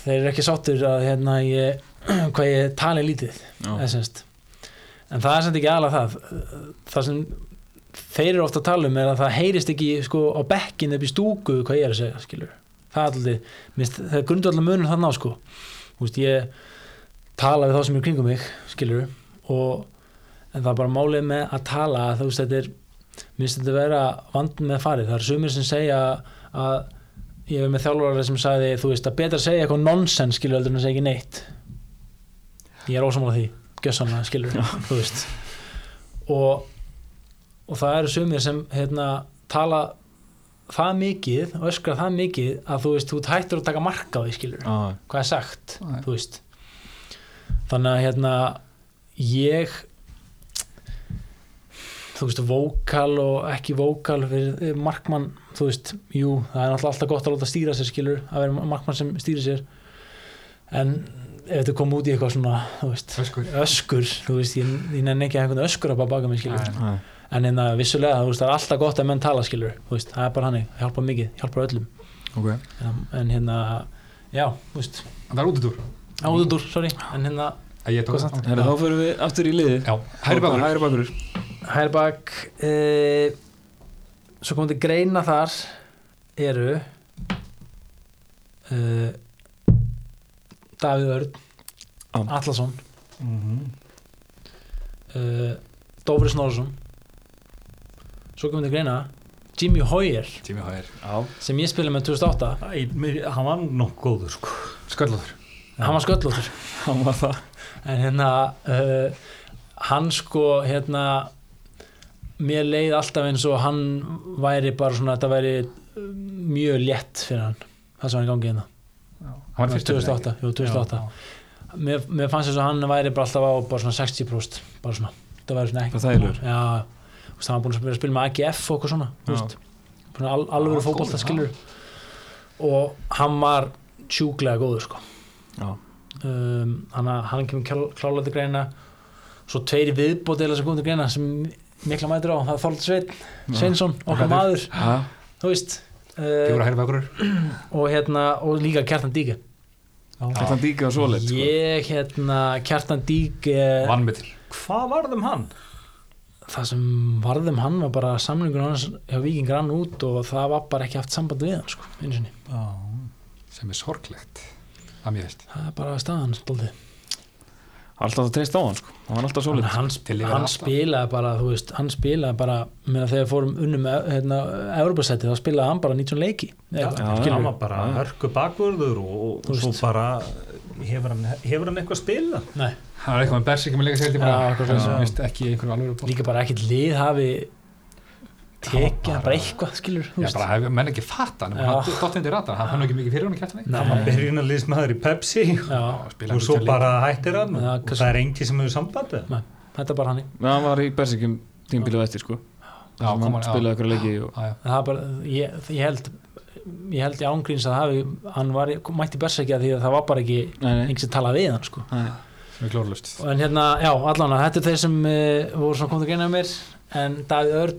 [SPEAKER 4] þeir eru ekki sáttir að hérna ég hvað ég tali lítið eða semst. en það er samt ekki aðalega það það sem þeir eru ofta að tala um er að það heyrist ekki sko á bekkin upp í stúku hvað ég er að segja skilur það er alltaf, minnst, það er grundvallar munur þannig á sko Þú veist, ég tala við þá sem eru kringum mig skilur og en það er bara málið með að tala að þú veist þetta er minnst þetta vera vandun með farið það eru sumir sem segja að ég er með þjálfurari sem sagði þú veist að betra segja eitthvað nonsens skilur heldur en að segja ekki neitt ég er ósamála því, gjössanlega skilur þú veist og, og það eru sumir sem hérna tala það mikið og öskra það mikið að þú veist, þú ert hættur að taka mark á því skilur
[SPEAKER 1] Já,
[SPEAKER 4] hvað er sagt
[SPEAKER 2] Já.
[SPEAKER 4] þú veist þannig að hérna ég þú veist vókal og ekki vókal fyrir eh, markmann þú veist, jú, það er náttúrulega alltaf gott að láta stýra sér skilur, að vera markmann sem stýra sér en ef þetta kom út í eitthvað svona, þú veist
[SPEAKER 2] Öskur.
[SPEAKER 4] öskur, þú veist, ég, ég nenni ekki að einhvern öskur að bara baka mig skilur
[SPEAKER 2] Nei.
[SPEAKER 1] já,
[SPEAKER 4] en hérna, vissulega, þú veist, það er alltaf gott að menn tala skilur, þú veist, það er bara hannig, hjálpa mikið hjálpa öllum,
[SPEAKER 1] ok
[SPEAKER 4] en, en hérna já, þú veist
[SPEAKER 2] Það er útudur.
[SPEAKER 4] Áðurdur, sorry, en hérna
[SPEAKER 2] Ég tók
[SPEAKER 4] Hvað samt?
[SPEAKER 2] það.
[SPEAKER 1] Herra, þá fyrir við aftur í liðið
[SPEAKER 2] Já, hægri bakur.
[SPEAKER 1] Hægri bakur
[SPEAKER 4] Hærbak e, Svo komum til greina þar eru e, Davíð Örn
[SPEAKER 1] Já.
[SPEAKER 4] Allason
[SPEAKER 3] mm -hmm.
[SPEAKER 4] e, Dófri Snorsson Svo komum til greina Jimmy Hoyer
[SPEAKER 2] Tími hægir.
[SPEAKER 4] sem ég spila með 2008
[SPEAKER 3] Æ, mér, hann var nú nokkuð góður sko
[SPEAKER 2] Sköllóður.
[SPEAKER 4] hann var sköllóttur
[SPEAKER 1] Hann var það
[SPEAKER 4] en hérna uh, hann sko hérna mér leið alltaf eins og hann væri bara svona þetta væri uh, mjög létt fyrir hann það sem hann í gangi hérna
[SPEAKER 2] Hann var fyrstur.
[SPEAKER 4] 2008, jú, 2008. Mér, mér fannst þess að hann væri bara alltaf á bara svona 60 próst bara svona það væri svona ekki
[SPEAKER 1] Bara þægilegur.
[SPEAKER 4] já þú veist, hann var búin að spila, spila með AGF og okkur svona þú
[SPEAKER 1] Já.
[SPEAKER 4] veist Búinn al, alvöru
[SPEAKER 2] Já,
[SPEAKER 4] fótbolta
[SPEAKER 2] góður,
[SPEAKER 4] skilur og hann var sjúklega góður sko
[SPEAKER 1] Já,
[SPEAKER 4] um, hann, hann kemur klá- klálega til greina svo tveir viðbótiðlega sem komum til greina sem mikla mætur á, það er Þorld Sveinn Sveinsson, okkar
[SPEAKER 2] Hann
[SPEAKER 4] maður
[SPEAKER 1] ha?
[SPEAKER 4] þú veist
[SPEAKER 2] Gjóra
[SPEAKER 4] uh,
[SPEAKER 2] hægri bakur.
[SPEAKER 4] og hérna, og líka Kjartan Dík
[SPEAKER 1] Kjartan Díka og svoleitt sko.
[SPEAKER 4] ég hérna, Kjartan Dík eh,
[SPEAKER 2] Vannmyndil.
[SPEAKER 3] hvað varðum hann?
[SPEAKER 4] það sem varðum hann var bara samlingun hans hjá Víking rann út og það var bara ekki haft samband við hann sko, einu sinni,
[SPEAKER 2] Sem er sorglegt. Það mér veist.
[SPEAKER 4] það er bara staðan stóldið
[SPEAKER 1] Alltaf að treysta á hann sko Hann var alltaf svoleitt
[SPEAKER 4] hann,
[SPEAKER 2] Til yfir
[SPEAKER 4] hann
[SPEAKER 2] alltaf.
[SPEAKER 4] spilaði bara þú veist, hann spilaði bara meðan þegar fórum unnum með hérna, Europasæti þá spilaði hann bara 19 leiki
[SPEAKER 3] Já,
[SPEAKER 4] Eitthvað,
[SPEAKER 1] já,
[SPEAKER 4] skilurðu.
[SPEAKER 3] hann var bara
[SPEAKER 1] Já.
[SPEAKER 3] hörku bakvörður og, og
[SPEAKER 4] Þú
[SPEAKER 3] svo
[SPEAKER 4] veist.
[SPEAKER 3] bara hefur hann, hefur hann eitthvað að spila?
[SPEAKER 4] Nei,
[SPEAKER 2] Það er eitthvað með bersikjum að leika sér til bara.
[SPEAKER 4] Já, eitthvað svoleiðis.
[SPEAKER 2] Mér veist ekki einhverju alveg.
[SPEAKER 4] líka bara ekkert lið hafi tekið
[SPEAKER 2] bara-
[SPEAKER 4] hann bara eitthvað skilur
[SPEAKER 2] Já, bara hef, menn ekki fatta hann,
[SPEAKER 4] Já.
[SPEAKER 2] hann dótt hindi rata hann, hann er ekki mikið fyrir hann í kjartan
[SPEAKER 4] Nei.
[SPEAKER 3] hann var byrjunarliðsmaður í Pepsi
[SPEAKER 4] já,
[SPEAKER 3] og svo bara hættir hann
[SPEAKER 4] Já,
[SPEAKER 3] og
[SPEAKER 4] kannski-
[SPEAKER 3] það er engin sem hefur sambandi
[SPEAKER 4] þetta er bara hann
[SPEAKER 1] Nei, Hann var í Bersikjum tímbilið eftir sko
[SPEAKER 2] Já,
[SPEAKER 1] Hann
[SPEAKER 2] kom hann, já.
[SPEAKER 1] spilaði ykkur leiki og
[SPEAKER 2] Já, já.
[SPEAKER 4] það er bara, ég, ég held ég held í ángríns að það hafi hann var, mætti bersækja því að það var bara ekki
[SPEAKER 1] Nei, nei
[SPEAKER 4] einhvers að tala við hann sko
[SPEAKER 1] Nei.
[SPEAKER 2] sem er glórlust
[SPEAKER 4] en hérna, já, allan að þetta er þeir sem uh, voru svona komið að greina mér en Davíð Örn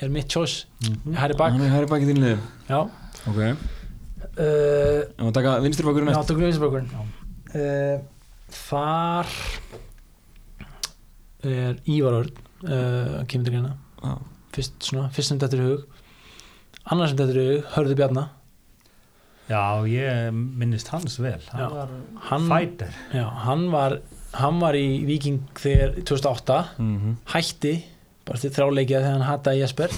[SPEAKER 4] er mitt choice, Harry Back
[SPEAKER 1] Mhm. Hann er hægri bakið þín liðum
[SPEAKER 4] já,
[SPEAKER 1] Ok Ef
[SPEAKER 4] uh,
[SPEAKER 1] hann taka vinstri bakurinn
[SPEAKER 4] Já,
[SPEAKER 1] næst
[SPEAKER 4] tökum við Ísaborgurinn uh, Þar er Ívar Örn uh, kemur til greina
[SPEAKER 1] Já.
[SPEAKER 4] fyrst, svona, fyrst sem þetta er hug annars sem þetta er hug, Hörðu Bjarna
[SPEAKER 3] já, ég minnist hans vel hann
[SPEAKER 4] Já.
[SPEAKER 3] var
[SPEAKER 4] hann,
[SPEAKER 3] fighter
[SPEAKER 4] já, hann, var, hann var í Viking þegar 2008
[SPEAKER 1] Mhm.
[SPEAKER 4] hætti bara til þráleikja þegar hann hataði Jesper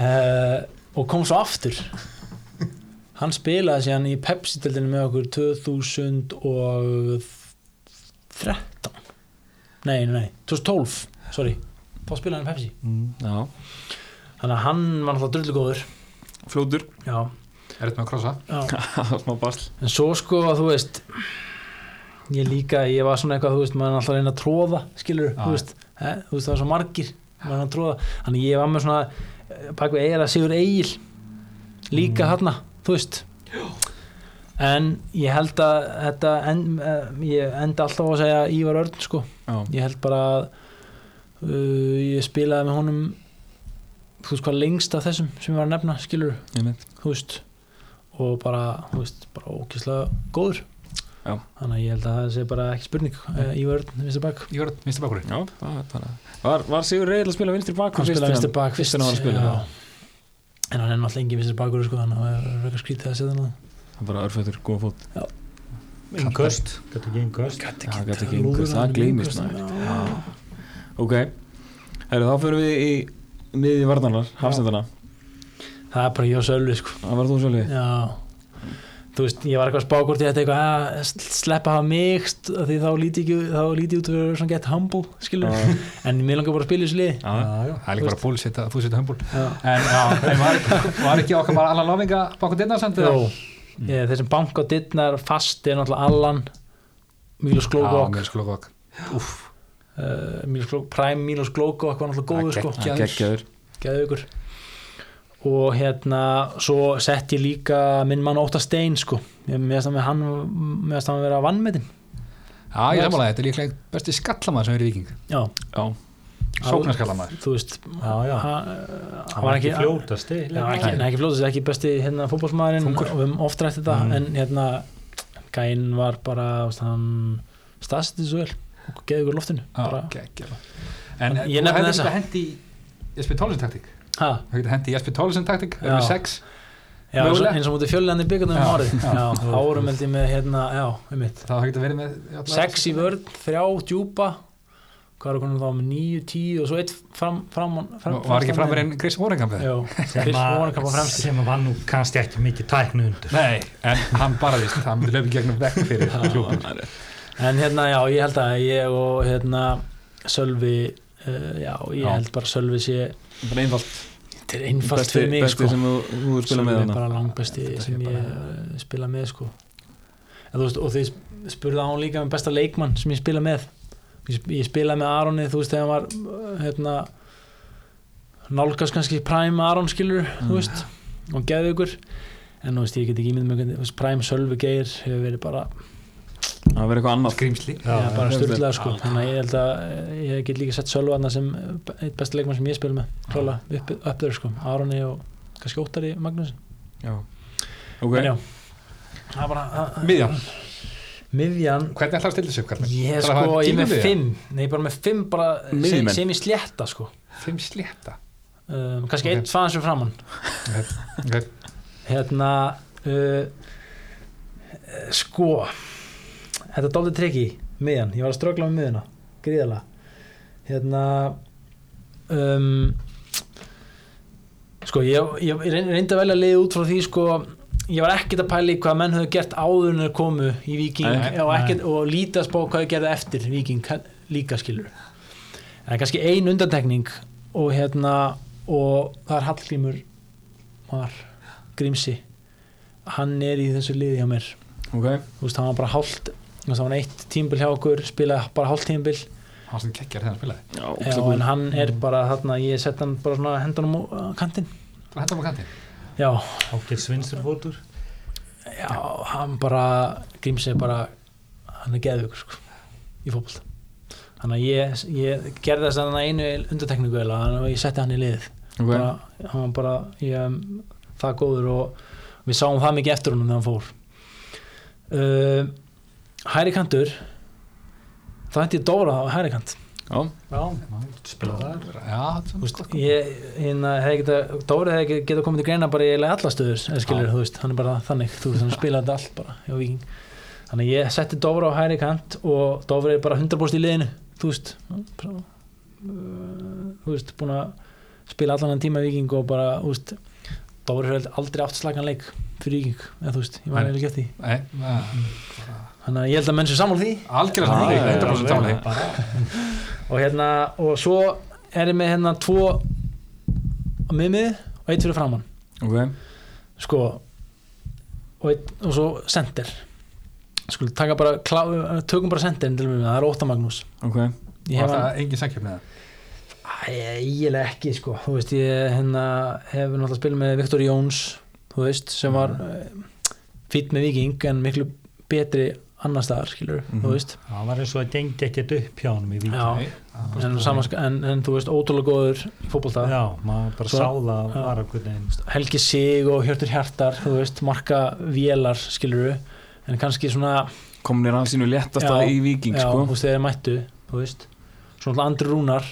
[SPEAKER 4] uh, og kom svo aftur hann spilaði síðan í Pepsi-deldinu með okkur 2013 nei, nei, nei, 2012 sorry, þá spilaði hann í Pepsi
[SPEAKER 1] Já
[SPEAKER 4] þannig að hann var náttúrulega drullu góður
[SPEAKER 1] Flótur
[SPEAKER 4] já,
[SPEAKER 2] er þetta með að krossa
[SPEAKER 4] já.
[SPEAKER 1] Smá basl
[SPEAKER 4] en svo sko að þú veist ég líka, ég var svona eitthvað þú veist, maður er alltaf að reyna að tróða skilur,
[SPEAKER 2] Já,
[SPEAKER 4] þú veist, he, þú veist það var svo margir maður er að tróða, þannig ég var með svona eh, bak við eigar að sigur eigil líka mm. þarna, þú veist en ég held að þetta, en, eh, ég enda alltaf á að segja Ívar Örn sko,
[SPEAKER 1] Já
[SPEAKER 4] ég held bara að uh, ég spilaði með honum þú veist hvað lengst af þessum sem ég var að nefna, skilur
[SPEAKER 1] einmitt.
[SPEAKER 4] þú veist og bara, þú veist, bara ókýrslega góður
[SPEAKER 1] Já.
[SPEAKER 4] þannig að ég held að það sé bara ekki spurning uh, í vörðin, vinstri bak
[SPEAKER 2] Ég verð minnst bakur
[SPEAKER 1] Já, það er bara... Var, var Sigur Reyðil að spila vinstri bakur
[SPEAKER 4] hann spilaði vinstri bak
[SPEAKER 1] fyrst en hann var um að spila
[SPEAKER 4] já.
[SPEAKER 1] það?
[SPEAKER 4] en hann er náttúrulega lengi vinstri bakur sko, þannig að það er eitthvað skrítið að setja hann á.
[SPEAKER 1] Hann bara örfættur, góða fót
[SPEAKER 3] Innkast, gæti ekki innkast
[SPEAKER 1] Já,
[SPEAKER 4] Hann
[SPEAKER 1] gat
[SPEAKER 4] gat
[SPEAKER 1] ekki
[SPEAKER 4] lúður
[SPEAKER 1] innkast,
[SPEAKER 4] hann
[SPEAKER 1] það
[SPEAKER 4] í
[SPEAKER 1] gleymist
[SPEAKER 4] innkast,
[SPEAKER 1] nú
[SPEAKER 4] já.
[SPEAKER 1] Ok, Heru, þá fyrir við í miðið varnarnar, hafstendana
[SPEAKER 4] það er bara ég og Sölvi sko.
[SPEAKER 1] Það var þú sjálfi
[SPEAKER 4] já þú veist, ég var eitthvað spákort ég ætti eitthvað að sleppa hafa mig st- af því þá líti ekki þá líti ég út fyrir svona gett humble skilur en mér langar bara að spila í slið
[SPEAKER 2] Já, það er líka bara búlsett að þú setja hömbul
[SPEAKER 4] já
[SPEAKER 2] En, já, en var, var ekki okkar bara allan lofinga bakur dyrna samt? eða?
[SPEAKER 4] Jó, ég, þeir sem banka á dittnar fast er náttúrulega Allan Mílos
[SPEAKER 2] Já,
[SPEAKER 4] Glókok
[SPEAKER 2] mér sko lókokk
[SPEAKER 4] uh, Mílos Gló- Prime Mílos Glókok var náttúrulega góður sko
[SPEAKER 1] Hann Geggjaður
[SPEAKER 4] Gæðu ykkur Og hérna, svo sett ég líka minn mann Óta Stein sko Ég meðast hann, hann, mér fannst hann vera vannmetinn
[SPEAKER 2] Já, ég samanlega, þetta er líklega besti skallamaður sem er í viking
[SPEAKER 4] Já,
[SPEAKER 1] Já,
[SPEAKER 2] Sóknarskallamaður
[SPEAKER 4] þú veist
[SPEAKER 3] Já, já.
[SPEAKER 4] Hann, eh, hann
[SPEAKER 3] hann var ekki fljótast
[SPEAKER 4] Já, ekki, nei, ekki fljótast, ekki besti hérna, fótbolsmaðurinn og við höfum oft rætt
[SPEAKER 2] Mm.
[SPEAKER 4] þetta en hérna, gæinn var bara þú veist, hann staðsetti svo vel og geði ykkur loftinu bara,
[SPEAKER 2] Gekkjala En
[SPEAKER 4] Ég
[SPEAKER 2] þú
[SPEAKER 4] nefni
[SPEAKER 2] hefði
[SPEAKER 4] þessa.
[SPEAKER 2] þetta hendi í Jesper Tólesen taktík
[SPEAKER 4] ha,
[SPEAKER 2] Þú hefði hendi í Jesper Tólesen taktík
[SPEAKER 4] Já.
[SPEAKER 2] Er með sex
[SPEAKER 4] já,
[SPEAKER 2] Mögulega.
[SPEAKER 4] svo, eins og mútið fjöllegandi byggandum um
[SPEAKER 2] Já,
[SPEAKER 4] árið já, þá vorum held ég með hérna, já, um mitt
[SPEAKER 2] Það hefði þetta verið með já,
[SPEAKER 4] sex í vörð, þrjá djúpa hvað eru konum þá með níu, tíu og svo eitt fram, fram, fram
[SPEAKER 2] Nú, Var ekki framir en Chris Horingham við
[SPEAKER 4] já,
[SPEAKER 3] sem,
[SPEAKER 4] fyrst
[SPEAKER 3] að-
[SPEAKER 4] voru kappa fremst
[SPEAKER 3] sem var nú kannski ekki mikið tæknu undir
[SPEAKER 2] Nei, en hann barðist Hann myndi löfum gegnum vekk fyrir klúkum
[SPEAKER 4] En hérna, já, ég held að ég og hérna, Sölvi uh, já, ég
[SPEAKER 2] Já.
[SPEAKER 4] held bara Sölvi sé
[SPEAKER 1] bara einfalt
[SPEAKER 4] þetta er einfalt fyrir mig,
[SPEAKER 1] besti
[SPEAKER 4] sko
[SPEAKER 1] sem þú, þú hefur spilað
[SPEAKER 4] Sölvi
[SPEAKER 1] með
[SPEAKER 4] er
[SPEAKER 1] hana
[SPEAKER 4] bara langbesti
[SPEAKER 2] Þetta er
[SPEAKER 4] sem ég
[SPEAKER 2] bara-
[SPEAKER 4] bara... spila með, sko en, þú veist, og þið spurðu án líka með besta leikmann sem ég spila með ég sp- ég spilaði með Aroni, þú veist, þegar hann var eh, hérna nálgast kannski Prime Aron skilur
[SPEAKER 1] Mm.
[SPEAKER 4] þú veist, og geðu ykkur en þú veist, ég get ekki ímynd með hvernig þú veist, Prime Sölvi Geir hefur verið bara
[SPEAKER 1] Það verður eitthvað annað
[SPEAKER 2] Skrýmsli
[SPEAKER 4] Já,
[SPEAKER 3] Já,
[SPEAKER 4] bara
[SPEAKER 1] já,
[SPEAKER 4] styrlað
[SPEAKER 1] já.
[SPEAKER 4] sko þannig að ég held að eh, ég get líka sett Sölvana sem eh, einn besti leikmann sem ég spil með klála upp, upp þeir sko, Aroni og kannski Óttari Magnúsin
[SPEAKER 1] Já. Ok,
[SPEAKER 4] en já, það er bara að- að-
[SPEAKER 2] Miðjan,
[SPEAKER 4] miðjan,
[SPEAKER 2] hvernig ætlar að stilla þessu upp, Karl?
[SPEAKER 4] ég er sko ég er með fimm, nei ég er bara með fimm bara sem,
[SPEAKER 1] Miðjumenn.
[SPEAKER 4] sem ég slétta sko
[SPEAKER 2] Fimm slétta
[SPEAKER 4] um,
[SPEAKER 2] Ok.
[SPEAKER 4] kannski okay. einn svaðan sem framann
[SPEAKER 2] Ok,
[SPEAKER 4] hérna uh, eh, sko þetta er dálítið trikki miðjan, ég var að ströggla með miðjuna gríðalega hérna um, sko ég, ég reyn- reyndi að velja liðið út frá því sko ég var ekkert að pæla í hvað menn höfðu gert áður en þeir komu í Viking
[SPEAKER 1] Nei,
[SPEAKER 4] og, ekkert, og lítast bá hvað þau gerðu eftir Viking líka skilur en kannski ein undantekning og hérna og það er Hallgrímur var Grímsi hann er í þessu liði hjá mér
[SPEAKER 1] ok
[SPEAKER 4] þú veist, hann var bara hálft þú veist, hann var eitt tímbil hjá okkur, spilaði bara hálft tímbil
[SPEAKER 2] hann sem kekkjar þegar hann spilaði
[SPEAKER 1] Já,
[SPEAKER 4] Já,
[SPEAKER 1] ógeðslega
[SPEAKER 4] en
[SPEAKER 1] kúl.
[SPEAKER 4] hann er bara þarna, ég sett hann bara svona hendanum á kantinn
[SPEAKER 2] Það hendur maður kanti
[SPEAKER 4] já,
[SPEAKER 3] ágætt svinsturfótur
[SPEAKER 4] já, hann bara Grímsi er bara, hann er geðvökur sko, í fótbolta þannig að ég, ég gerði þess að hann einu undartekningu eða, þannig að ég setti hann í liðið
[SPEAKER 1] Ok,
[SPEAKER 4] bara, hann var bara ég, um, það góður og við sáum það mikið eftir honum þegar hann fór uh, Hæri kantur það hætti ég Dóra á hæri kant
[SPEAKER 1] já,
[SPEAKER 3] spilaði þar
[SPEAKER 2] Já, sko.
[SPEAKER 4] Þú
[SPEAKER 2] svona
[SPEAKER 4] veist, ég, hérna, hefði geta, Dóri hefði geta- geta komið til greina bara í eiginlega alla stöður eða skilur, þú veist, hann er bara þannig þú veist, hann spilaði þetta allt bara hjá Víking þannig að ég setti Dóra á hæri kant og Dóri er bara 100% í liðinu þú veist bara, uh, þú veist, búin að spila allan hann tíma í Víking og bara, þú veist Dóri hefði aldrei átt slagan leik fyrir Víking, eða þú veist, ég var
[SPEAKER 2] Nei.
[SPEAKER 4] eiginlega gett því
[SPEAKER 2] Nei, nei,
[SPEAKER 4] þannig að ég held að menn sem sammála því
[SPEAKER 2] algjörlega saman
[SPEAKER 1] Já,
[SPEAKER 2] því,
[SPEAKER 1] já, já,
[SPEAKER 2] 100% saman því
[SPEAKER 3] bara
[SPEAKER 4] og hérna, og svo er ég með hérna tvo á miðmið og eitt fyrir framann
[SPEAKER 1] ok
[SPEAKER 4] sko og, einn- og svo sender skulum taka bara klá, tökum bara senderin til mér, það er Óta Magnús
[SPEAKER 1] Ok,
[SPEAKER 2] Var
[SPEAKER 4] ég hef
[SPEAKER 2] það
[SPEAKER 4] hann
[SPEAKER 2] engin sannkjöfni það?
[SPEAKER 4] eiginlega ekki sko þú veist ég hérna hef náttúrulega spil með
[SPEAKER 2] Mhm.
[SPEAKER 4] Viktor eh, Jóns þú veist sem var mm. fýtt með Viking en miklu betri annar staðar skilur,
[SPEAKER 1] Mhm.
[SPEAKER 4] þú veist
[SPEAKER 3] það var eins og það gengdi ekkert upp hjá hann í vík
[SPEAKER 4] Já,
[SPEAKER 2] Nei, það er
[SPEAKER 4] en,
[SPEAKER 2] bara-
[SPEAKER 4] samansk, en, en þú veist, ótrúlega góður í fótbolta
[SPEAKER 3] já, maður bara
[SPEAKER 4] Svo-
[SPEAKER 3] sá það að
[SPEAKER 4] já.
[SPEAKER 3] var einhvern veginn
[SPEAKER 4] Helgi Sig og Hjörtur Hjartar þú veist, marka vélar skilur en kannski svona
[SPEAKER 1] komin er alls sínu léttasta
[SPEAKER 4] Já,
[SPEAKER 1] í Víking
[SPEAKER 4] já, þú
[SPEAKER 1] sko.
[SPEAKER 4] veist, þegar þeir mættu þú veist, svona andri rúnar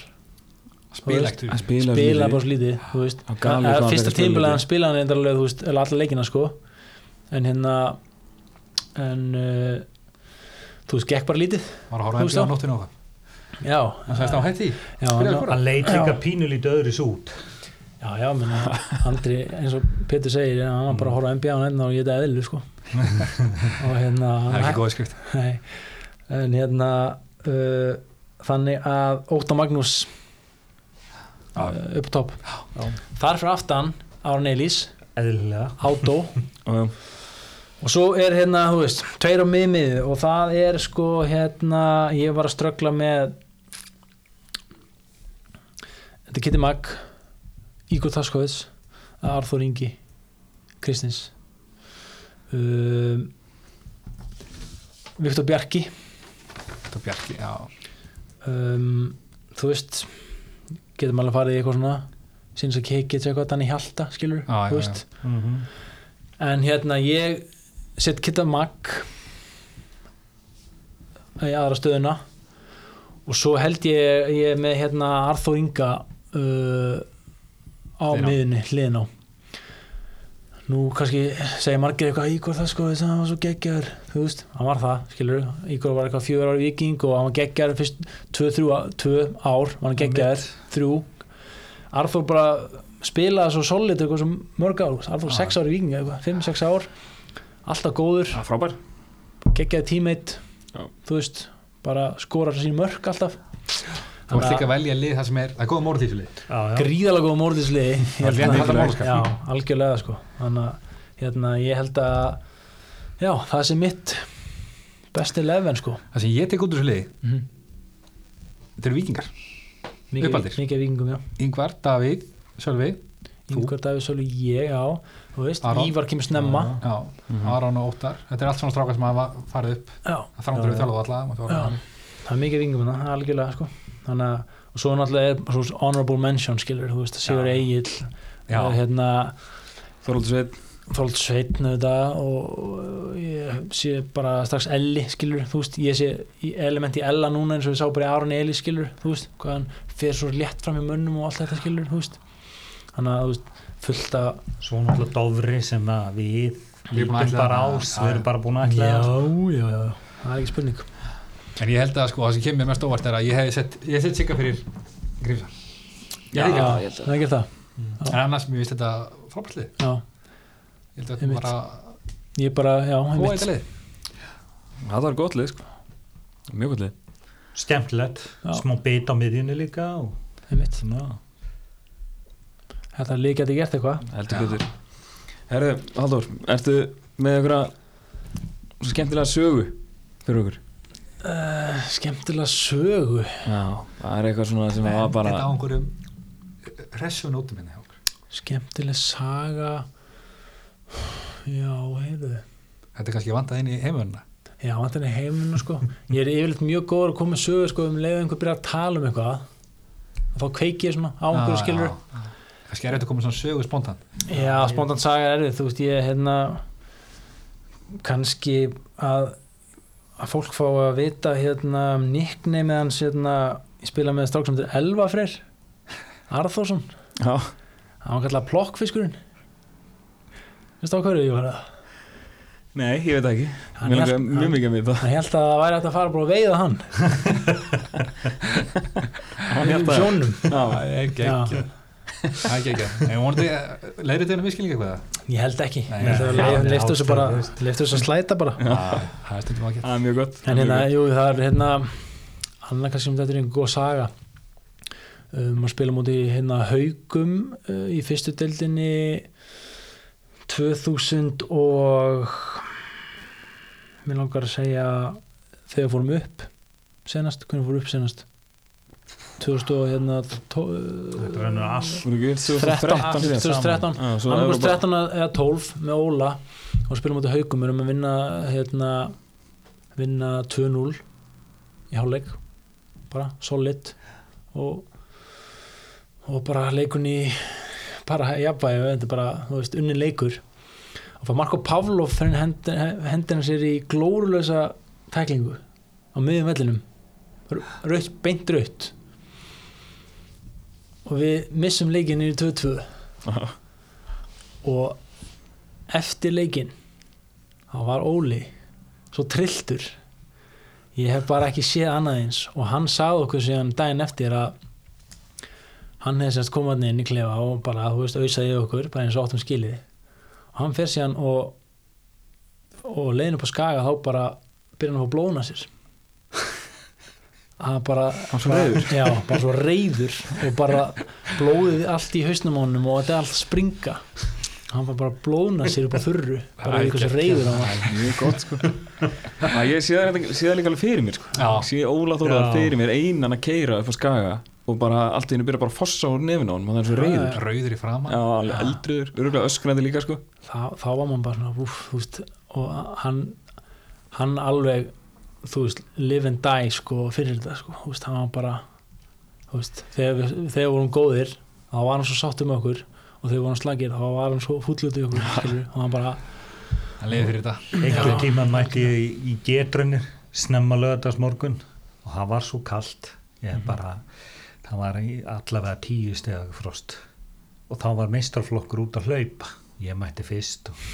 [SPEAKER 2] spila ekkert
[SPEAKER 1] að
[SPEAKER 2] upp.
[SPEAKER 1] spila
[SPEAKER 4] spila
[SPEAKER 1] við-
[SPEAKER 4] bara slítið, þú veist
[SPEAKER 1] Á galið hvað hann
[SPEAKER 4] Eða
[SPEAKER 1] fekk
[SPEAKER 4] fyrsta
[SPEAKER 1] að spila
[SPEAKER 4] tímbil
[SPEAKER 1] lítið.
[SPEAKER 4] að hann spila hann reyndar alveg, þú veist, eða alla leikina sko en hérna en uh, þú veist, gekk bara lítið
[SPEAKER 2] var að horfa
[SPEAKER 4] Þú
[SPEAKER 2] að
[SPEAKER 4] veist
[SPEAKER 2] NBA á
[SPEAKER 4] það?
[SPEAKER 2] nóttinu og það
[SPEAKER 4] já,
[SPEAKER 2] hann sagðist á hætti
[SPEAKER 4] já,
[SPEAKER 2] spilaði
[SPEAKER 4] hann-
[SPEAKER 2] bara.
[SPEAKER 3] hann leit líka
[SPEAKER 4] Já.
[SPEAKER 3] pínulítið öðris út
[SPEAKER 4] já, já menn, Andri, eins og Pétur segir hann var bara að horfa á NBA á nættina og ég þetta eðlu sko og hérna
[SPEAKER 2] það er ekki góð skrift
[SPEAKER 4] Nei, en hérna uh, þannig að Óta Magnús
[SPEAKER 2] Já.
[SPEAKER 4] uh, upp á topp þar fyrir aftan Aron Elís,
[SPEAKER 3] eðlilega
[SPEAKER 4] Átó
[SPEAKER 1] og
[SPEAKER 4] og svo er hérna, þú veist, tveir á miðmið og það er sko hérna ég var að ströggla með þetta er Kitty Mag Ígur Taskovits Arþór Ingi Kristins um, Viktor Bjarki
[SPEAKER 2] þetta er Bjarki já
[SPEAKER 4] um, þú veist getum alveg farið í eitthvað svona síns að keikið til eitthvað þannig hjalta skilur,
[SPEAKER 2] Já, já, Mhm.
[SPEAKER 4] þú veist en hérna ég sett kitta mag í aðra stöðuna og svo held ég ég er með hérna Arþór Inga uh, á
[SPEAKER 2] Hliðina á.
[SPEAKER 4] miðunni hliðin á nú kannski segja margir eitthvað Ígor það sko, það var svo geggjar þú veist, hann var það, skilur Ígor var eitthvað fjögur ára viking og hann var geggjar fyrst tvö, þrjú, á- tvö ár var hann geggjar, þrjú Arþór bara spilaði svo solid eitthvað sem mörg ár, Arþór
[SPEAKER 2] Já.
[SPEAKER 4] sex ára í viking eitthvað, fimm, sex ár alltaf góður
[SPEAKER 1] Já, frábær
[SPEAKER 4] geggjaði tímeitt
[SPEAKER 1] Já.
[SPEAKER 4] þú veist, bara skorar sín mörk alltaf
[SPEAKER 2] þú ert líka að velja lið það sem er það er góða morðið fyrir lið
[SPEAKER 3] já, já.
[SPEAKER 4] gríðalega góða mórðisliði
[SPEAKER 2] Það er létt að halda málskap.
[SPEAKER 4] já, algjörlega sko þannig að hérna, ég held að já, það sé mitt besti lefven sko
[SPEAKER 2] það sem ég tek út úr þessu liði
[SPEAKER 4] mm -hmm.
[SPEAKER 2] þetta eru vikingar Uppaldir.
[SPEAKER 4] mikið vikingum, já
[SPEAKER 2] Ingvar, Davíð, Sölvi Þú?
[SPEAKER 4] Yngvar Davíð Sólu, ég, já þú veist,
[SPEAKER 2] Aron.
[SPEAKER 4] Ívar kemur snemma
[SPEAKER 2] já
[SPEAKER 1] Mhm.
[SPEAKER 2] Aron og Óttar þetta er allt svona strákar sem hafa farið upp
[SPEAKER 4] já,
[SPEAKER 2] það þrándur
[SPEAKER 4] Já,
[SPEAKER 2] við
[SPEAKER 4] já.
[SPEAKER 2] þjálfað alla maður þjálfað
[SPEAKER 4] Já.
[SPEAKER 2] alla.
[SPEAKER 4] það er mikið vikingum það, algjörlega sko þannig að, og svo náttúrulega er svo honorable mention skilur, þú veist, Sigur Egil
[SPEAKER 2] Já.
[SPEAKER 4] hérna,
[SPEAKER 1] Þorvaldur Sveit
[SPEAKER 4] Þorvald Sveitn auðvitað og ég sé bara strax Elli skilur, þú veist, ég sé í element í Ella núna eins og ég sá bara í Aron Eli skilur, þú veist, hvað hann fer svo létt fram í munnum og allt þetta skilur, þú veist þannig að, þú veist, fullt að
[SPEAKER 3] svo náttúrulega dofri sem að
[SPEAKER 2] Við
[SPEAKER 3] við
[SPEAKER 2] erum búin að
[SPEAKER 3] lítum
[SPEAKER 2] ætla
[SPEAKER 3] bara
[SPEAKER 2] það.
[SPEAKER 3] ás
[SPEAKER 2] Já,
[SPEAKER 3] við
[SPEAKER 2] já.
[SPEAKER 3] erum bara búin að ætla það.
[SPEAKER 4] já, já, það er ekki spurning
[SPEAKER 2] en ég held að sko það sem kemur mér mest óvart er að ég hef sett ég hef sett sigga fyrir Grímsar
[SPEAKER 4] já,
[SPEAKER 2] ég
[SPEAKER 4] já, það er ekki það,
[SPEAKER 2] en annars mér finnst þetta frábært lið
[SPEAKER 4] já,
[SPEAKER 2] ég held að þetta
[SPEAKER 4] Einmitt.
[SPEAKER 2] bara
[SPEAKER 4] ég bara, já,
[SPEAKER 2] hóa
[SPEAKER 4] einmitt
[SPEAKER 2] þetta lið
[SPEAKER 1] það var gott lið sko mjög gott lið
[SPEAKER 3] skemmtilegt,
[SPEAKER 4] Já.
[SPEAKER 3] smá bit á miðjunni líka og
[SPEAKER 4] einmitt,
[SPEAKER 3] svona
[SPEAKER 4] þetta er líka geti gert eitthvað
[SPEAKER 1] heldur
[SPEAKER 2] Já.
[SPEAKER 1] betur Herðu, Halldór, ertu með einhverja svo skemmtilega sögu fyrir okkur?
[SPEAKER 4] uh, skemmtilega sögu
[SPEAKER 1] Já, það er eitthvað svona sem var bara
[SPEAKER 2] þetta á einhverjum hressu nótum hérna minni
[SPEAKER 4] skemmtileg saga já, heyrðu
[SPEAKER 2] þetta er kannski vandað inn í heimvörna
[SPEAKER 4] Já, vantan er heiminu sko Ég er yfirleitt mjög góður að koma með sögur sko um leiðið einhver byrja að tala um eitthvað og þá kveiki ég svona á
[SPEAKER 2] Ah,
[SPEAKER 4] einhverju skilur
[SPEAKER 2] kannski er þetta komið svona sögu spontan
[SPEAKER 4] Já, já spontant saga er erfið þú veist ég hérna kannski að að fólk fá að vita hérna nickname hans hérna ég spila með strák sem þetta er Elva Freyr Arþórsson,
[SPEAKER 1] Já,
[SPEAKER 4] hann var kallað plokkfiskurinn Veistu á hverju ég var að
[SPEAKER 1] nei, ég veit það ekki
[SPEAKER 4] Hann
[SPEAKER 1] Mér
[SPEAKER 4] hélt-
[SPEAKER 1] langar mjög mikið að vita
[SPEAKER 4] Hann held að það væri hægt að fara bara að veiða hann
[SPEAKER 1] Hann
[SPEAKER 4] í
[SPEAKER 1] hélt að-
[SPEAKER 4] sjónum
[SPEAKER 1] Já,
[SPEAKER 2] það er
[SPEAKER 4] Já.
[SPEAKER 2] geggjað það er geggjað en vonandi eh, leirir þetta miskilning eitthvað
[SPEAKER 4] Ég held ekki,
[SPEAKER 2] Nei,
[SPEAKER 4] ég held
[SPEAKER 3] nei,
[SPEAKER 4] að
[SPEAKER 3] nei,
[SPEAKER 4] leiftu þessu
[SPEAKER 3] ástæður,
[SPEAKER 4] bara
[SPEAKER 3] þú
[SPEAKER 4] leiftu þessu að slæta bara
[SPEAKER 2] það það er stundum ágætt
[SPEAKER 1] það er mjög gott
[SPEAKER 4] en hérna,
[SPEAKER 1] Mjög gott.
[SPEAKER 4] jú, það er hérna annað kannski um þetta er einhver góð saga um að spila múti hérna haugum uh, í fyrstu deildinni 2000 og mér langar að segja þegar fórum upp senast, hvernig fórum upp senast 2000 og hérna tó-
[SPEAKER 3] þetta er ennur allt
[SPEAKER 1] Voru ekki
[SPEAKER 4] 13,
[SPEAKER 1] 2013 síðan?
[SPEAKER 4] 2013
[SPEAKER 1] Já, svo
[SPEAKER 4] annarkvæmst
[SPEAKER 1] Evrópa-
[SPEAKER 4] 13 eða 12 með Óla og spilum út í haugum erum að vinna hérna vinna 2-0 í hálfleik bara solid og, og bara leikun í bara jafnvægi þetta er bara, þú veist, unni leikur og fá Marko Pavlov fyrir hendina sér í glórulösa tæklingu á miðjum vellinum raut, beint raut og við missum leikin í 2-2 og eftir leikin þá var Óli svo trilltur ég hef bara ekki séð annað eins og hann sagði okkur síðan daginn eftir að hann hefði sérst komaðni inn í klefa og bara, þú veist, auðsaði okkur bara eins og áttum skilið og hann fer síðan og og leiðin upp á skaga þá bara byrja hann að fá blóna sér hann bara hann
[SPEAKER 1] svo reiður?
[SPEAKER 4] já, bara svo reyður og bara blóðið allt í hausnum á honum og þetta er allt springa hann var bara að blóna sér upp á þurru bara
[SPEAKER 2] Æ,
[SPEAKER 4] eitthvað svo
[SPEAKER 2] geggjað.
[SPEAKER 4] reyður hann var
[SPEAKER 1] mjög gott sko Æ, ég sé það reyndar- sé það líka alveg fyrir mér sko
[SPEAKER 2] Já.
[SPEAKER 1] sé Óla Þóraðar
[SPEAKER 3] Já.
[SPEAKER 1] fyrir mér einan að keira upp á skaga og bara allt í hennu byrja bara að fossa úr nefn á hann hann er svo reyður
[SPEAKER 4] Já.
[SPEAKER 2] rauður í
[SPEAKER 1] Já,
[SPEAKER 2] framann
[SPEAKER 1] alveg eldriður, örgulega öskrandi líka sko
[SPEAKER 4] þá, þá var maður bara svona úf, þú veist, og hann hann alveg þú veist, live and die sko fyrir þetta sko, þú veist, hann var bara þú veist, þegar, við, þegar vorum góðir þá var hann svo sátt um okkur og þegar vorum slagir þá var hann svo fúllut í okkur skilur, og hann bara,
[SPEAKER 2] hann leiði fyrir þetta
[SPEAKER 3] einhver tíma mætti ég í, í getrunir snemma lögadags morgun og það var svo kalt ég bara, það var í allavega tíu stega frost og þá var meistarflokkur út að hlaupa ég mætti fyrst og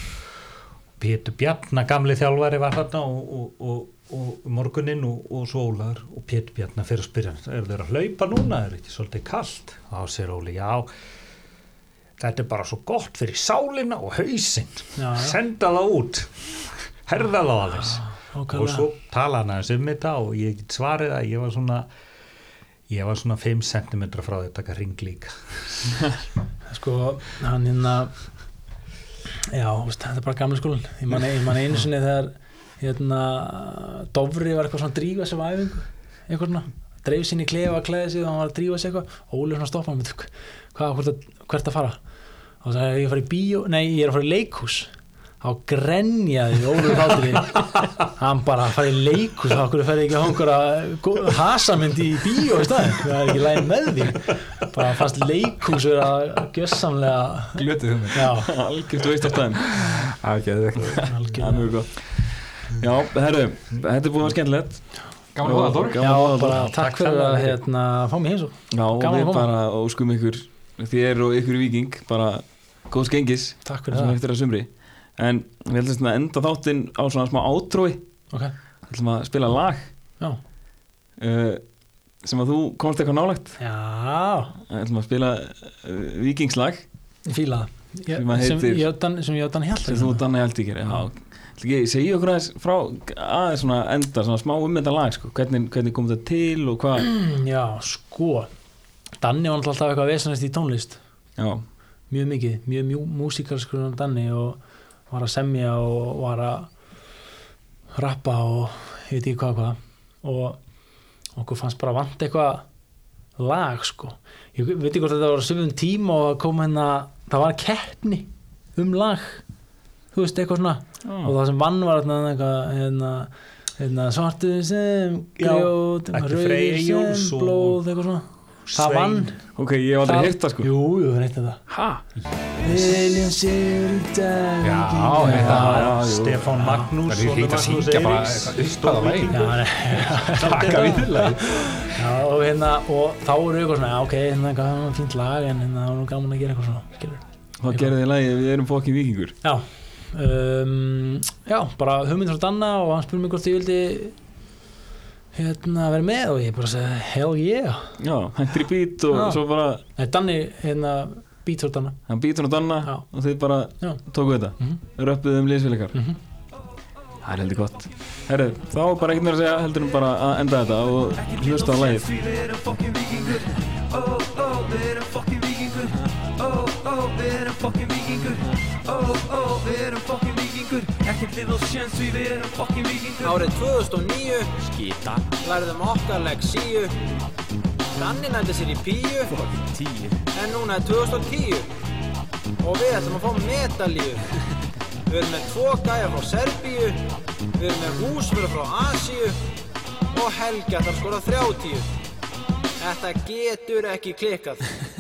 [SPEAKER 3] Pétur Bjarnar, gamli þjálfari var þarna og, og, og, og morguninn og, og svo Ólaður og Pétur Bjarnar fyrir að spyrja, hann, eru þeir að hlaupa núna er ekki svolítið kalt, þá sér Óli já, þetta er bara svo gott fyrir sálina og hausinn
[SPEAKER 4] Já, já.
[SPEAKER 3] senda það út herða það aðeins og
[SPEAKER 4] ákvæmlega
[SPEAKER 3] svo tala hann aðeins um þetta og ég get svarið að ég var svona ég var svona 5 cm frá því að taka ring líka
[SPEAKER 4] sko, hann hérna já, þú veist, þetta er bara gamla skólan ég man, ég man einu sinni þegar hérna, Dofri var eitthvað svona að drífa sig á æfingu, eitthvað svona dreif sinni í klefa að klæða sig og hann var að drífa sig eitthvað Óli svona stoppa hann, veitu, hvað, hvert, að, hvert að fara og það er ég að fara í bíó, nei, ég er að fara í leikhús þá grenjaði Óli Bátri hann bara að fara í leikhús þá okkur ferði ekki á einhverja hasamynd í bíó í staðin það er ekki læg með því bara fannst leikhús vera gjössamlega
[SPEAKER 2] glötuð hugmynd
[SPEAKER 4] já,
[SPEAKER 1] Algjört veist af þeim
[SPEAKER 2] gaman
[SPEAKER 1] Það er
[SPEAKER 4] algjörlega
[SPEAKER 1] mjög gott Já, herru, þetta er búið að vera skemmtilegt
[SPEAKER 2] að hóða Þór
[SPEAKER 1] Gaman
[SPEAKER 4] Já,
[SPEAKER 1] að hóða
[SPEAKER 4] bara
[SPEAKER 1] Þór.
[SPEAKER 4] takk fyrir að hérna, fá mig heim svo
[SPEAKER 1] Já, og
[SPEAKER 4] gaman að
[SPEAKER 1] við
[SPEAKER 4] koma.
[SPEAKER 1] bara óskum ykkur þér og ykkur í Víking bara góðs gengis
[SPEAKER 4] Takk fyrir
[SPEAKER 1] sem
[SPEAKER 4] það
[SPEAKER 1] eftir að sumri en við heldum svona að enda þáttinn á svona smá átrói
[SPEAKER 4] Ok,
[SPEAKER 1] við ætlum að spila lag
[SPEAKER 4] já
[SPEAKER 1] uh, sem að þú komst eitthvað nálægt
[SPEAKER 4] Já,
[SPEAKER 1] við ætlum að spila uh, Víkingslag
[SPEAKER 4] ég fíla það Ég-
[SPEAKER 1] Sem að
[SPEAKER 4] sem
[SPEAKER 1] heitir-
[SPEAKER 4] Jötan, sem Jötan Hjalti
[SPEAKER 1] sem þú danna held ekki ég segi okkur aðeins frá aðeins svona enda svona smá um þetta lag sko. hvernig, hvernig kom þetta til og hvað
[SPEAKER 4] Já, sko Danni var náttúrulega alltaf eitthvað vesanist í tónlist
[SPEAKER 1] já,
[SPEAKER 4] mjög mikið, mjög mjú, músikalskur um danni og var að semja og var að rappa og ég veit ekki hvað og hvað og okkur fannst bara vant eitthvað lag sko ég veit ekki hvort þetta var sömum tíma og það kom hérna, það var keppni um lag, þú veist eitthvað svona og það sem vann var hérna eitthvað hérna, hérna svartu sem
[SPEAKER 3] Já,
[SPEAKER 4] grjót,
[SPEAKER 3] ætli Freyr
[SPEAKER 4] rauður
[SPEAKER 3] Eyjólfs
[SPEAKER 4] sem
[SPEAKER 3] og-
[SPEAKER 4] blóð eitthvað svona það
[SPEAKER 3] Svein.
[SPEAKER 4] vann
[SPEAKER 1] ok, ég hef aldrei hitt það sko
[SPEAKER 4] jú, jú, það er eitt þetta
[SPEAKER 1] ha?
[SPEAKER 4] Viljum sigur í dag
[SPEAKER 2] já, þetta
[SPEAKER 1] já, jú.
[SPEAKER 3] Stefán Magnús
[SPEAKER 2] það er
[SPEAKER 3] sonur
[SPEAKER 2] hlýtt að
[SPEAKER 3] Magnús
[SPEAKER 2] syngja bara
[SPEAKER 3] Eiríks.
[SPEAKER 2] eitthvað upphæða veginn
[SPEAKER 4] Já, nei,
[SPEAKER 2] taka viðlag
[SPEAKER 4] já, og hérna og þá eru eitthvað svona, já, ok, hérna gaf hann fínt lag en hérna var nú gaman að gera eitthvað svona skilur.
[SPEAKER 1] þá gerði þið lagið við erum fokkin vikingur
[SPEAKER 4] Já um, Já, bara hugmynd frá Danna og hann spurði mig hvort ég vildi hérna vera með og ég bara segi hell yeah
[SPEAKER 1] já, hættir í bít og
[SPEAKER 4] Já.
[SPEAKER 1] svo bara
[SPEAKER 4] Nei, Danni, hérna, beat frá Danna
[SPEAKER 1] hann býtur og danna
[SPEAKER 4] Já.
[SPEAKER 1] og þið bara
[SPEAKER 4] Já.
[SPEAKER 1] tóku þetta mm
[SPEAKER 4] Mhm.
[SPEAKER 1] -hmm. röppuðu um liðsfélagar það er heldur gott herru, þá er bara ekkert meira að segja heldur um bara að enda þetta og hlusta á lagið
[SPEAKER 5] Því við erum fokkin vikingur Ó, ó, oh, við erum fokkin vikingur Ó, ó, oh, við erum fokkin vikingur Ó, ó, oh, við erum fokkin vikingur Ekkert lið og sjens Því við erum fokkin vikingur
[SPEAKER 6] Árið 2009 Skýta Lærðum okkar leksíu Danni nætti sér í píu Fokkin tíu En núna er 2010 Og við ætlum að fá metalíu
[SPEAKER 4] Við erum með tvo gæja frá Serbíu, við erum með húsfyrir frá Asíu og Helga þarf skora 30. Þetta getur ekki klikkað.